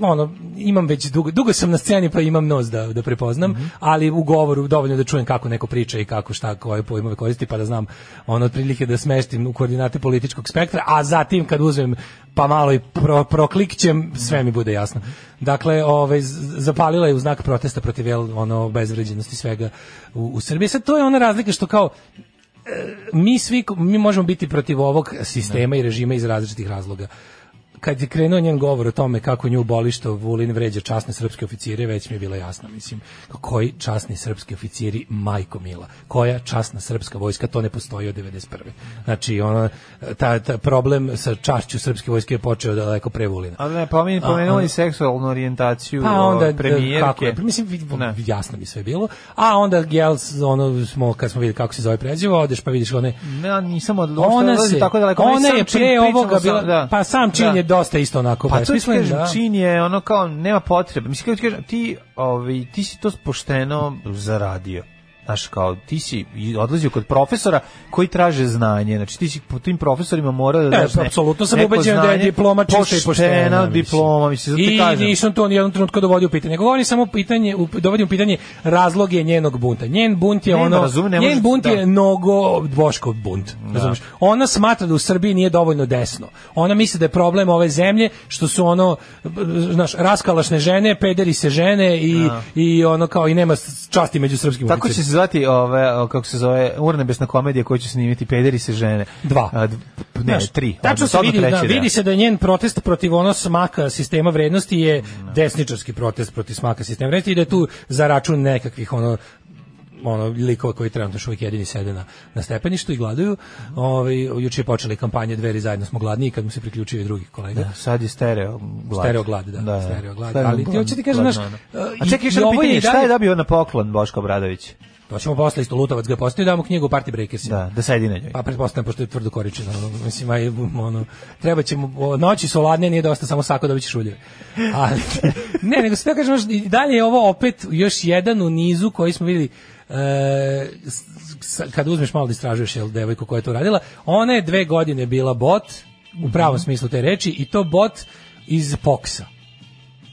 ono, imam već dugo, dugo sam na sceni pa imam nos da, da prepoznam,
Mhm.
ali u govoru dovoljno da čujem kako neko priča i kako šta, koje pojmove koristi, pa da znam ono otprilike da smeštim u koordinate političkog spektra, a zatim kad uzmem pa malo i pro, proklikćem, sve mi bude jasno. Dakle, ovaj, z- zapalila je u znak protesta protiv jel, ono, bezvređenosti svega u, u Srbiji. Sad to je ona razlika što kao mi svi ko- mi možemo biti protiv ovog sistema i režima iz različitih razloga. Kad je krenuo njen govor o tome kako nju boli što Vulin vređa časne srpske oficire, već mi je bilo jasno, mislim, koji časni srpski oficiri, majko mila, koja časna srpska vojska, to ne postoji od 91. Znači, ono, ta, ta problem sa čašću srpske vojske je počeo daleko pre Vulina.
Ali ne, pa pomeni, pomenuli
A, a-
seksualnu orijentaciju
Pa onda
ovaj, premijerke.
kako je, Pa mislim vid-
Ne.
jasno mi sve bilo. A onda jel ono smo kad smo videli kako se zove prezivo, odeš pa vidiš one
Ne, nisam odlučio,
ona
odlazi
se
tako daleko.
ona
Sam
je
čin
pre
pričamo
ovoga
sa-
bila
da.
pa sam čin
Da,
je dosta isto onako
Pa to ti
besmislen,
kažem,
da.
čin je ono kao, nema potrebe. Mislim, kako ti kažem, ti, ovaj, ti si to pošteno zaradio. Znaš, kao, ti si i odlazio kod profesora koji traže znanje. Znači, ti si po tim profesorima morao da
E,
daš ne-
apsolutno sam
neko
ubeđen da je
znanje.
diploma čista i poštena.
Poštena
mislim.
diploma, mislim, zato ti
I
kažem.
nisam to ni jednom trenutku dovodio u pitanje. Nego Govorim samo pitanje, up- dovodim u pitanje razloge njenog bunta. Njen bunt je
Nema,
ono,
razumem, ne
njen
možeš-
bunt je
da.
mnogo Boškov bunt. Razumeš? Ona smatra da u Srbiji nije dovoljno desno. Ona misli da je problem ove zemlje što su ono b- znaš, raskalašne žene, pederi se žene i, i ono kao i nema s- časti među srpskim
Da. Tako će se
oficirima.
zvati ove, o, kako se zove, urnebesna komedija koju će snimiti Pederi se žene.
Dva.
A, d- p- ne,
Znaš,
tri.
Tačno
Odmah,
se
odmah
vidi, da,
treći, da.
vidi se da je njen protest protiv ono smaka sistema vrednosti je desničarski protest protiv smaka sistema vrednosti i da je tu za račun nekakvih ono ono likova koji trenutno još uvijek jedini sede na, na stepeništu i gladuju. Ovaj juče je počela i kampanja Dveri zajedno smo gladni i kad mu se priključio i drugi kolega.
Da, sad je stereo glad.
Stereo glad, da, stereo glad, ali ti hoću ti kažem,
glad,
znaš,
da, da.
e,
a
i-
čekaj,
i
što
ovo je i
pitanje, šta
dalje-
je dobio na poklon Boško Obradović?
To ćemo posle isto Lutovac ga je postavio da mu knjigu Party Breakersima.
Da, da sedi na njoj.
Pa pretpostavljam pošto je tvrdo koričeno, ono, mislim aj ono treba ćemo o, noći su ladne, nije dosta samo sako dobićeš ulje.
[LAUGHS]
Ali ne, nego sve kažem još, i dalje je ovo opet još jedan u nizu koji smo videli e, s- s- kad uzmeš malo da istražuješ jel devojku koja je to radila, ona je dve godine bila bot u
Mhm.
pravom smislu te reči i to bot iz Foxa.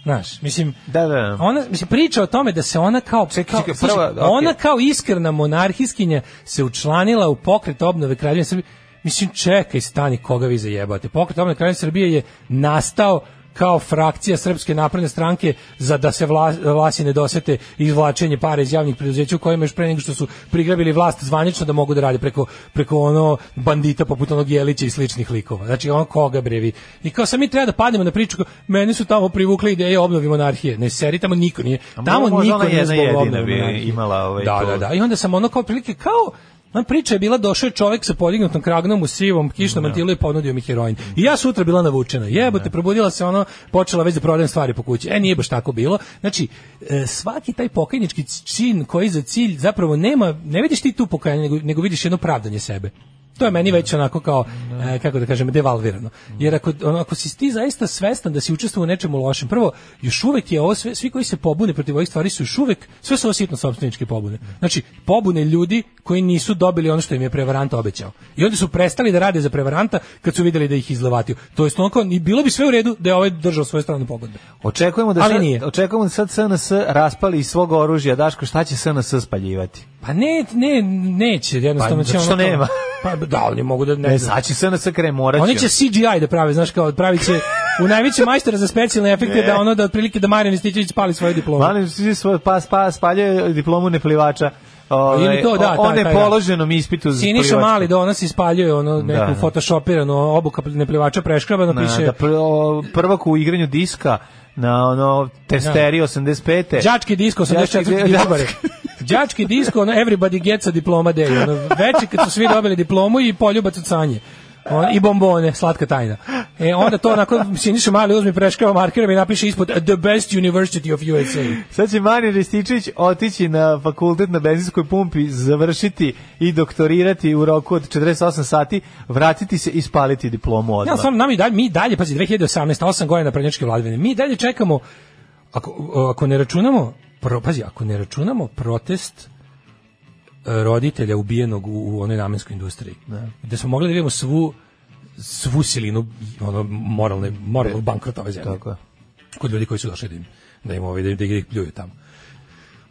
Znaš, mislim,
Da, da, da.
ona mislim priča o tome da se ona kao, kao
čekaj,
slušaj,
prva, okej.
ona kao iskrena monarhiskinja se učlanila u pokret obnove Kraljevine Srbije. Mislim, čekaj, stani, koga vi zajebate. Pokret obnove Kraljevine Srbije je nastao kao frakcija Srpske napredne stranke za da se vla, vlasi ne dosete izvlačenje para iz javnih preduzeća u kojima još pre nego što su prigrabili vlast zvanično da mogu da rade preko, preko ono bandita poput onog Jelića i sličnih likova. Znači ono koga brevi. I kao sam mi treba da padnemo na priču, kao, mene su tamo privukle ideje obnovi monarhije. Ne seri, tamo niko nije.
možda-
Tamo
možda
niko
ona
nije
jedna
zbog
jedina
obnove
bi
monarhije.
imala ovaj
da,
tu-
da, da. I onda sam ono kao prilike kao Ona priča je bila došao je čovjek sa podignutom kragnom u sivom kišnom
Da.
mantilu i ponudio mi heroin. I ja sutra bila navučena. Jebote, probudila se ono, počela već da prodajem stvari po kući. E, nije baš tako bilo. Znači, e, svaki taj pokajnički čin koji za cilj zapravo nema, ne vidiš ti tu pokajanje, nego, nego vidiš jedno pravdanje sebe. To je meni već onako kao, e, kako da kažem, devalvirano. Jer ako, ono, ako si ti zaista svestan da si učestvovao u nečemu lošem, prvo, još uvek je ovo, sve, svi koji se pobune protiv ovih stvari su još uvek, sve su ovo sitno sobstveničke pobune. Znači, pobune ljudi koji nisu dobili ono što im je prevarant obećao. I onda su prestali da rade za prevaranta kad su videli da ih izlevatio. To je onako, i bilo bi sve u redu da je ovaj držao svoje strane pogodbe.
Očekujemo da
Ali
sad,
nije.
očekujemo da sad SNS raspali iz svog oružja. Daško, šta će SNS spaljivati?
Pa ne, ne, neće, jednostavno
Pa,
će
zato što
ono kao-
nema.
Pa da, oni mogu da ne,
Ne,
znam.
E, sad će SNS kraj morat
Oni će CGI da prave, znaš kao, pravi
[LAUGHS]
će u najveće majstora za specijalne efekte da ono da otprilike da Marijan Ristićević pali svoje diplome.
Mali svi svoj pa, pa spaljuje diplomu neplivača. Ovaj,
Ili to, da,
o- o
taj, taj, da.
nepoloženom ispitu za
Siniša
plivačku.
Mali donos ispaljuje ono neku
Da, da.
photoshopiranu obuka neplivača preškrabano
Na,
piše
da pr- o, prvak u igranju diska na
Da.
ono testeri 85.
đački disko
Đački da.
84.
di-
dobar je. Đački disko ono everybody gets a diploma day. Ono veče kad su svi dobili diplomu i poljubac od sanje. On, i bombone, slatka tajna. E, onda to onako Siniša Mali uzme preškrava markerom i napiše ispod The best university of USA.
Sad će Marijan Rističić otići na fakultet na benzinskoj pumpi, završiti i doktorirati u roku od 48 sati, vratiti se i spaliti diplomu odmah.
Ja sam nam i dalje, mi dalje, pazi, 2018, 8 godina prednjačke vladavine, mi dalje čekamo, ako, ako ne računamo, pro, pazi, ako ne računamo protest e, roditelja ubijenog u, u onoj namenskoj industriji, da. gde smo mogli da vidimo svu svu silinu ono, moralne, moralnog bankrota ove zemlje
Tako je.
kod ljudi koji su došli da im, da im ovaj, da, im- da ih pljuju tamo.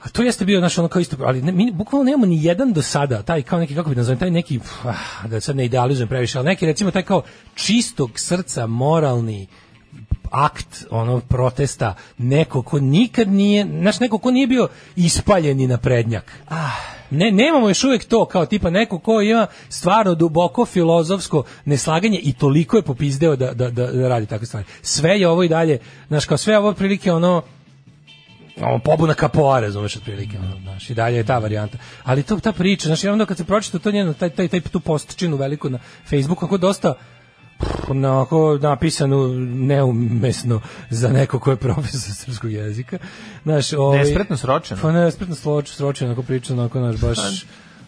A to jeste bio naš ono kao isto, ali ne, mi bukvalno nemamo ni jedan do sada, taj kao neki, kako bi nazvali, taj neki, pf, ah, da sad ne idealizujem previše, ali neki recimo taj kao čistog srca moralni akt ono protesta neko ko nikad nije znaš neko ko nije bio ispaljeni na prednjak ne nemamo još uvek to kao tipa neko ko ima stvarno duboko filozofsko neslaganje i toliko je popizdeo da, da, da, da radi takve stvari sve je ovo i dalje znaš kao sve je ovo prilike ono ono, pobuna kapoa, razumeš, otprilike, ono, znaš, i dalje je ta varijanta. Ali to, ta priča, znaš, i onda kad se pročita to njeno, taj, taj, taj tu postčinu veliku na Facebooku, kako dosta pff, onako napisanu neumesno za neko ko je profesor srpskog jezika. Znaš, ovaj,
Nespretno sročeno.
Pa nespretno sročeno, sročeno, onako priča, onako, znaš, baš,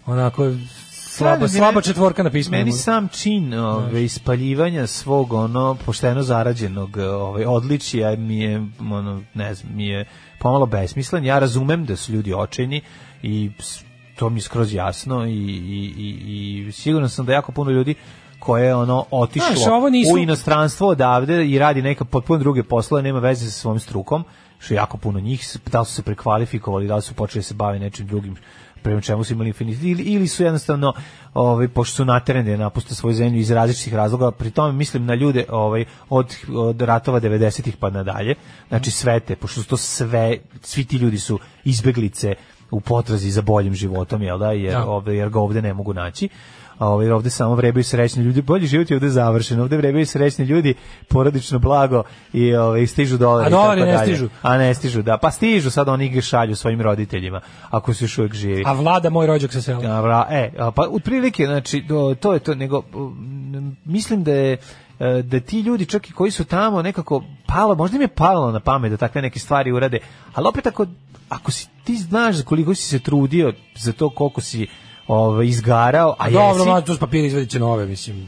onako, Slaba,
meni-
slaba četvorka na pismu.
Meni sam čin ove, ispaljivanja svog ono pošteno zarađenog ove, odličija mi je, ono, ne znam, mi je pomalo besmislen. Ja razumem da su ljudi očajni i s- to mi je skroz jasno i, i, i, i siguran sam da jako puno ljudi koje je ono otišlo
Znaš, ovo nisu-
u inostranstvo odavde i radi neka potpuno druge poslove, nema veze sa svojom strukom, što je jako puno njih, s- da li su se prekvalifikovali, da li su počeli da se bave nečim drugim prema čemu su imali infinitiv, ili, ili su jednostavno, ovaj, pošto su naterani da napuste svoju zemlju iz različitih razloga, pri tome mislim na ljude ovaj, od, od ratova 90-ih pa nadalje, znači sve te, pošto su to sve, svi ti ljudi su izbeglice u potrazi za boljim životom, jel da, jer,
Da.
ovde, jer ga ovde ne mogu naći. A ovaj jer ovde samo vrebaju srećni ljudi. Bolji život je ovde završen. Ovde vrebaju srećni ljudi, porodično blago i ovaj stižu dolari
A
i tako
dolari ne
dalje.
stižu.
A ne stižu, da. Pa stižu sad oni ga šalju svojim roditeljima ako su još uvek živi.
A vlada moj rođak sa sela.
A, vra- e, a, pa otprilike, znači, do- to je to, nego, m, mislim da je e, da ti ljudi čak i koji su tamo nekako palo, možda im je palo na pamet da takve neke stvari urade, ali opet ako, ako si, ti znaš za koliko si se trudio za to koliko si ovaj, izgarao, a
Dobro,
jesi,
mlađe, tu s papira izvadit će nove, mislim.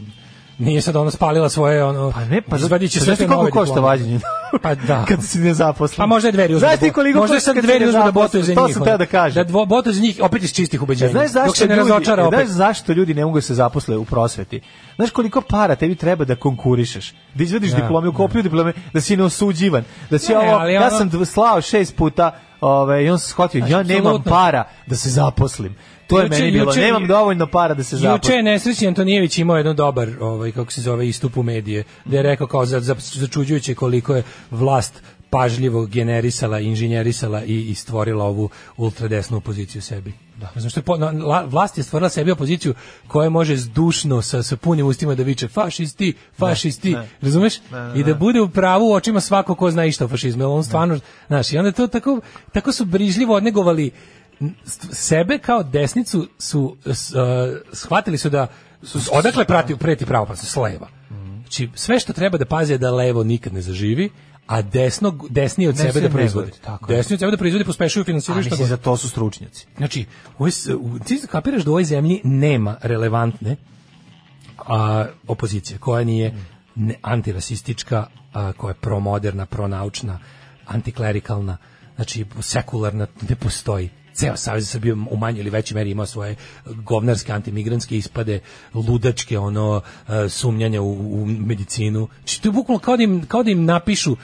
Nije sad ona spalila svoje, ono...
pa ne, pa
izvadit će
pa
sve
znaš ti
te nove
koliko košta
diplome. [LAUGHS]
vađenje?
Pa da.
kad si nezaposlen.
A možda je dveri uzme.
Znaš ti koliko
možda
košta
sad
kad si
dveri uzme da botuje za njih.
nezaposlen? To sam teo da
ono.
kažem.
Da dvo, botuje za njih opet iz čistih ubeđenja.
Znaš zašto
dok se ne
ljudi,
razočara opet.
Znaš zašto ljudi ne mogu da se zaposle u prosveti? Znaš koliko para tebi treba da konkurišeš? Da izvadiš diplome, u kopiju diplome, da si neosuđivan, da si
Ne,
ovo,
ali
ja
ono-
sam dv- slao šest puta, ovaj i on se shvatio, ja nemam
apsolutno.
para da se zaposlim. To je
Juče-
meni bilo,
juče-
nemam dovoljno para da se
Juče
zaposlim.
je nesrećni Antonijević imao jedan dobar, ovaj, kako se zove, istup u medije, da je rekao kao za, za, začuđujuće koliko je vlast pažljivo generisala, inženjerisala i, i stvorila ovu ultradesnu opoziciju sebi. Da. Znaš, što je po, na, la- vlast je stvorila sebi opoziciju koja može zdušno sa, sa punim ustima da viče fašisti, fašisti, razumeš? I da bude u pravu u očima svako ko zna išta o fašizmu. jer On stvarno, znaš, i onda je to tako, tako su brižljivo odnegovali st- sebe kao desnicu su s- e, shvatili su da su odakle prati preti pravo pa s leva. Znači sve što treba da paze je da levo nikad ne zaživi, a desno desni od
Ne
sebe
sve
da
ne
proizvodi.
godi, tako je.
Desni od sebe da proizvodi pospešuju
A
finansiraju što
mislim, za to su stručnjaci.
Znači, u ovoj s- u- ti kapiraš da u ovoj zemlji nema relevantne a, opozicije koja nije ne, antirasistička, a, koja je promoderna, pronaučna, antiklerikalna, znači sekularna, ne postoji. Ceo Savez Srbije u manjoj ili većoj meri ima svoje govnarske, antimigrantske ispade, ludačke ono e, sumnjanja u, u medicinu. Znači, to je bukvalno kao da im, kao da im napišu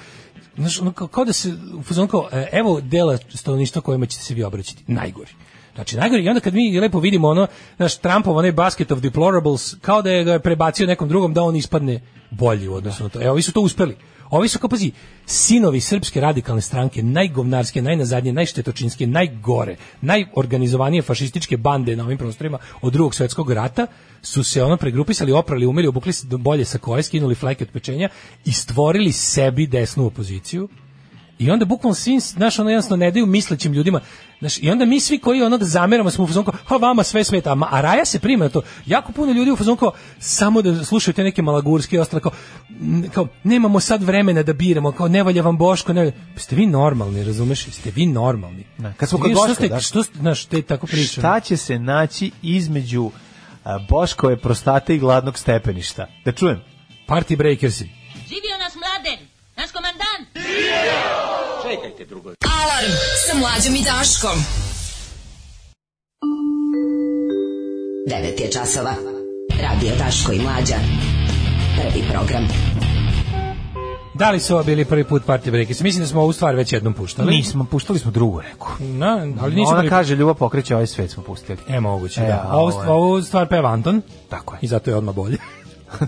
Znaš, ono, kao, kao da se, u fazonu kao, e, evo dela stanovništva kojima ćete se vi obraćati, najgori. Znači, najgori, i onda kad mi lepo vidimo ono, naš Trumpov, onaj basket of deplorables, kao da je ga prebacio nekom drugom da on ispadne bolji u odnosu na to. Evo, ovi su to uspeli. Ovi su, kao pazi, sinovi srpske radikalne stranke, najgovnarske, najnazadnje, najštetočinske, najgore, najorganizovanije fašističke bande na ovim prostorima od drugog svetskog rata, su se ono pregrupisali, oprali, umeli, obukli se bolje sa koje, skinuli fleke od pečenja i stvorili sebi desnu opoziciju. I onda bukvalno svi, znaš, ono jednostavno ne daju mislećim ljudima. Znaš, I onda mi svi koji onog zameramo smo u fazonu kao, ha, vama sve smeta, a, ma- a Raja se prima na to. Jako puno ljudi u fazonu kao, samo da slušaju te neke malagurske i ostale, kao, n- kao, nemamo sad vremena da biramo, kao, ne valja vam Boško, ne valja. Pa Ste vi normalni, razumeš? Ste vi normalni.
Ne, kad smo kod
Vi- što
Boška,
ste,
da.
Što ste, znaš, te tako pričam.
Šta će se naći između a, Boškove prostate i gladnog stepeništa? Da čujem.
Party breakersi.
Živio nas mladen, naš komandant.
Alarm sa mlađom i Daškom.
9 je časova. Radio Daško i Mlađa. Prvi program.
Da li su ovo bili prvi put Party breakersi? Mislim da smo ovu stvar već jednom puštali.
Nismo, puštali smo drugu, rekao.
Na, ali nisu
Ona
bili...
kaže ljubav pokreće ovaj svet smo pustili.
E, moguće,
E,
da.
a
A ovu,
ovo je-
ovu stvar peva Anton
Tako
i zato je odmah bolje.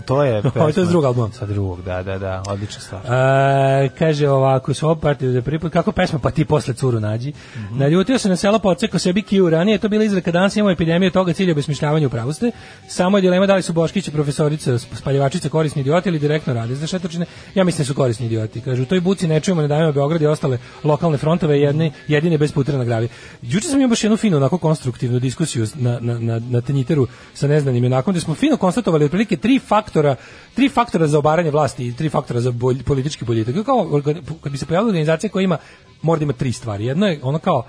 to je
[LAUGHS] Ovo je to iz drugog albuma.
Sa drugog, da, da, da, odlična stvar.
E, kaže ovako, su ovo partiju za priput, da kako pesma, pa ti posle curu nađi. Naljutio se na selo, podsekao sebi kiju ranije, je to bila izreka danas, imamo epidemiju toga cilja besmišljavanja u pravoste. Samo je dilema da li su Boškić i profesorica, sp- spaljivačica korisni idioti ili direktno rade za šetočine. Ja mislim da su korisni idioti. Kaže, u toj buci ne čujemo, ne dajemo Beograd i ostale lokalne frontove jedne, jedine bez putera na gravi. Juče sam imao baš jednu finu, onako konstruktivnu diskusiju na, na, na, na tenjiteru sa neznanim junakom, gde smo fino konstatovali otprilike tri faktora, tri faktora za obaranje vlasti i tri faktora za bolj, politički boljitak. Kao, organ- kad bi se pojavila organizacija koja ima, mora da ima tri stvari. Jedno je ono kao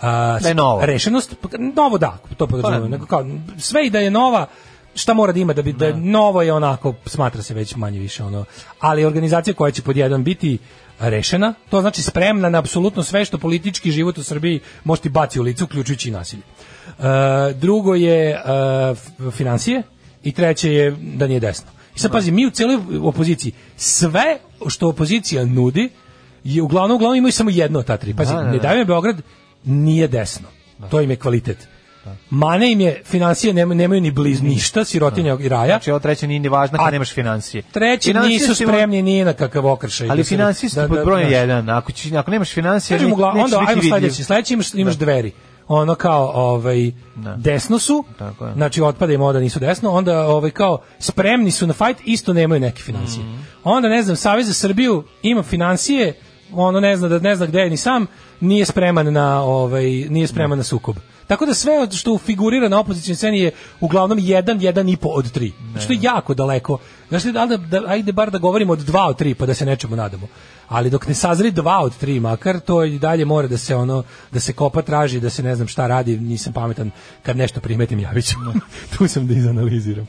a,
Da je nova.
rešenost, pa, novo da, to
Pa,
podrazumijem, nego kao, sve i da je nova, šta mora da ima da bi da je novo je onako smatra se već manje više ono ali organizacija koja će pod jedan biti rešena to znači spremna na apsolutno sve što politički život u Srbiji može ti baci u lice uključujući i nasilje E, drugo je e, f- financije i treće je da nije desno i sad pazi mi u celoj opoziciji sve što opozicija nudi je uglavnom uglavnom imaju samo jedno od ta tri pazi
Da, da, da.
ne daju im Beograd nije desno to im je kvalitet
Da.
Mane im je, financije nemaju, nemaju ni bliz ništa, sirotinja i raja.
Znači, ovo treće nije ni važno
A
kad nemaš financije.
Treći
Financije
nisu
su imali-
spremni ni na kakav okršaj.
Ali
Da se-
financije su
da-
ti pod
da-
brojem
znaš.
jedan. Ako, će, ako nemaš financije,
Kažem
ne,
uglavnom,
nećeš
onda
biti
ajmo
vidljiv. Da.
sledeći, sledeći imaš, imaš dveri. Ono kao, ovaj, desno su,
Tako je.
znači otpada im ovo da nisu desno, onda ovaj, kao spremni su na fajt, isto nemaju neke financije.
Mhm.
Onda, ne znam, Savez za Srbiju ima financije, ono ne zna da ne zna gde je ni sam, nije spreman na ovaj nije spreman na sukob. Tako da sve od- što figurira na opozicijnoj sceni je uglavnom jedan, jedan i po od tri. Što je jako daleko. Znači, da, da, da, ajde bar da govorimo od dva od tri, pa da se nečemu nadamo. Ali dok ne sazri dva od tri makar, to i dalje mora da se ono, da se kopa traži, da se ne znam šta radi, nisam pametan, kad nešto primetim javit ću. [LAUGHS] tu sam da izanaliziram.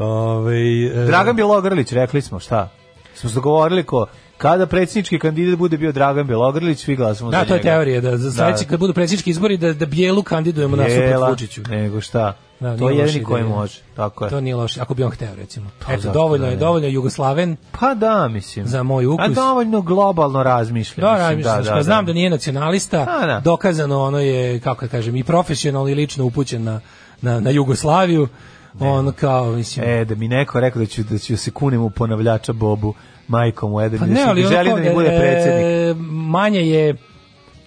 Ovaj, e,
Dragan Bjelogrlić, rekli smo, šta? Smo se dogovorili ko... Kada predsjednički kandidat bude bio Dragan Bjelogrlić, svi glasamo za
Da,
njega.
to je teorija, da za sledeći,
Da.
kad budu predsjednički izbori, da, da bijelu kandidujemo na
Jela,
suprot Vučiću.
Nego šta?
Da,
to je
nije loša
jedini koji
ideja.
može. Tako je.
To nije loše, ako bi on hteo, recimo. Eto,
zašto
dovoljno
da
je,
ne?
dovoljno je Jugoslaven,
Pa da, mislim.
Za moj ukus.
A dovoljno globalno razmišljam.
Da,
mislim,
razmišljam, da, znam da nije nacionalista,
Da, da.
dokazano ono je, kako da kažem, i profesionalno i lično upućen na, na, na Jugoslaviju, on kao, mislim,
E, da mi neko rekao da ću, da ću se kunem u ponavljača Bobu, majkom u Edem,
pa
da
ne,
ću-
ali ono
želim
kao,
da mi bude
e,
predsjednik.
Manje je,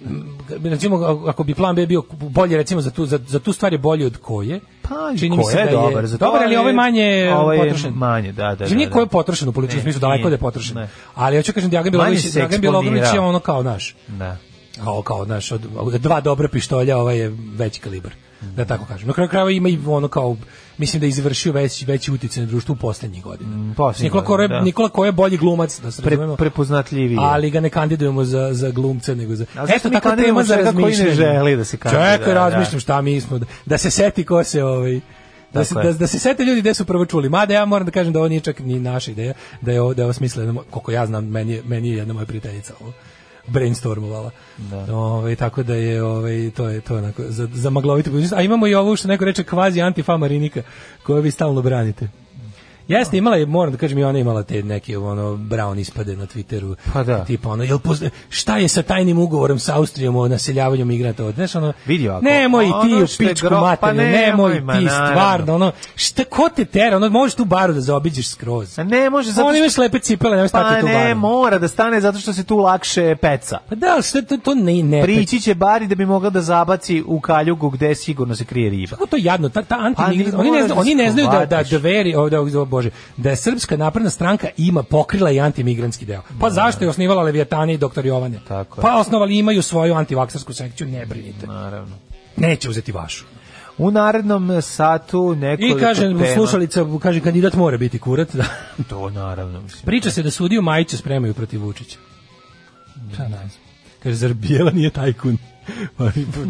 m, recimo, ako bi plan B bio bolje, recimo, za tu, za, za tu stvar je bolje od koje,
Pa,
čini
ko
mi se
je
da je
dobar, za to,
dobar, ali ovaj manje
ovaj je
potrošen.
manje, da, da.
Znači, nije
da,
ko je
da.
potrošen u političkom
Ne,
smislu, daleko
nije.
da je potrošen.
Ne.
Ali ja ću kažem, Dragan
Manje
Bjelović,
se
Dragan Bjelović je
eksponirao.
ono kao naš.
Da.
kao kao znaš, od, od dva dobra pištolja, ovaj je veći kalibar. Da tako kažem. Na kraju krajeva ima i ono kao mislim da je izvršio veći veći uticaj na društvo u poslednjih godina. Znači,
poslednjih
Nikola Kore,
godina, da.
Nikola Kore je bolji glumac, da se
Pre,
razumemo.
prepoznatljiviji. je.
Ali ga ne kandidujemo za, za glumce, nego za...
A zašto mi
tako
kandidujemo
tema za
čoveka koji ne
razmišljanje.
želi da se kandiduje,
Čekaj,
da,
razmišljam
da.
šta mi smo. Da, da se seti ko se ovaj... Da
Tako
se,
je.
da, da se sete ljudi gde su prvo čuli. Mada ja moram da kažem da ovo nije čak ni naša ideja, da je ovo, da je ovo smisleno, moj- koliko ja znam, meni, je- meni je jedna moja prijateljica ovo brainstormovala. Da. Ove, tako da je ovaj to je to je onako za za maglovito budućnost. A imamo i ovo što neko reče kvazi antifamarinika koju vi stalno branite. Jeste, imala je, moram da kažem, i ona je imala te neke ono brown ispade na Twitteru.
Pa da.
Tipa ono, jel pozna, šta je sa tajnim ugovorom sa Austrijom o naseljavanju migranta? Od, znaš, ono,
Vidi ovako,
nemoj ti
ono
u
što je
pičku
gro- pa
materinu,
nemoj,
nemoj,
ma,
ti
naravno.
stvarno, ono, šta, ko te tera, ono, možeš tu baru da zaobiđeš skroz.
A ne može zato
Oni
što...
imaš lepe cipele, nemoj stati
Pa
tu
ne,
baru.
mora da stane zato što se tu lakše peca.
pa da, ali šta to, to ne, ne
Prići će bari da bi mogla da zabaci u kaljugu gde sigurno se krije riba.
Kako to jadno, ta, ta anti
Pa ni
oni ne,
moraš
znaju,
da
oni ne znaju da da
shvatiš.
da veri, o, da, o bože, da je srpska napredna stranka ima pokrila i antimigrantski deo. Pa zašto je osnivala Leviatani i doktor Jovane?
Tako je.
pa osnovali imaju svoju antivaksarsku sekciju, ne brinite.
Naravno.
Neće uzeti vašu.
U narednom satu nekoliko
I kaže
tema.
slušalica, kaže kandidat mora biti kurat. Da.
To naravno. Mislim.
[LAUGHS] Priča se da sudiju Majića spremaju protiv Vučića. Šta ne znam. Kaže, zar Bijela nije tajkun? [LAUGHS] Pa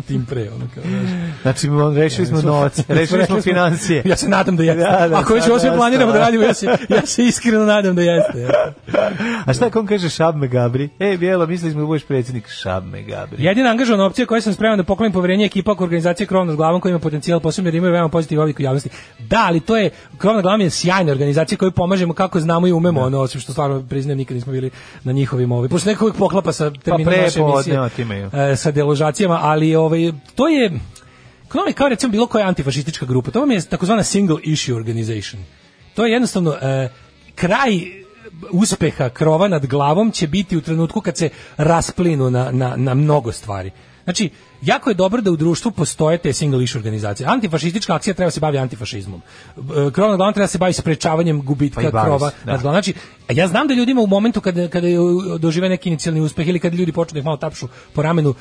tim pre, ono kao, znaš.
Znači, mo- rešili smo
[LAUGHS]
novac, rešili smo financije.
Ja se nadam da jeste.
Da, da,
Ako već
sad
ovo sve
dosta,
planiramo da
da.
radimo, ja se, ja se iskreno nadam da jeste.
[LAUGHS] A šta kom kaže Šabme Gabri? E, Bijelo, mislili smo da budeš predsjednik Šabme Gabri.
Jedina angažovana opcija koju sam spreman da poklonim poverenje je ekipa oko organizacije Krov nad glavom koja ima potencijal posebno jer imaju veoma pozitiv oblik u javnosti. Da, ali to je, Krov nad glavom je sjajna organizacija koju pomažemo kako znamo i umemo,
Da.
ono, osim što stvarno priznajem nikad nismo bili na njihovim ovi. Pošto neko uvijek poklapa sa terminom naše
Pa prepodne
emisije,
otimaju.
e, sa deložacijama, ali ovaj, to je, Knom je kao recimo bilo koja antifašistička grupa. To vam je takozvana single issue organization. To je jednostavno e, kraj uspeha krova nad glavom će biti u trenutku kad se rasplinu na, na, na mnogo stvari. Znači, jako je dobro da u društvu postoje te single issue organizacije. Antifašistička akcija treba da se bavi antifašizmom. E, Krov nad glavom treba se bavi sprečavanjem gubitka
Pa i bavi
krova
se, da.
nad glavom. Znači, ja znam da ljudima u momentu kada, kada dožive neki inicijalni uspeh ili kada ljudi počnu da ih malo tapšu po ramenu,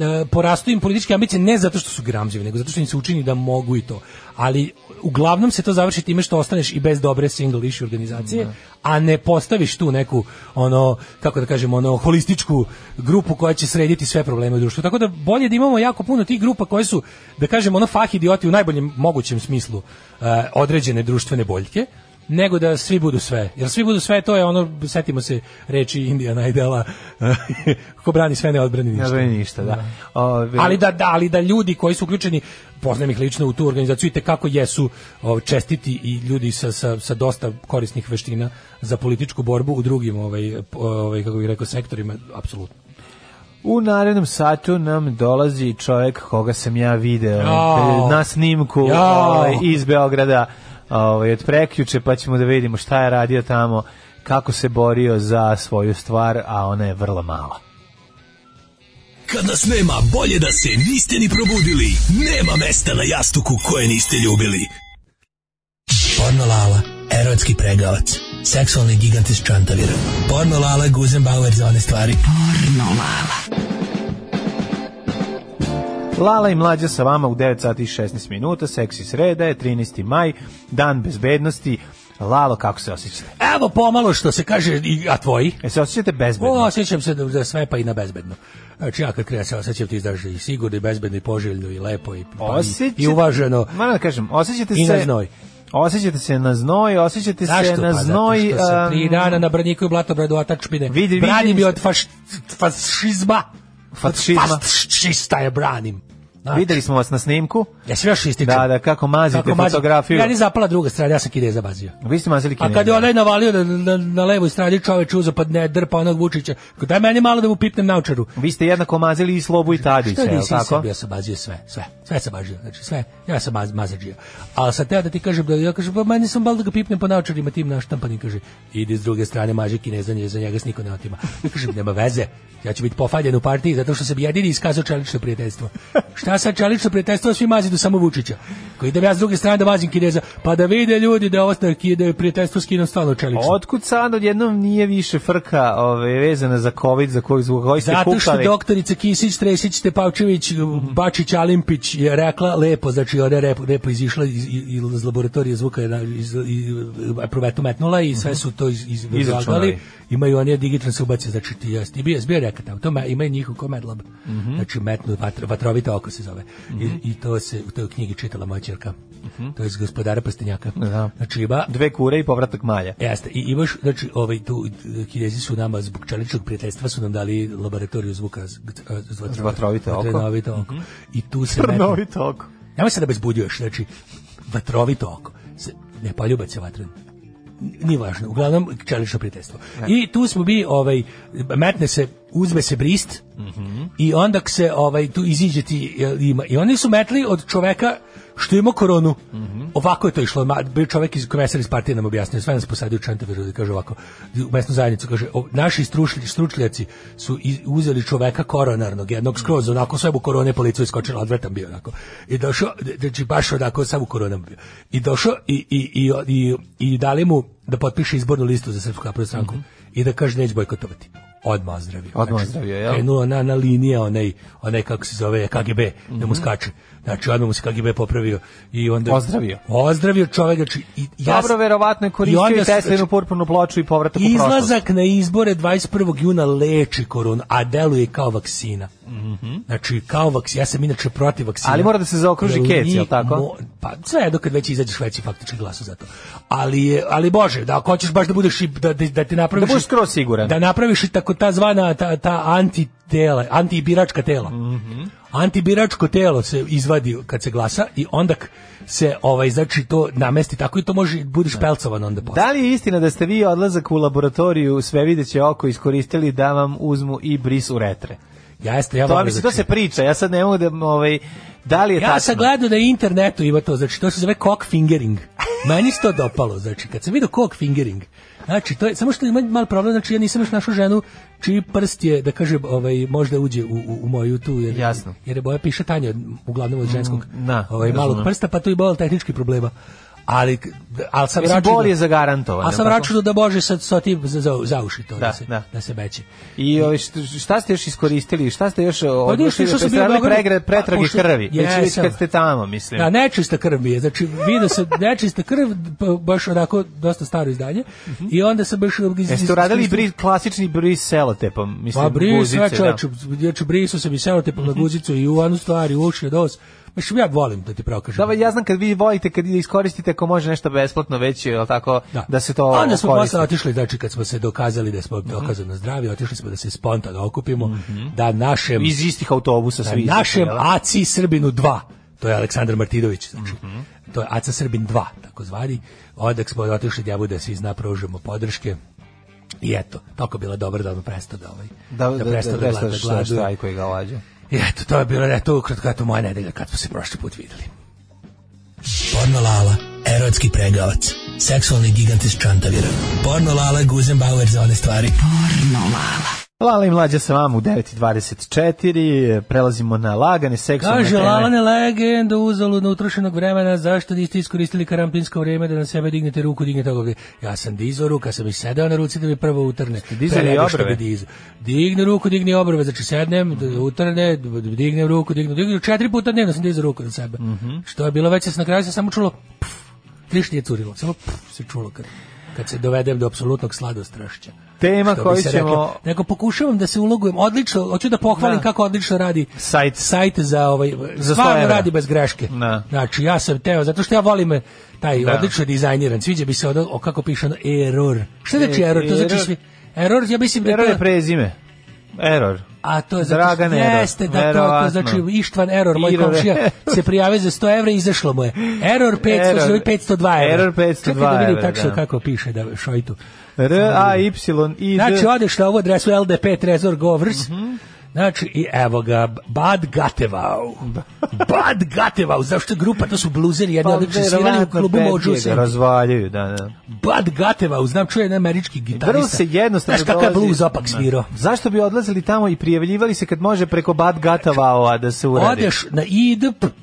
e, porastu im političke ambicije ne zato što su gramzivi, nego zato što im se učini da mogu i to. Ali uglavnom se to završi time što ostaneš i bez dobre single issue organizacije, a ne postaviš tu neku ono kako da kažem ono holističku grupu koja će srediti sve probleme u društvu. Tako da bolje da imamo jako puno tih grupa koje su da kažem ono fah idioti u najboljem mogućem smislu e, određene društvene boljke nego da svi budu sve. Jer svi budu sve, to je ono, setimo se reči Indija najdela, [LAUGHS] ko brani sve ne odbrani ništa.
Ne znam ništa, da. Ove,
Ali da, da, ali da ljudi koji su uključeni, poznajem ih lično u tu organizaciju, i kako jesu o, čestiti i ljudi sa, sa, sa dosta korisnih veština za političku borbu u drugim, ovaj, ovaj, kako bih rekao, sektorima, apsolutno.
U narednom satu nam dolazi čovjek koga sam ja video
Jao.
na snimku
Jao.
ovaj, iz Beograda ovaj, od prekjuče, pa ćemo da vidimo šta je radio tamo, kako se borio za svoju stvar, a ona je vrlo mala.
Kad nas nema, bolje da se niste ni probudili. Nema mesta na jastuku koje niste ljubili. Porno Lala, erotski pregavac. Seksualni gigant iz Čantavira. Porno Lala, Guzenbauer za one stvari.
Lala i mlađa sa vama u 9 sati i 16 minuta, seksi sreda je 13. maj, dan bezbednosti. Lalo, kako se osjećate?
Evo pomalo što se kaže, i- a tvoji?
E se osjećate bezbedno?
O, osjećam se da, da sve pa i na bezbedno. Znači ja kad krenem se osjećam ti znaš i sigurno i bezbedno i poželjno i lepo i, pa, i,
Osjećate-
i uvaženo.
Moram da kažem, osjećate
I
se...
na znoj.
Osjećate se na znoj, osjećate se na znoj...
Pa, Zato što sam tri
em,
dana na braniku i blato bradu atačpine.
Vidi, vidim
branim je
se-
od faš, fašizma.
Fašizma.
Od fašista je branim. Znači,
Videli smo vas na snimku.
Ja se još ističem.
Da, da, kako mazite
mazi-
fotografiju.
Ja ni zapala druga strana, ja sam kide zabazio.
Vi ste mazili
A
kineza.
kad je onaj navalio na, na, na levoj strani čoveč uzeo pa ne drpa onog Vučića, rekao, daj meni malo da mu pipnem naučaru.
Vi ste jednako mazili i Slobu i Tadića,
Šta
je li
nisi
tako?
sebi, ja sam mazio sve, sve, sve sam mazio, znači sve, ja sam maz, mazađija. Ali sad teo da ti kažem, da, ja kažem, pa meni sam bal da ga pipnem po naočarima tim naštampanim, kaže, idi s druge strane, maži kineza, nje, za njega se niko ne otima. Ja kažem, nema veze, ja ću biti pofaljen u partiji, zato što sam jedini iskazao čelično prijateljstvo. Šta sad čelično prijateljstvo, svi mazidu samo Vučića. Koji idem ja s druge strane da mazim kineza, pa da vide ljudi da ovo star- ki- da je prijateljstvo skinem stvarno čelično.
Otkud sad odjednom nije više frka ove, vezana za COVID, za koji, zbog koji ste
Zato što
kukali?
doktorica Kisić, Tresić, Stepavčević, Bačić, Alimpić je rekla lepo, znači ona je lepo, lepo izišla iz, iz, iz laboratorije zvuka, je iz, iz, provetu metnula i sve su to iz, iz,
Izračunali.
izračunali. Imaju oni digitalno se ubaci, znači ti jesti. I bio bio rekao tamo, to me, ima njihov ko medlab. Znači metnu, vatra, vatrovita oko se zove. I, I to se u toj knjigi čitala moja ćerka. To je iz gospodara Pastenjaka.
Da.
Znači ima
Dve kure i povratak malja.
Jeste, i imaš, znači, ovaj, tu, eh, kinezi su nama, zbog čeličnog prijateljstva su nam dali laboratoriju zvuka z, g- eh, z, vatra-
Vatrovito oko.
vatrenovito oko. I tu se metno,
Prnovi toko.
nemoj se da bez budioš, znači, vatrovito oko. Se- Ne paljubac se vatren. N- Nije važno, uglavnom čelično prijateljstvo. I tu smo mi, ovaj, metne se, uzme se brist i onda k se, ovaj, tu iziđe ti, eh, ima. I oni su metli od čoveka što ima koronu. Ovako je to išlo. Ma, bio čovek iz komesar iz partije nam objasnio, sve nas posadio u Čantaviru i kaže ovako, u mesnu zajednicu kaže, o, naši stručlj, stručljaci su iz, uzeli čoveka koronarnog, jednog skroz, onako sve mu korone po licu iskočila, odvratan bio onako. I došao, znači baš onako, sam u koronama bio. I došao i, i, i, i, i dali mu da potpiše izbornu listu za Srpsku naprednu stranku i da kaže neće bojkotovati. Odmah zdravio.
Mhm. Odmah ozdravio, jel?
krenuo ona na linija onaj, onaj kako se zove KGB, da
Mhm.
mu skače. Znači odmah mu se KGB popravio i onda
Ozdravio.
Ozdravio čovjek, znači i ja
Dobro, verovatno je koristio i,
onda-
Teslinu purpurnu ploču i povratak u prošlost.
Izlazak na izbore 21. juna leči koronu, a deluje kao vaksina. Znači, kao vaksina, ja sam inače protiv vaksina.
Mhm. Ali mora da se zaokruži
Jer
kec,
mi
jel tako?
pa sve, dok kad već izađeš veći faktički glasu za to. Ali, je- ali bože, da ako hoćeš baš da budeš, i- da, da, da ti napraviš...
Da budeš skroz siguran.
Da napraviš i tako ta zvana, ta, ta antitela, antibiračka tela.
Mhm.
Antibiračko telo se izvadi kad se glasa i onda k- se ovaj znači to namesti tako i to može budeš pelcovan onda posle.
Da li je istina da ste vi odlazak u laboratoriju sve videće oko iskoristili da vam uzmu i bris u retre?
Ja jeste, ja
To,
volim,
mi se, to
znači.
se priča, ja sad ne mogu da... Ovaj, da li je
Ja sam
tačno?
gledao da je internetu ima to, znači to se zove cock fingering. Meni se to dopalo, znači kad sam vidio cock fingering. Znači to je samo što ima mal problem, znači ja nisam još našao ženu čiji prst je da kažem, ovaj možda uđe u, u, u moju tu jer
Jasno.
jer je boja piše tanje od- uglavnom od ženskog.
da,
ovaj malog
razumem.
prsta, pa tu i bol tehnički problema. ali, ali sam
Mislim,
računao-
bol je zagarantovan,
Ali sam
jel tako?
računao da Bože sad sa tim za, za, za uši to da,
Da,
se,
da.
da. se beće.
I ovi, šta- šta ste još iskoristili? Šta ste još
Pa ništa,
odlučili?
išao
Pa
sam
ste
bio u
radili
Beogradu.
pregre- pretrage
A, pošto-
krvi. Već, već
Jesam.
kad ste tamo, mislim.
Da, nečista krv mi je. Znači, vidio sam nečista krv, pa baš onako dosta staro izdanje.
Mhm.
I onda sam baš...
Jeste uradili bris, klasični bris selotepom, mislim,
Pa bris, sve
guzice, da. Mhm.
čoveče, znači brisu sam i selotepom na guzicu i u onu stvar i u uši, dos. Mislim, ja volim da ti pravo kažem.
Da, ba, ja znam kad vi volite, kad iskoristite ako može nešto besplatno već, je li tako, da, se to
Onda smo
koristi.
posle otišli, znači kad smo se dokazali da smo
Mhm.
dokazano zdravi, otišli smo da se spontano okupimo, da našem,
Iz istih autobusa
da
svi. izašli,
našem
jel da?
Aci Srbinu 2, to je Aleksandar Martinović, znači, to je Aca Srbin 2, tako zvani, odak smo otišli da bude svi zna, pružimo podrške, I eto, toliko bila dobra da ono presta da ovaj,
da, da, da, da,
presta
da,
da, glad- da,
da,
gladuje.
štrajkuje ga lađa.
I eto, to je bilo, eto, ukratko, eto, moja nedelja kad smo se prošli put videli.
Pornolala, erotski pregavac, seksualni gigant iz Čantavira. Pornolala Guzenbauer za one stvari.
Lala i mlađa sa vama u 9.24, prelazimo na lagane seksualne
Kaže
teme.
Lalane legenda uzaludno utrošenog vremena, zašto niste iskoristili karantinsko vreme da na sebe dignete ruku, dignete obrve. Ja sam dizo ruka, sam i sedeo na ruci da mi prvo utrne.
dizali
Pre nego što
obrve?
bi dizo. Digne ruku, digne obrve, znači sednem, d- utrne, d- d- dignem ruku, dignem, dignem, četiri puta dnevno sam dizo ruku na sebe.
Mhm.
Što je bilo već, sam na kraju se samo čulo, pff, ništa nije curilo, samo pff, se čulo kad, kad se dovedem do apsolutnog sladostrašća.
Tema
Što bi
koju
se
ćemo-
reklo. Nego pokušavam da se ulogujem odlično, hoću da pohvalim
Da.
kako odlično radi
Sajt.
sajt za ovaj
Za sto
stvarno
evra.
radi bez greške.
Da.
Znači ja sam teo zato što ja volim eh, taj
Da.
odlično dizajniran. Sviđa mi se ono o, kako piše ono error. Šta znači
E-
error? To znači
error.
svi Error, ja mislim da je
Error je
to,
prezime. Error.
a to je zato
Dragan
što
Error,
jeste da to, to
verovatno.
znači Ištvan Error, moj
Error.
komšija se prijavio za 100 evra i izašlo mu je.
[LAUGHS]
Error 500,
Error.
znači 502 evra.
Error 502
Čekaj da vidim
evra,
tačno
da.
kako piše da šojtu.
R, A, Y, I, da- Mhm. D.
Znači, odeš na ovu adresu LDP Trezor Govrs. Znači, i evo ga, Bad Gatevau. [LAUGHS] Bad Gatevau, zašto je grupa, to su bluzeri, jedni
Da. Pa,
odlični svirali u
verovatno
klubu
petlje
Mođu u
ga
Srbiji.
Razvaljuju, da, da.
Bad Gatevau, znam čuje jedan američki gitarista.
Vrlo se jednostavno
Znaš kakav je
dolazi-
bluz opak
Da.
svirao?
Zašto bi odlazili tamo i prijavljivali se kad može preko Bad Gatavaoa da se uradi?
Odeš na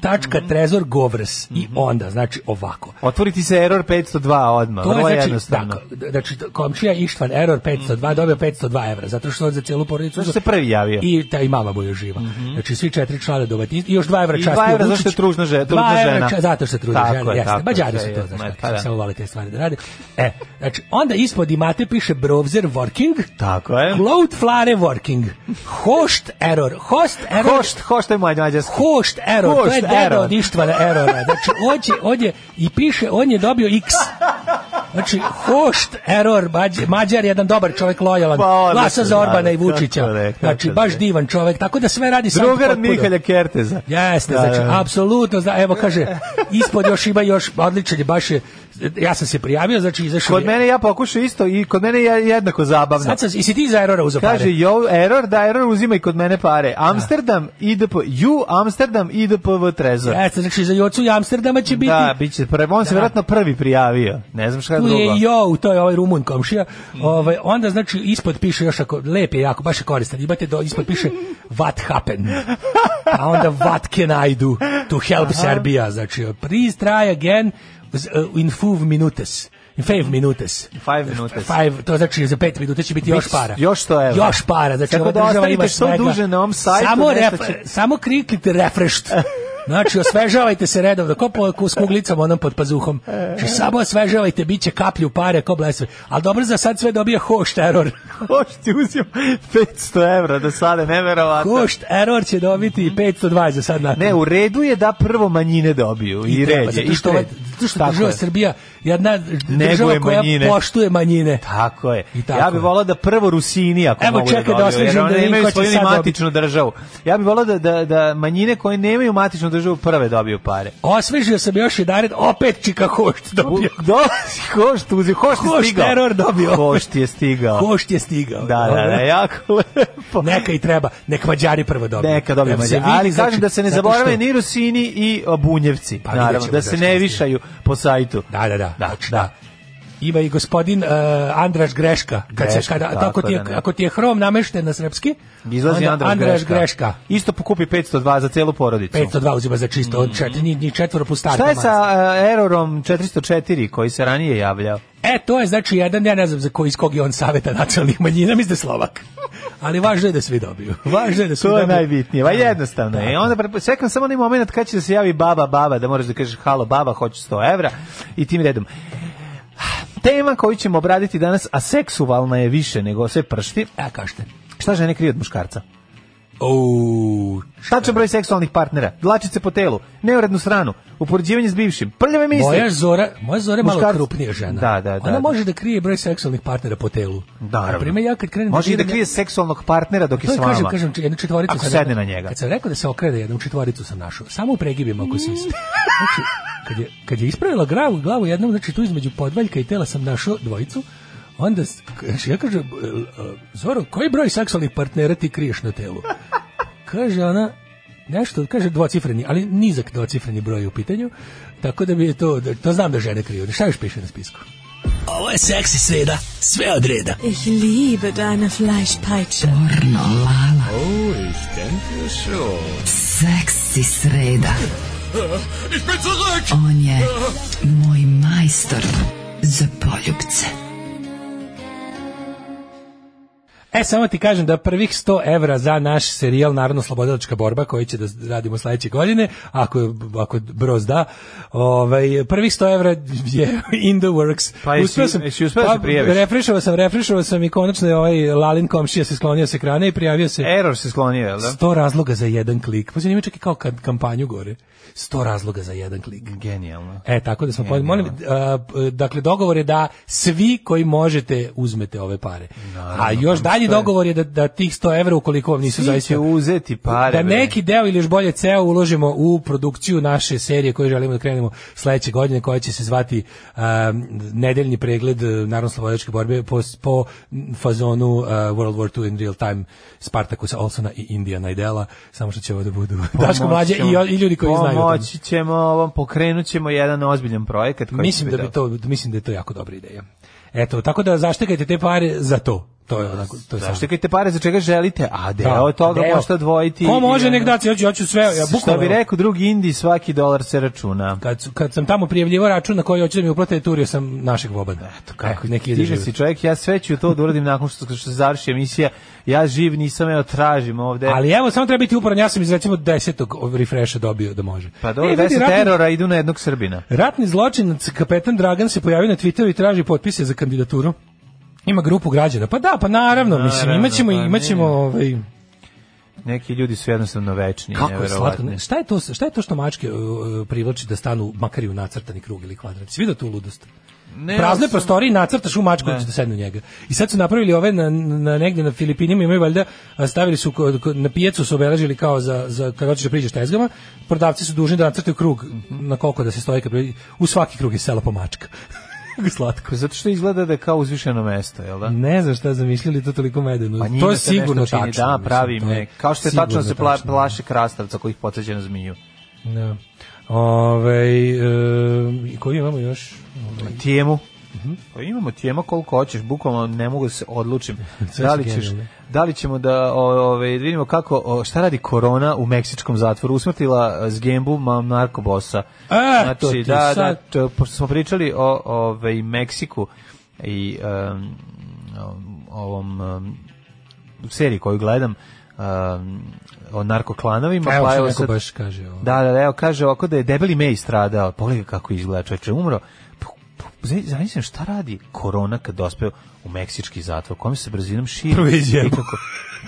idp.trezor govrs
Mhm.
i onda, znači ovako.
Otvoriti se Error 502 odmah,
To je
vrlo
znači,
jednostavno.
tako, znači komšija Ištvan Error 502 dobio 502 evra, zato što on za cijelu porodicu...
Zašto se prvi javio?
I ta i mama mu je živa. Znači svi četiri člana domaćinstva i još 2 evra
Mhm. I
časti.
dva evra zašto je tružna že- trudna žena.
zato što je trudna
Tako
žena,
je,
jeste.
tako je,
Mađari
sve
su to,
je,
znaš,
ma,
kako
pa da.
samo vole te stvari da rade. E, znači, onda ispod imate piše Browser Working,
Tako je.
Cloudflare Working, Host Error, Host Error,
Hošt, hošt je moj mađarski.
Hošt error, to je
Hošt
deda
error.
od Ištvana erora. Znači, on, će, on je, i piše, on je dobio x. Znači, hošt error, Mađ- Mađar je jedan dobar čovjek, lojalan.
Pa odlično,
Glasa za Orbana i
naravno,
Vučića.
kako ne, kako
Znači,
ne.
baš divan čovjek, tako da sve radi sam
Drugar od
potpuno.
Mihalja Kerteza.
Jeste,
Da, da,
znači,
da.
apsolutno, zna, evo kaže, ispod još ima još, odličan je, baš je, ja sam se prijavio, znači, izašao
Kod
je-
mene ja pokušao isto i kod mene je jednako zabavno.
Sad sam, i si ti za erora uzao pare? Da.
Kaže, jo, error, da error uzima i kod mene pare. Amsterdam, IDP, ju, Amsterdam, IDP, v, trezor.
Jeste, znači, za Jocu i Amsterdama će biti.
Da, bit će prvi. On se vjerojatno prvi prijavio. Ne znam šta je
Tu
drugo.
je jo, to je ovaj Rumun komšija. Ovaj onda znači ispod piše još ako lep je jako, baš je koristan. Imate do ispod piše what happened. A onda what can I do to help Serbia, znači please try again z- uh, in five minutes. In five minutes.
Five minutes.
Five, to znači za pet minuta će biti još
Biće
para.
još 100 evra.
Još para, znači
Tako
ova
da
država
ostanite
ima
što
svega.
duže na ovom sajtu,
Samo,
nešto
ref-
će-
samo kliknite refreshed.
[LAUGHS]
Znači, osvežavajte se redovno, ko po, ko s kuglicom onom pod pazuhom. Znači, samo osvežavajte, bit će kaplju pare, ko blesve. Ali dobro, za sad sve dobija hošt
[LAUGHS]
error.
Hošt je uzio 500 evra do sada, neverovatno.
Hošt error će dobiti i 520 za sad. nakon.
Ne, u redu je da prvo manjine dobiju i,
treba, da-
ređe.
Zato što,
i
ova-
tređe.
zato što
Tako
država
je.
Srbija jedna država
Neguje
koja
manjine.
poštuje manjine.
Tako je.
I tako
ja bih
je.
volao da prvo Rusini ako
Evo,
mogu
čekaj da
da dobiju, jer
osvežim da
one
vidim
imaju
ko će
svoju
sad dobiti.
matičnu državu. Ja bih volao da, da, da manjine koje nemaju matičnu državu prve dobiju pare.
Osvežio sam još jedared, opet čika hošt dobio.
Do, hošt uzio, hošt je
Hošt
stigao.
teror dobio.
Hošt je stigao.
Hošt je stigao.
Da, da, da, jako lepo.
Neka i treba, nek Mađari prvo dobiju.
Neka dobije
Da se
Mađari.
vidi,
Ali kažem
znači,
da se ne
zato
zaborave
što-
ni Rusini i o, Bunjevci.
Pa vidjet
naravno,
ćemo
da se
zašto
ne
je.
višaju po sajtu.
Da, da, da.
Da,
Znači,
da.
Ima i gospodin uh, Andraš Greška. Kad se,
Greška,
kada,
tako
tako ti je,
da ne.
ako ti je hrom namešten na srpski,
Izlazi
onda
Andraš, Greška.
Greška.
Isto pokupi 502 za celu porodicu.
502 uzima za čisto, mm. čet, ni, ni četvoro pustara.
Mhm. Šta je sa uh, Erorom 404 koji se ranije javljao?
E, to je znači jedan, ja ne znam za koji, iz kog je on saveta nacionalnih manjina, mislim da je Slovak. [LAUGHS] Ali važno je da svi dobiju. Važno je da svi
To
dobiju.
je najbitnije, pa jednostavno je.
Da.
I onda prepo- sekam samo onaj moment kad će da se javi baba, baba, da moraš da kažeš halo baba, hoću 100 evra i tim redom. Tema koju ćemo obraditi danas, a seksualna je više nego sve pršti.
E, kažete.
Šta žene krije od muškarca?
O,
Tačan broj seksualnih partnera, dlačice po telu, neurednu stranu, upoređivanje s bivšim, prljave misli.
moja Zora, moja Zora je malo
Muškarac-
krupnija žena.
Da, da, da,
Ona
da.
može da krije broj seksualnih partnera po telu.
Naravno.
Na primer, ja kad krenem
Može i da
diram,
krije seksualnog partnera dok je
To
s
je,
vama.
Pa, kažem, kažem, jednu četvoricu
Ako
sam
sedne
rekao-
na njega.
Kad sam rekao da se okrene, jednu četvoricu sam našao. Samo u pregibima ako se...
Mm.
Znači, kad je, kad je ispravila glavu, glavu jednom, znači tu između podvaljka i tela sam našao dvojicu, onda, s- znači ja kažem, e, e, Zoro, koji broj seksualnih partnera ti kriješ na telu? Kaže ona, nešto, kaže dvocifreni, ali nizak dvocifreni broj je u pitanju, tako da bi je to, da- to znam da žene kriju. Šta još piše na spisku?
Ovo je seksi sreda, sve od reda.
Ich liebe deine Fleischpeitsche.
Seksi sreda. On je moj majstor za poljubce.
E, samo ti kažem da prvih 100 evra za naš serijal Narodno slobodilačka borba koji će da radimo sledeće godine, ako, ako broz da, ovaj, prvih 100 evra je [LAUGHS] in the works. Pa,
Pa jesi- jesi uspeo da se prijaviš?
refrešovao sam, refrešovao sam i konačno je ovaj Lalin komšija se sklonio sa ekrana i prijavio se
Error se sklonio, jel E, da?
100 razloga za jedan klik. Pa se njima čak i kao kad kampanju gore. 100 razloga za jedan klik.
Genijalno.
E, tako da smo pod... Molim, a, p- dakle, dogovor je da svi koji možete uzmete ove pare. A još dalji dogovor je da, da tih 100 evra, ukoliko vam nisu
pa Svi će
zaista...
uzeti pare.
Da
bre.
neki deo ili još bolje ceo uložimo u produkciju naše serije koju želimo da krenemo sledeće godine koja će se zvati um, nedeljni pregled narodno slobodačke borbe po, po fazonu uh, World War II in real time Spartakusa Olsona i Indiana Idela samo što će ovo da budu Daško
Pomoći
Mlađe
ćemo-
i, i ljudi koji znaju. o tome.
Pomoći ćemo ovom, pokrenut ćemo jedan ozbiljan projekat. Koji
Mislim
će
da bi to mislim da je to jako dobra ideja. Eto, tako da zaštekajte te pare za to. To je onako, to je samo.
Zaštekajte pare za čega želite, a deo
Da,
toga
deo.
možete odvojiti.
Ko može
i, e,
nek daci, hoću, hoću sve, ja
ono, Što
bukvalno.
bi rekao drugi Indi, svaki dolar se računa.
Kad, su- kad sam tamo prijavljivao račun na koji hoću da mi uplate, turio sam našeg Vobana. Eto,
Kako
neki
neki
ide
diže
život.
E, si čovjek, ja sve ću to da uradim nakon što, što se završi emisija. Ja živ nisam, evo tražim ovde.
Ali evo, samo treba biti uporan, ja sam iz recimo desetog refresha dobio da može.
pa
E,
dobro,
vidi,
deset
ratni-
terora idu na jednog Srbina.
Ratni zločinac kapetan Dragan se pojavio na Twitteru i traži potpise za kandidaturu. Ima grupu građana. Pa da, pa naravno, mislim,
Naravno,
imaćemo,
pa
imaćemo,
nije.
ovaj,
Neki ljudi su jednostavno večni,
Kako je slatko.
neverovatni.
ne? Šta je to, šta je to što mačke uh, privlači da stanu makar i u nacrtani krug ili kvadrat? Si vidio tu ludost?
Ne,
Prazne
ja sam-
prostorije nacrtaš u mačku da će da sedne u njega. I sad su napravili ove na, na negde na Filipinima imaju valjda a, stavili su ko- ko- na pijecu su obeležili kao za za kad hoćeš da priđeš tezgama, prodavci su dužni da nacrtaju krug na koliko da se stoji kad pri- u svaki krug je sela po mačka. [LAUGHS] slatko.
Zato što izgleda da je kao uzvišeno mesto, jel da?
Ne znam šta zamislili to toliko medeno.
Pa njima
to je
se nešto
sigurno
čini,
tačno.
Da,
mislim,
pravi
to je
me. Kao što je tačno
sigurno
da se pla,
tačno.
plaše krastavca koji ih podsjeća na zmiju.
Da. Ove, e, koji imamo još? Ovaj,
Tijemu. Pa imamo tijema koliko hoćeš, bukvalno ne mogu da se odlučim.
[LAUGHS] Sve
da
su
li ćeš,
genijalne.
da li ćemo da o- ovaj da vidimo kako o, šta radi korona u meksičkom zatvoru usmrtila e, s gembu ma narkobosa.
E, to ti
znači da, da
sad.
to- pošto smo pričali o ovaj Meksiku i em, ovom em, seriji koju gledam em, o narkoklanovima,
Evo
pa
što
evo
neko
sad-
baš kaže. Ovo.
Da, da, da, evo kaže ovako da je debeli May stradao. Pogledaj kako izgleda čoveče, umro. Pa, pa, zamisli- Zamislim šta radi korona kad dospe u meksički zatvor, kome se brzinom širi.
Prvo izjebo.
I kako-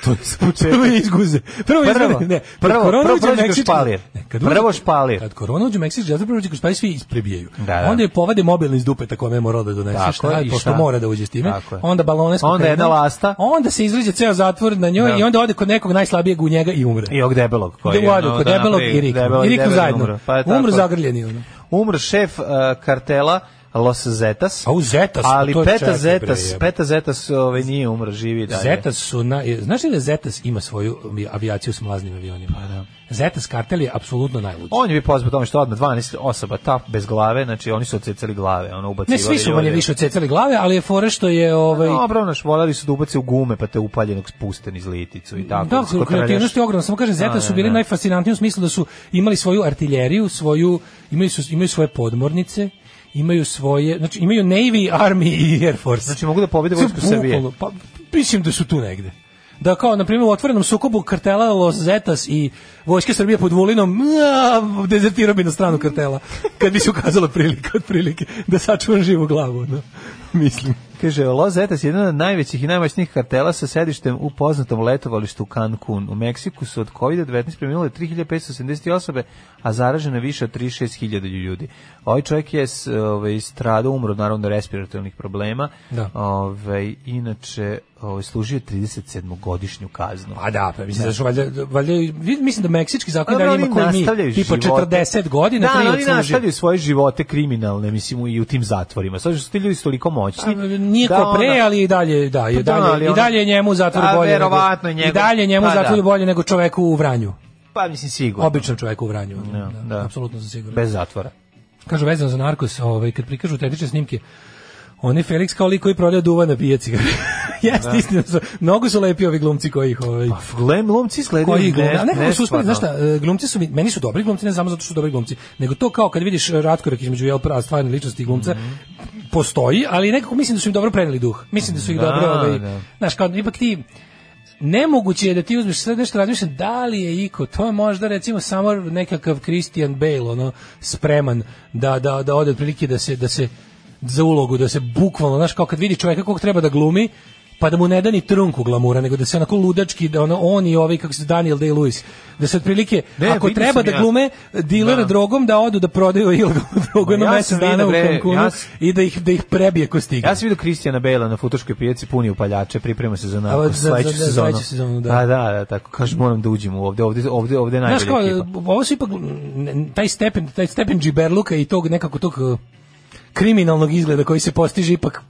To je slučaj.
Prvo je iz guze. Prvo, je iz
Prvo,
guze. ne, kad
prvo,
korona
prvo
uđe u
prođe kroz
Meksički-
špalir.
Ne, kad uđe-
Prvo špalir.
Kad korona uđe u Meksički zatvor, prvo uđe kroz špalir, svi isprebijaju.
E. Da, da.
Onda je povade mobilni iz dupeta kome je morao da donese,
Tako
šta,
je, i
pošto
šta?
mora da uđe s time.
Tako je.
Onda balone s
Onda
kokainom.
jedna lasta.
Onda se izređe ceo zatvor na njoj
Da.
i onda ode kod nekog najslabijeg u njega i umre.
I ovog debelog.
Koji, da,
ono,
kod
da
debelog
napravi
i Rika.
debeli-
I Rika
debeli
zajedno.
umro. Pa je
umre
tako.
zagrljeni. Ono.
Umro šef e, kartela Los Zetas.
A u Zetas, pa
ali
to je
Peta
čekaj,
Zetas,
bre,
Peta Zetas ovaj nije umro živi i dalje.
Zetas su na, je- znaš li da Zetas ima svoju avijaciju s mlaznim avionima? Pa da. Zetas kartel je apsolutno najluđi.
On je bio poznat po tome što odmah 12 osoba ta bez glave, znači oni su odcecali glave, ono ubacivali.
Ne, svi su
ljude.
manje više odcecali glave, ali je fora što je... Ovaj,
Dobro, naš, voljeli su da ubace u gume, pa te upaljenog spusten iz liticu i tako.
Da,
skotarljaš.
kreativnost je ogromna. Samo kažem,
Da,
Zeta su
da,
bili
da.
najfascinantniji u smislu da su imali svoju artiljeriju, svoju, imaju, su, imaju svoje podmornice, imaju svoje, znači imaju Navy, Army i Air Force.
Znači, mogu da pobede
Su
vojsku Srbije.
bukvalno, Pa, mislim da su tu negde. Da kao, na primjer, u otvorenom sukobu kartela Los Zetas i Vojske Srbije pod Vulinom, mja, dezertirao bi na stranu kartela, kad bi se ukazala prilika, otprilike, da sačuvam živu glavu. No. [LAUGHS] Mislim.
Kaže, Los Zetas je jedan od najvećih i najmoćnijih kartela sa sedištem u poznatom letovalištu Cancun. U Meksiku su od COVID-19 preminule 3570 osobe, a zaraženo je više od 36.000 ljudi. Ovaj čovjek je s- ovaj, stradao, umro od naravno respiratornih problema.
Da.
Ovaj, inače, ovaj, služio je 37-godišnju kaznu.
Pa da, pa mislim da su valjda, valjda mislim da meksički zakon
Ali
da
oni
ima koji mi
nastavljaju
tipa
živote.
40 godina
da,
tri
ali
od
oni
služi.
nastavljaju svoje živote kriminalne mislim i u tim zatvorima sad što su ti ljudi su toliko moćni
A, Nije
da
ko pre,
ono-
ali i dalje, da, i
Pa da, ali
dalje, i
ono-
dalje je njemu zatvor
Pa,
bolje. nego-
verovatno je njegov-
I dalje njemu
Pa, da.
zatvor bolje nego čoveku u Vranju.
pa mislim sigurno
Običnom čoveku u Vranju.
Ja,
da,
da.
Apsolutno sam siguran.
bez zatvora
Kažu vezano za narkos, ovaj, kad prikažu tehnične snimke, on je Felix kao lik koji prodaje duva na pijaci. [LAUGHS] Jeste,
Da.
istina su. Mnogo su lepi ovi glumci koji ih... Ovaj,
Glem lomci izgledaju
koji
ne-
glumci, a nekako su uspeli,
nestvarno.
znaš šta, e, glumci su, mi- meni su dobri glumci, ne samo zato što su dobri glumci, nego to kao kad vidiš e, ratkorak između jel prava stvarne ličnosti i glumca,
Mhm.
postoji, ali nekako mislim da su im dobro preneli duh. Mislim da su ih
Da,
dobro, ovaj,
da.
znaš, kao ipak ti, nemoguće je da ti uzmeš sad nešto razmišljam da li je Iko, to je možda recimo samo nekakav Christian Bale ono spreman da, da, da ode otprilike da se, da se za ulogu da se bukvalno, znaš kao kad vidi čovjeka kog treba da glumi pa da mu ne da ni trunku glamura, nego da se onako ludački, da ono, on i ovaj, kako se Daniel Day-Lewis, da se otprilike,
Ne,
ako
vidio
treba
sam
da
ja.
glume dilera
Da.
drogom, da odu da prodaju ilegalnu drogu
Ma
jedno
ja
mesec
sam vidio,
dana u
bre,
Cancunu
ja s-
i da ih, da ih prebije ko stigne.
Ja sam vidio Kristijana Bela na futoškoj pijaci puni upaljače, priprema se za
A,
narko
za- za-
sledeću
za
sezonu.
sledeću sezonu, da.
Pa da, da, tako kaže moram da uđem u ovde, ovde, ovde, ovde je najbolja
Znaš kao,
ekipa.
ovo su ipak, n- taj stepen, taj stepen džiberluka i tog nekako tog uh, kriminalnog izgleda koji se postiže ipak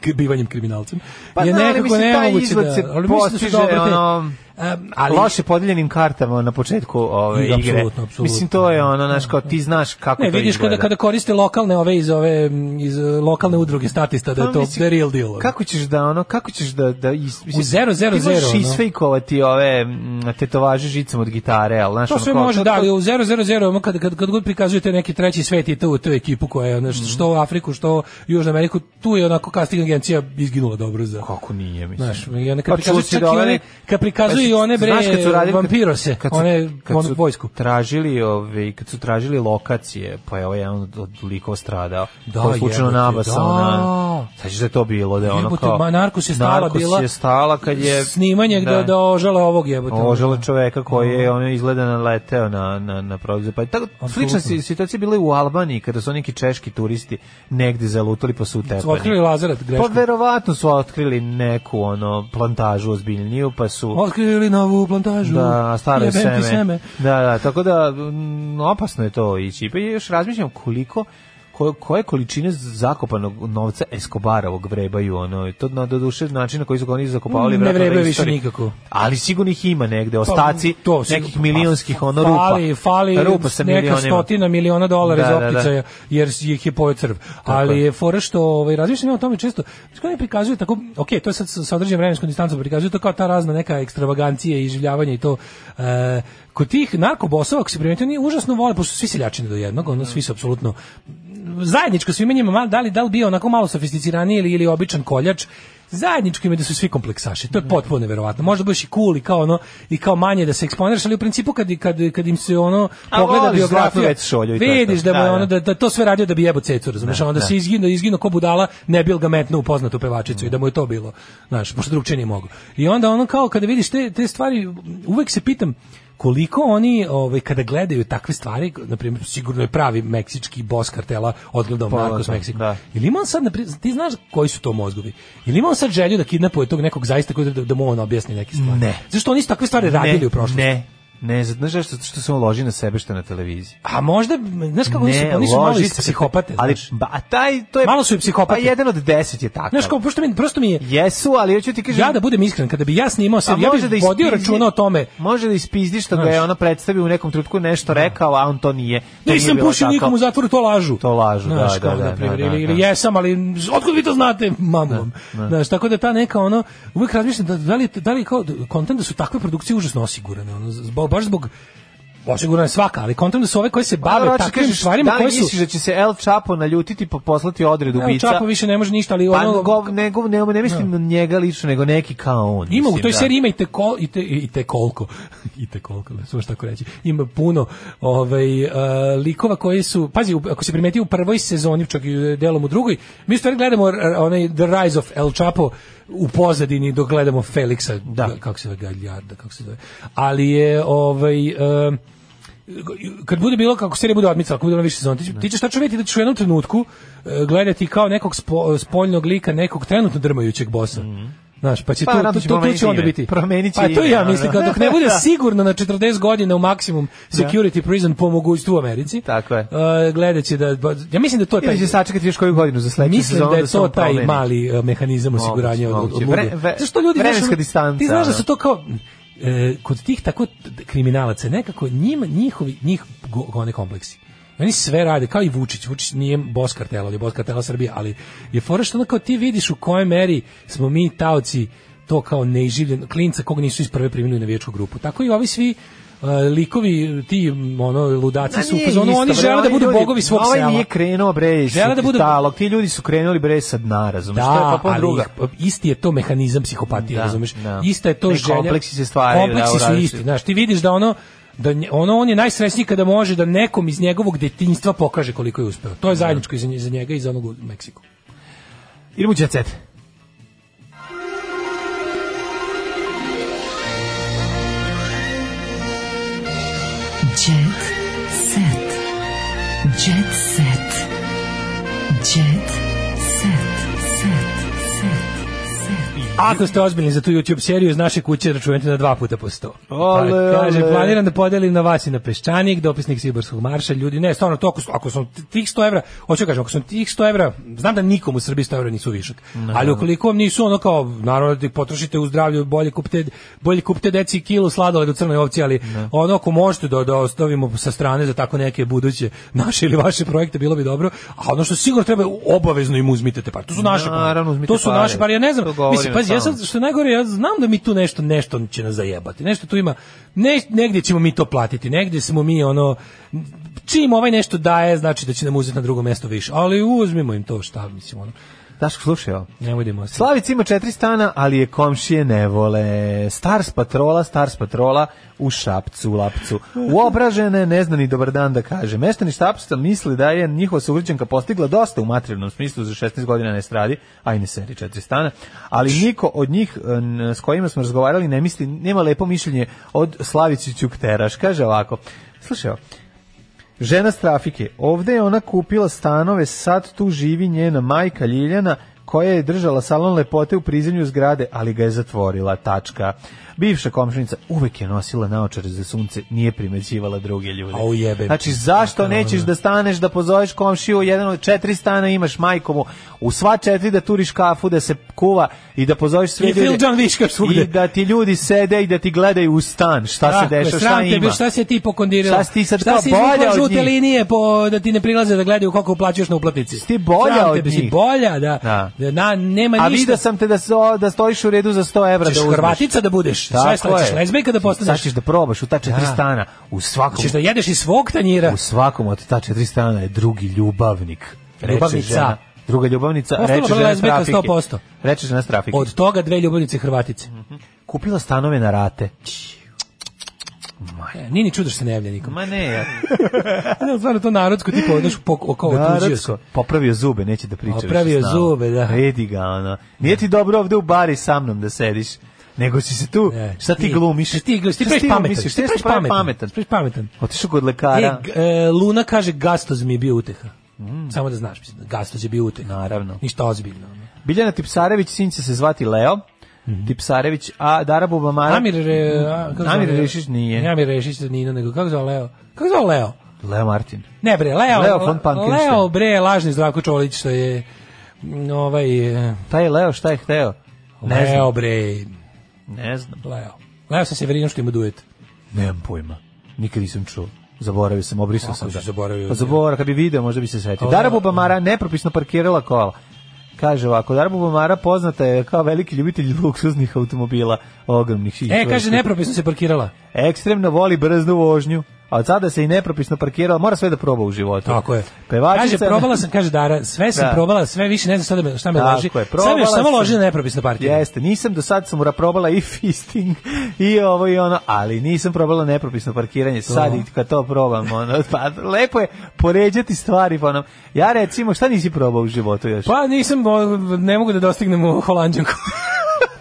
k- bivanjem kriminalcem.
Pa
je
da, ali
nekako
mislim, taj
nemoguće
izgled
da-
se
ali mislim da su
postiže,
dobro te-
ono,
Um, ali,
loše podeljenim kartama na početku ove
I, apsolutno,
igre.
apsolutno.
Mislim to je ono, znaš kao ti znaš kako
ne,
to
vidiš
izgleda.
kada, kada koriste lokalne ove iz ove m, iz uh, lokalne udruge statista da je
Pa,
to
mislim,
the real deal. ono.
Kako ćeš da ono, kako ćeš da da is, mislim,
zero, zero,
ti možeš
zero, ono.
isfejkovati ove mm, tetovaže žicom od gitare, al znaš
To
ono
sve
kao,
može,
to-
da, ali u 000 ono, kad, kad, kad god prikazujete neki treći svet i tu, tu ekipu koja je, ono, što u Afriku, što u Južnu Ameriku, tu je onako casting agencija izginula dobro za...
kako nije, mislim.
Znaš, i one kad
Pa
prikazuju
čuo si
čak
da
i
one-
one, kad prikazuju i one bre
znaš kad su radili- kad-
vampirose,
kad su-
one
kad
onu
su
vojsku.
tražili ove kad su tražili lokacije pa je ovaj jedan od, od likova stradao
Da,
da je slučajno
jebote,
nabasao
da.
na znači da je to bilo da je ono
Jebote,
kao
ma, Narkos je stala
Narkos
bila-
je stala kad je
Snimanje da, da ožele ovog jebote.
Ožele čoveka koji
Da.
je ono izgleda naleteo na na na prodor. Pa tako slična si- situacija je bila i u Albaniji kada su neki češki turisti negde zalutali pa su
Su otkrili
utepani.
Lazaret
Pa
grešku.
verovatno su otkrili neku ono plantažu ozbiljniju pa su
Otkrili novu plantažu.
da, staro
Jebem ti
seme. Da, da, tako da mm, opasno je to ići. Pa još razmišljam koliko ko, koje količine zakopanog novca Escobarovog vrebaju ono i to na doduše način na koji su ga oni zakopavali
Mm, Ne
vratno
vrebaju više
istoriji.
nikako.
Ali sigurno ih ima negde ostaci
Pa, to, sigurno.
nekih milionskih ono
fali,
rupa.
Fali,
rupa sa
neka
milionima.
stotina miliona dolara
Da, da, da.
iz opticaja, jer ih je pojeo crv. Ali
je.
je fora što ovaj, razmišljam ja o tome često, što ne prikazuju tako, ok, to je sad sa sa određenom vremenskom distancom, prikazuju to kao ta razna neka ekstravagancija i iživljavanje i to... E, kod tih narkobosova, ako se primetio, oni užasno vole, pošto su svi seljačine do jednog, ono, svi su apsolutno zajedničko svima njima, ma- da li, da li bio onako malo sofisticiraniji ili, ili običan koljač, zajedničko im je da su svi kompleksaši.
Mm.
To je potpuno neverovatno. Možda budeš i cool i kao ono i kao manje da se eksponiraš, ali u principu kad kad kad im se ono
A
pogleda
voliš zlatnu
biografija,
već šolju i to je to.
vidiš da mu
Da,
je
da.
ono da, da to sve radio da bi jebo cecu, razumeš? A onda
da.
se izgino izgino ko budala, ne bil ga metnu u poznatu pevačicu i da mu je to bilo. Znaš, pošto drugčije nije mogu. I onda ono kao kada vidiš te te stvari, uvek se pitam koliko oni ovaj kada gledaju takve stvari, na primjer sigurno je pravi meksički bos kartela odgledao
Pa,
Narcos
da,
Mexico.
da.
Ili ima on sad, na pri- ti znaš koji su to mozgovi? Ili ima on sad želju da kidnapuje tog nekog zaista koji da, da mu on objasni neke stvari?
Ne.
Zašto oni su takve stvari radili
Ne,
u prošlosti?
Ne. Ne, znaš što, što se on loži na sebe što je na televiziji.
A možda, znaš kako nisu, oni su malo
loži
i
se-
psihopate,
ali,
znaš.
ba, a taj, to je,
Malo su i psihopati.
Pa jedan od deset je takav.
Znaš, kao, pošto mi, prosto mi je,
Jesu, ali hoću ti kažem...
ja da budem iskren, kada bi ja snimao
A
sebi, ja
može da
bih
ispizni-
vodio računa o tome,
Može da ispizdi što ga
Znaš. Da.
je ona predstavio u nekom trenutku nešto rekao, a on to nije. To nije
nisam
bilo
pušio
tako.
nikom u zatvoru, to lažu.
To lažu,
Znaš,
da,
kao,
da, da,
na primjer,
da, da,
ili, ili
da.
jesam, ali otkud vi to znate, mamu vam. Znaš, tako da ta neka, ono, uvijek razmišljam, da, da, li, da li kao, kontent da su takve produkcije užasno osigurane, ono, zbog, baš zbog, osigurana je svaka, ali kontent da su ove koje se
Pa,
bave
hoćeš da
takvim
kažeš,
stvarima
da li
koje su...
misliš da će se El Chapo naljutiti pa poslati odred
Evo,
ubica?
Čapo više ne može ništa, ali
Pa
ono... Da.
go, ne, go- ne, ne mislim na njega lično, nego neki kao on.
Ima u
mislim,
toj
da.
seriji ima i te ko i te i te koliko [LAUGHS] i te koliko, ne smeš tako reći. Ima puno ovaj e, likova koji su, pazi, u- ako se primeti u prvoj sezoni, čak i e, delom u drugoj, mi u stvari gledamo r- onaj The Rise of El Chapo u pozadini dok gledamo Felixa,
Da.
kako se zove Galjarda, kako se zove. Ali je ovaj e, kad bude bilo kako serija bude odmicala, kako bude na više sezona, ti, će- ti ćeš tačno vidjeti da ćeš u jednom trenutku e, gledati kao nekog spo, spoljnog lika, nekog trenutno drmajućeg bosa. Znaš, pa će
Pa,
tu, tu,
naravno će
tu, tu
promeniti
će onda
ime.
biti.
Promenit će
pa to
ime,
ja
ono.
mislim, kao dok ne
[LAUGHS]
bude sigurno na 40 godina u maksimum security prison po mogućstvu u Americi.
Da. Tako je.
e, gledat će da, ja mislim da to je taj...
Ili će sačekati još koju godinu za sledeću
Mislim
sezonu
da je
se
to
on
taj
promeni.
mali e, mehanizam
Moguće,
osiguranja od, od, od
moguće.
lude.
Vre- ve-
Zašto ljudi znaš,
vremenska
ono,
distanca,
Ti znaš da
ono.
su to kao e, kod tih tako t- kriminalaca nekako njima njihovi njih go- gone kompleksi. Oni sve rade, kao i Vučić. Vučić nije bos kartela, on je bos kartela Srbije, ali je fora što ono kao ti vidiš u kojoj meri smo mi taoci to kao neiživljen klinca kog nisu iz prve primili u navijačku grupu. Tako i ovi svi e, likovi ti ono ludaci
Ma
su u
nije
fazonu,
isto,
oni
bre,
žele da
ovi
budu
ljudi-
bogovi svog
ovaj
sela.
nije krenuo bre,
Žele da
da
budu-
budu talog, ti ljudi su krenuli bre sad narazum. što je
Da,
pa pol
ali
druga.
ih- isti je to mehanizam psihopatije,
Da,
razumeš?
da.
Ista je to
Neki
želja.
kompleksi se stvaraju, da,
Kompleksi
u
su
različitim-
isti, znaš, ti vidiš da ono da nje- ono on je najsrećniji kada može da nekom iz njegovog detinjstva pokaže koliko je uspeo. To je zajedničko i za nje- za njega i za onog u Meksiku.
Idemo u Jet Set.
Jet set. Jet set. Jet set. Set. Set. Set.
Ako ste ozbiljni za tu YouTube seriju, iz naše kuće računajte na dva puta po sto.
Ale,
Pa, kaže,
ale.
planiram da podelim na vas i na Peščanik, dopisnik Sibarskog marša, ljudi, ne, stvarno, to ako, su- ako sam tih 100 evra, hoću da kažem, ako sam tih 100 evra, znam da nikom u Srbiji 100 evra nisu višak, ali ukoliko vam nisu, ono kao, naravno da ih potrošite u zdravlju, bolje kupite, bolje kupite deci kilu sladoled u crnoj ovci, ali ono ako možete da, da ostavimo sa strane za tako neke buduće naše ili vaše projekte, bilo bi dobro, a ono što sigurno treba, obavezno im uzmite te pare, to su naše pare.
Naravno, uzmite
to su
pare.
naše pare, ja ne znam,
To govorim
mislim, pazi, ja
stalno.
sad što je najgore, ja znam da mi tu nešto nešto će nas zajebati. Nešto tu ima ne, negdje ćemo mi to platiti. Negdje smo mi ono čim ovaj nešto daje, znači da će nam uzeti na drugo mjesto više. Ali uzmimo im to šta mislim ono.
Daško, slušaj ovo.
Ne budemo se.
Slavic ima četiri stana, ali je komšije ne vole. Stars patrola, stars patrola u šapcu, u lapcu. Uobražene, ne zna ni dobar dan da kaže. Meštani štapsta misli da je njihova sugrađanka postigla dosta u materijalnom smislu za 16 godina ne stradi, a i ne seri četiri stana, ali niko od njih e, n- s kojima smo razgovarali ne misli, nema lepo mišljenje od Slavici Ćukteraš. Kaže ovako, slušaj ovo, Žena s trafike. Ovde je ona kupila stanove, sad tu živi njena majka Ljiljana koja je držala salon lepote u prizemlju zgrade, ali ga je zatvorila, tačka. Bivša komšnica uvek je nosila naočare za sunce, nije primećivala druge ljude.
Au, jebem.
Znači, zašto nećeš da staneš, da pozoveš komšiju, jedan od četiri stana imaš majkomu, u sva četiri da turiš kafu, da se kuva i da pozoveš sve
I Phil
ljude.
John Viška svugde.
I da ti ljudi sede i da ti gledaju u stan, šta
Tako
se
je,
dešava, šta
Dakle, sram
ima.
tebe, šta si ti pokondirila?
Šta si ti sad kao
šta si izvukla
bolja od
žute
njih?
linije po, da ti ne prilaze da gledaju koliko uplaćuješ na uplatnici?
Si ti bolja
Sram
od
tebe, Si
njih.
bolja, da.
Da.
da na, nema
A
ništa.
vidio sam te da, so, da stojiš u redu za 100 evra
Ćeš
da uzmeš.
Hrvatica da budeš, sve
Tako
sledećeš,
je.
lezbijka da postaneš.
Sad ćeš da probaš u ta četiri
Da.
stana. U svakom,
Ćeš da jedeš iz svog tanjira.
u svakom od ta četiri stana je drugi ljubavnik. Reče
Ljubavnica.
žena. Druga ljubavnica,
Ostalo
reče
bila
žena s
lezbijka
trafike.
100%.
Reče žena s trafike.
Od toga dve ljubavnice Hrvatice.
Kupila stanove na rate.
E, Nije ni čudo što se ne javlja nikom.
Ma ne, ja.
Ne, stvarno to narodsko tipa odnoš po oko otuđio se.
Narodsko. Popravio zube, neće da priča
Popravio
više s nama.
zube, da.
Edi ga, ono. Nije ti dobro ovde u bari sa mnom da sediš. Nego si se tu,
E,
šta ti
nije.
glumiš?
Šta Ti glumiš, ti
Šta
praviš pametan.
misliš?
Ti praviš pametan.
pametan. Pa da.
ti praviš pametan.
Otišao kod
E,
lekara.
g- e, Luna kaže Gastoz mi je bio uteha. Samo da znaš, mislim, Gastoz je bio uteha.
Mm. Naravno.
Ništa ozbiljno. ono.
Biljana Tipsarević, sin će se zvati Leo. -hmm. Tipsarević, a Dara Bubamara...
Amir, Re, a, kako
Amir
zove?
Rešić nije.
Ne Amir Rešić da Nino, nego kako zove Leo? Kako zove Leo?
Leo Martin.
Ne bre, Leo,
Leo von Pankenstein.
Leo bre, lažni Zdravko Čolić što je mm, ovaj... e,
Taj Leo šta je hteo? Ne
Leo
znam.
bre,
Ne znam.
Leo. Leo sa Severinom što ima duet.
Nemam pojma. Nikad nisam čuo. Zaboravio sam, obrisao sam
Kako
ga.
si zaboravio?
Pa zaboravio, da, kad bi video, možda bi se setio.
A,
Dara Bubamara nepropisno parkirala kola. Kaže ovako, Dara Bubamara poznata je kao veliki ljubitelj luksuznih automobila, ogromnih i
E, kaže,
čvrstih.
nepropisno se parkirala.
Ekstremno voli brznu vožnju, a od sada se i nepropisno parkirala, mora sve da proba u životu.
Tako je.
Pevačica...
Kaže, probala sam, kaže Dara, sve sam
Da.
probala, sve više, ne znam sada me, šta me
Tako
loži.
je,
Sve
probala
me još samo
sam.
loži na nepropisno parkiranje.
Jeste, nisam do sad sam probala i fisting i ovo i ono, ali nisam probala nepropisno parkiranje. Sad i kad to probam, ono, pa lepo je poređati stvari, pa ono, ja recimo, šta nisi probao u životu još?
Pa nisam, o, ne mogu da dostignem u Holandjanku. [LAUGHS]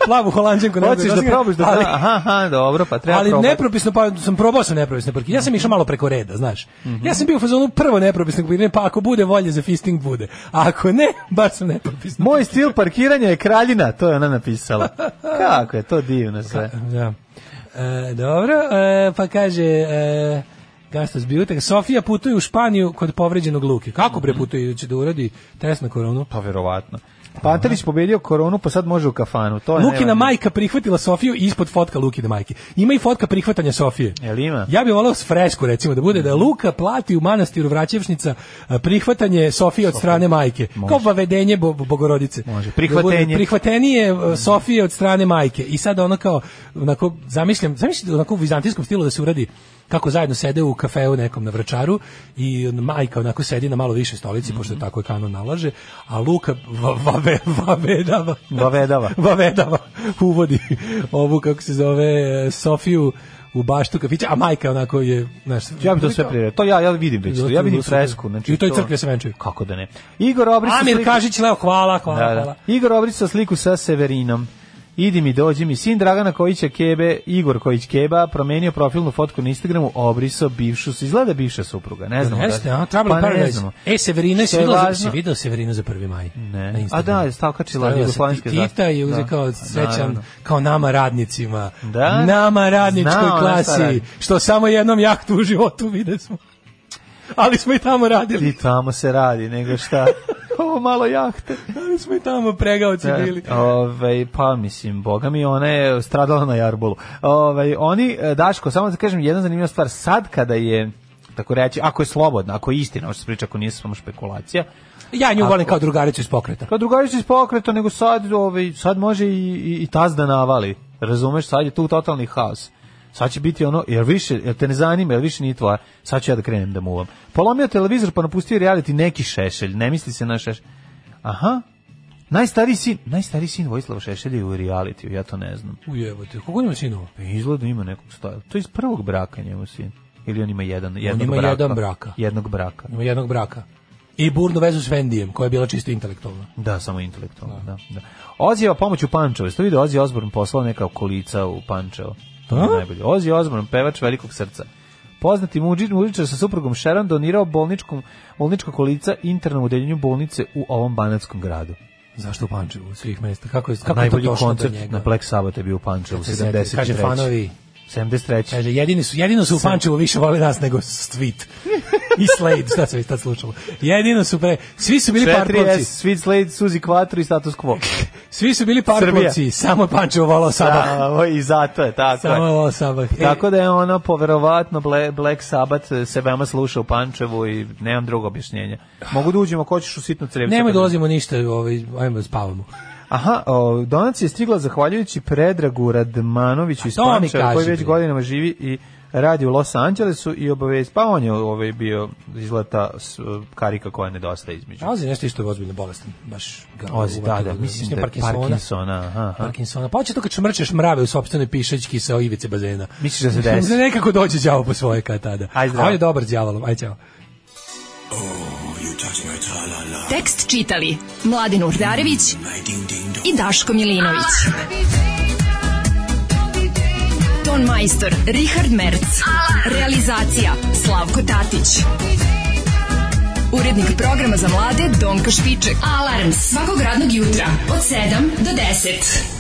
Plavu Holandjanku. ne mogu
Hoćeš da
dostignem,
probaš da...
ali-
Aha, aha, dobro, pa treba
ali
probati.
nepropisno pa sam probao sam nepropisno parkiranje. Ja sam išao malo preko reda, znaš.
Mhm.
Ja sam bio u fazonu prvo nepropisno parkiranje, pa ako bude volje za fisting bude. A ako ne, baš sam nepropisno.
Moj stil parkiranja je kraljina, to je ona napisala. Kako je, to divno sve.
Da. E, dobro, e, pa kaže e, Gastos Biutek, Sofija putuje u Španiju kod povređenog Luke. Kako bre putuje će da uradi test na koronu?
Pa verovatno. Pantelić pobedio koronu, pa sad može u kafanu. To je
Lukina
nevjerojatno.
majka prihvatila Sofiju i ispod fotka Lukine majke. Ima i fotka prihvatanja Sofije.
Jel ima?
Ja bih voleo s fresku recimo da bude da Luka plati u manastiru Vraćevšnica a, prihvatanje Sofije od strane majke. Kao bavedenje bo, Bogorodice.
Može.
Da bude
Prihvatenje.
prihvatenije a, Sofije od strane majke. I sad ono kao onako zamišljam, zamišljam onako u vizantijskom stilu da se uradi kako zajedno sede u kafeu nekom na Vračaru i majka onako sedi na malo više stolici
Mhm.
pošto tako je kanon nalaže, a Luka va- vave, vavedava.
Vavedava.
Vavedava uvodi ovu, kako se zove, e, Sofiju u baštu kafića, a majka onako je, znaš...
Ja bi to sve priredio. To ja, ja vidim već. to. Ja vidim fresku. Znači,
I u toj
to-
crkvi se venčaju.
Kako da ne? Igor Obrić sa
Amir
sliku-
Kažić, Leo, hvala, hvala,
Da, da.
hvala.
Igor Obrić sa sliku sa Severinom. Idi mi, dođi mi. Sin Dragana Kojića Kebe, Igor Kojić Keba, promenio profilnu fotku na Instagramu, obriso bivšu, su- izgleda bivša supruga, ne znamo.
Jeste,
da,
a, Trouble
pa
in
ne
Paradise.
znamo.
E, Severina, si
Što je
video, si
važno-
video Severinu za 1. maj?
Ne.
Na
A
Instagramu.
da, je stakačila
Stavila se Ti-
jugoslovenske
Tita
zastave.
je uzeo
Da.
kao
Naravno.
srećan, kao nama radnicima,
Da?
nama radničkoj
Znao ona šta radi.
klasi, što samo jednom jahtu u životu vide smo. Ali smo i tamo radili.
I tamo se radi,
[LAUGHS]
nego šta? Ovo malo jahte.
Ali smo i tamo pregaoci bili.
Da, ovaj, pa mislim, boga mi, ona je stradala na jarbolu. Ovaj, oni, e, Daško, samo da kažem jedna zanimljiva stvar, sad kada je, tako reći, ako je slobodna, ako je istina, ovo što se priča, ako nije samo špekulacija,
Ja nju
Ako-
volim kao drugaricu iz pokreta.
kao drugarica iz pokreta, nego sad, ovaj, sad može i, i, i tas da navali, razumeš, sad je tu totalni haos. Sad će biti ono, jer više, jer te ne zanima, jer više nije tvoja, sad ću ja da krenem da muvam. Polomio televizor pa napustio reality neki šešelj, ne misli se na šešelj. Aha, Najstariji sin, najstariji sin Vojislava Šešelja je u realitiju, ja to ne znam.
Ujebote, koliko ima sinova?
Pa izgleda ima nekog stajla. To je iz prvog braka njemu sin. Ili on ima jedan, jednog
ima
braka.
jedan braka.
Jednog braka.
Ima jednog braka. I burnu vezu s Vendijem, koja je bila čisto intelektualna.
Da, samo intelektualno, da. da. Ozijeva pomoć u Pančevo. Jeste vidio Ozija Osborn poslao neka kolica u Pančevo? To je
A?
najbolje. Ozija Osborn, pevač velikog srca. Poznati muđi, muđičar sa suprugom Sharon donirao bolničkom, bolničko kolica internom udeljenju bolnice u ovom banatskom gradu.
Zašto u Pančevu, od svih mesta? Kako je, kako je to
Najbolji
došlo do
koncert
njega?
na Black Sabbath je bio u Pančevu,
se setio,
73.
kaže, fanovi.
73.
Kaže, jedini su, jedino su u Pančevu više vole nas nego Sweet. I Slade, šta se već tad slušalo. Jedino su pre... Svi su bili
4S,
parkovci.
Sweet Slade, Suzi Quattro i Status
[LAUGHS]
Quo.
Svi su bili parkovci.
Srbija.
Samo je Pančevo volao Sabah.
Da, ovo I zato je, tako
Samo je
je.
volao Sabah. E,
Tako da je ono, poverovatno, Ble- Black Sabbath e, se veoma sluša u Pančevu i nemam drugo objašnjenje. Mogu da uđemo, ko ćeš u sitnu crevcu?
Nemoj dolazimo ništa, ovaj, ajmo da spavamo.
Aha, o, donacija je stigla zahvaljujući Predragu Radmanoviću iz
to mi
Pančeva,
kaži,
koji već
bre.
godinama živi i radi u Los Angelesu i obavez, pa on je ovaj bio izleta s- karika koja nedostaje između.
Ozi nešto što je ozbiljno bolestan, baš ga.
Ozi, da,
uvatilo,
da, mislim da je
Parkinsona.
Parkinsona, aha, aha.
Parkinsona. Pa hoće to kad čmrčeš mrave u sopstvenoj pišaćki sa ivice bazena.
Misliš da se desi?
Da [LAUGHS] nekako dođe đavo po svoje kad tada.
Aj, zdravo.
A on je dobar đavolom. Aj, ćao.
Tekst čitali Mladin Urdarević i Daško Milinović. Ton majstor Richard Merc. Realizacija Slavko Tatić. Urednik programa za mlade Donka Špiček. Alarms svakog radnog jutra od 7 do 10.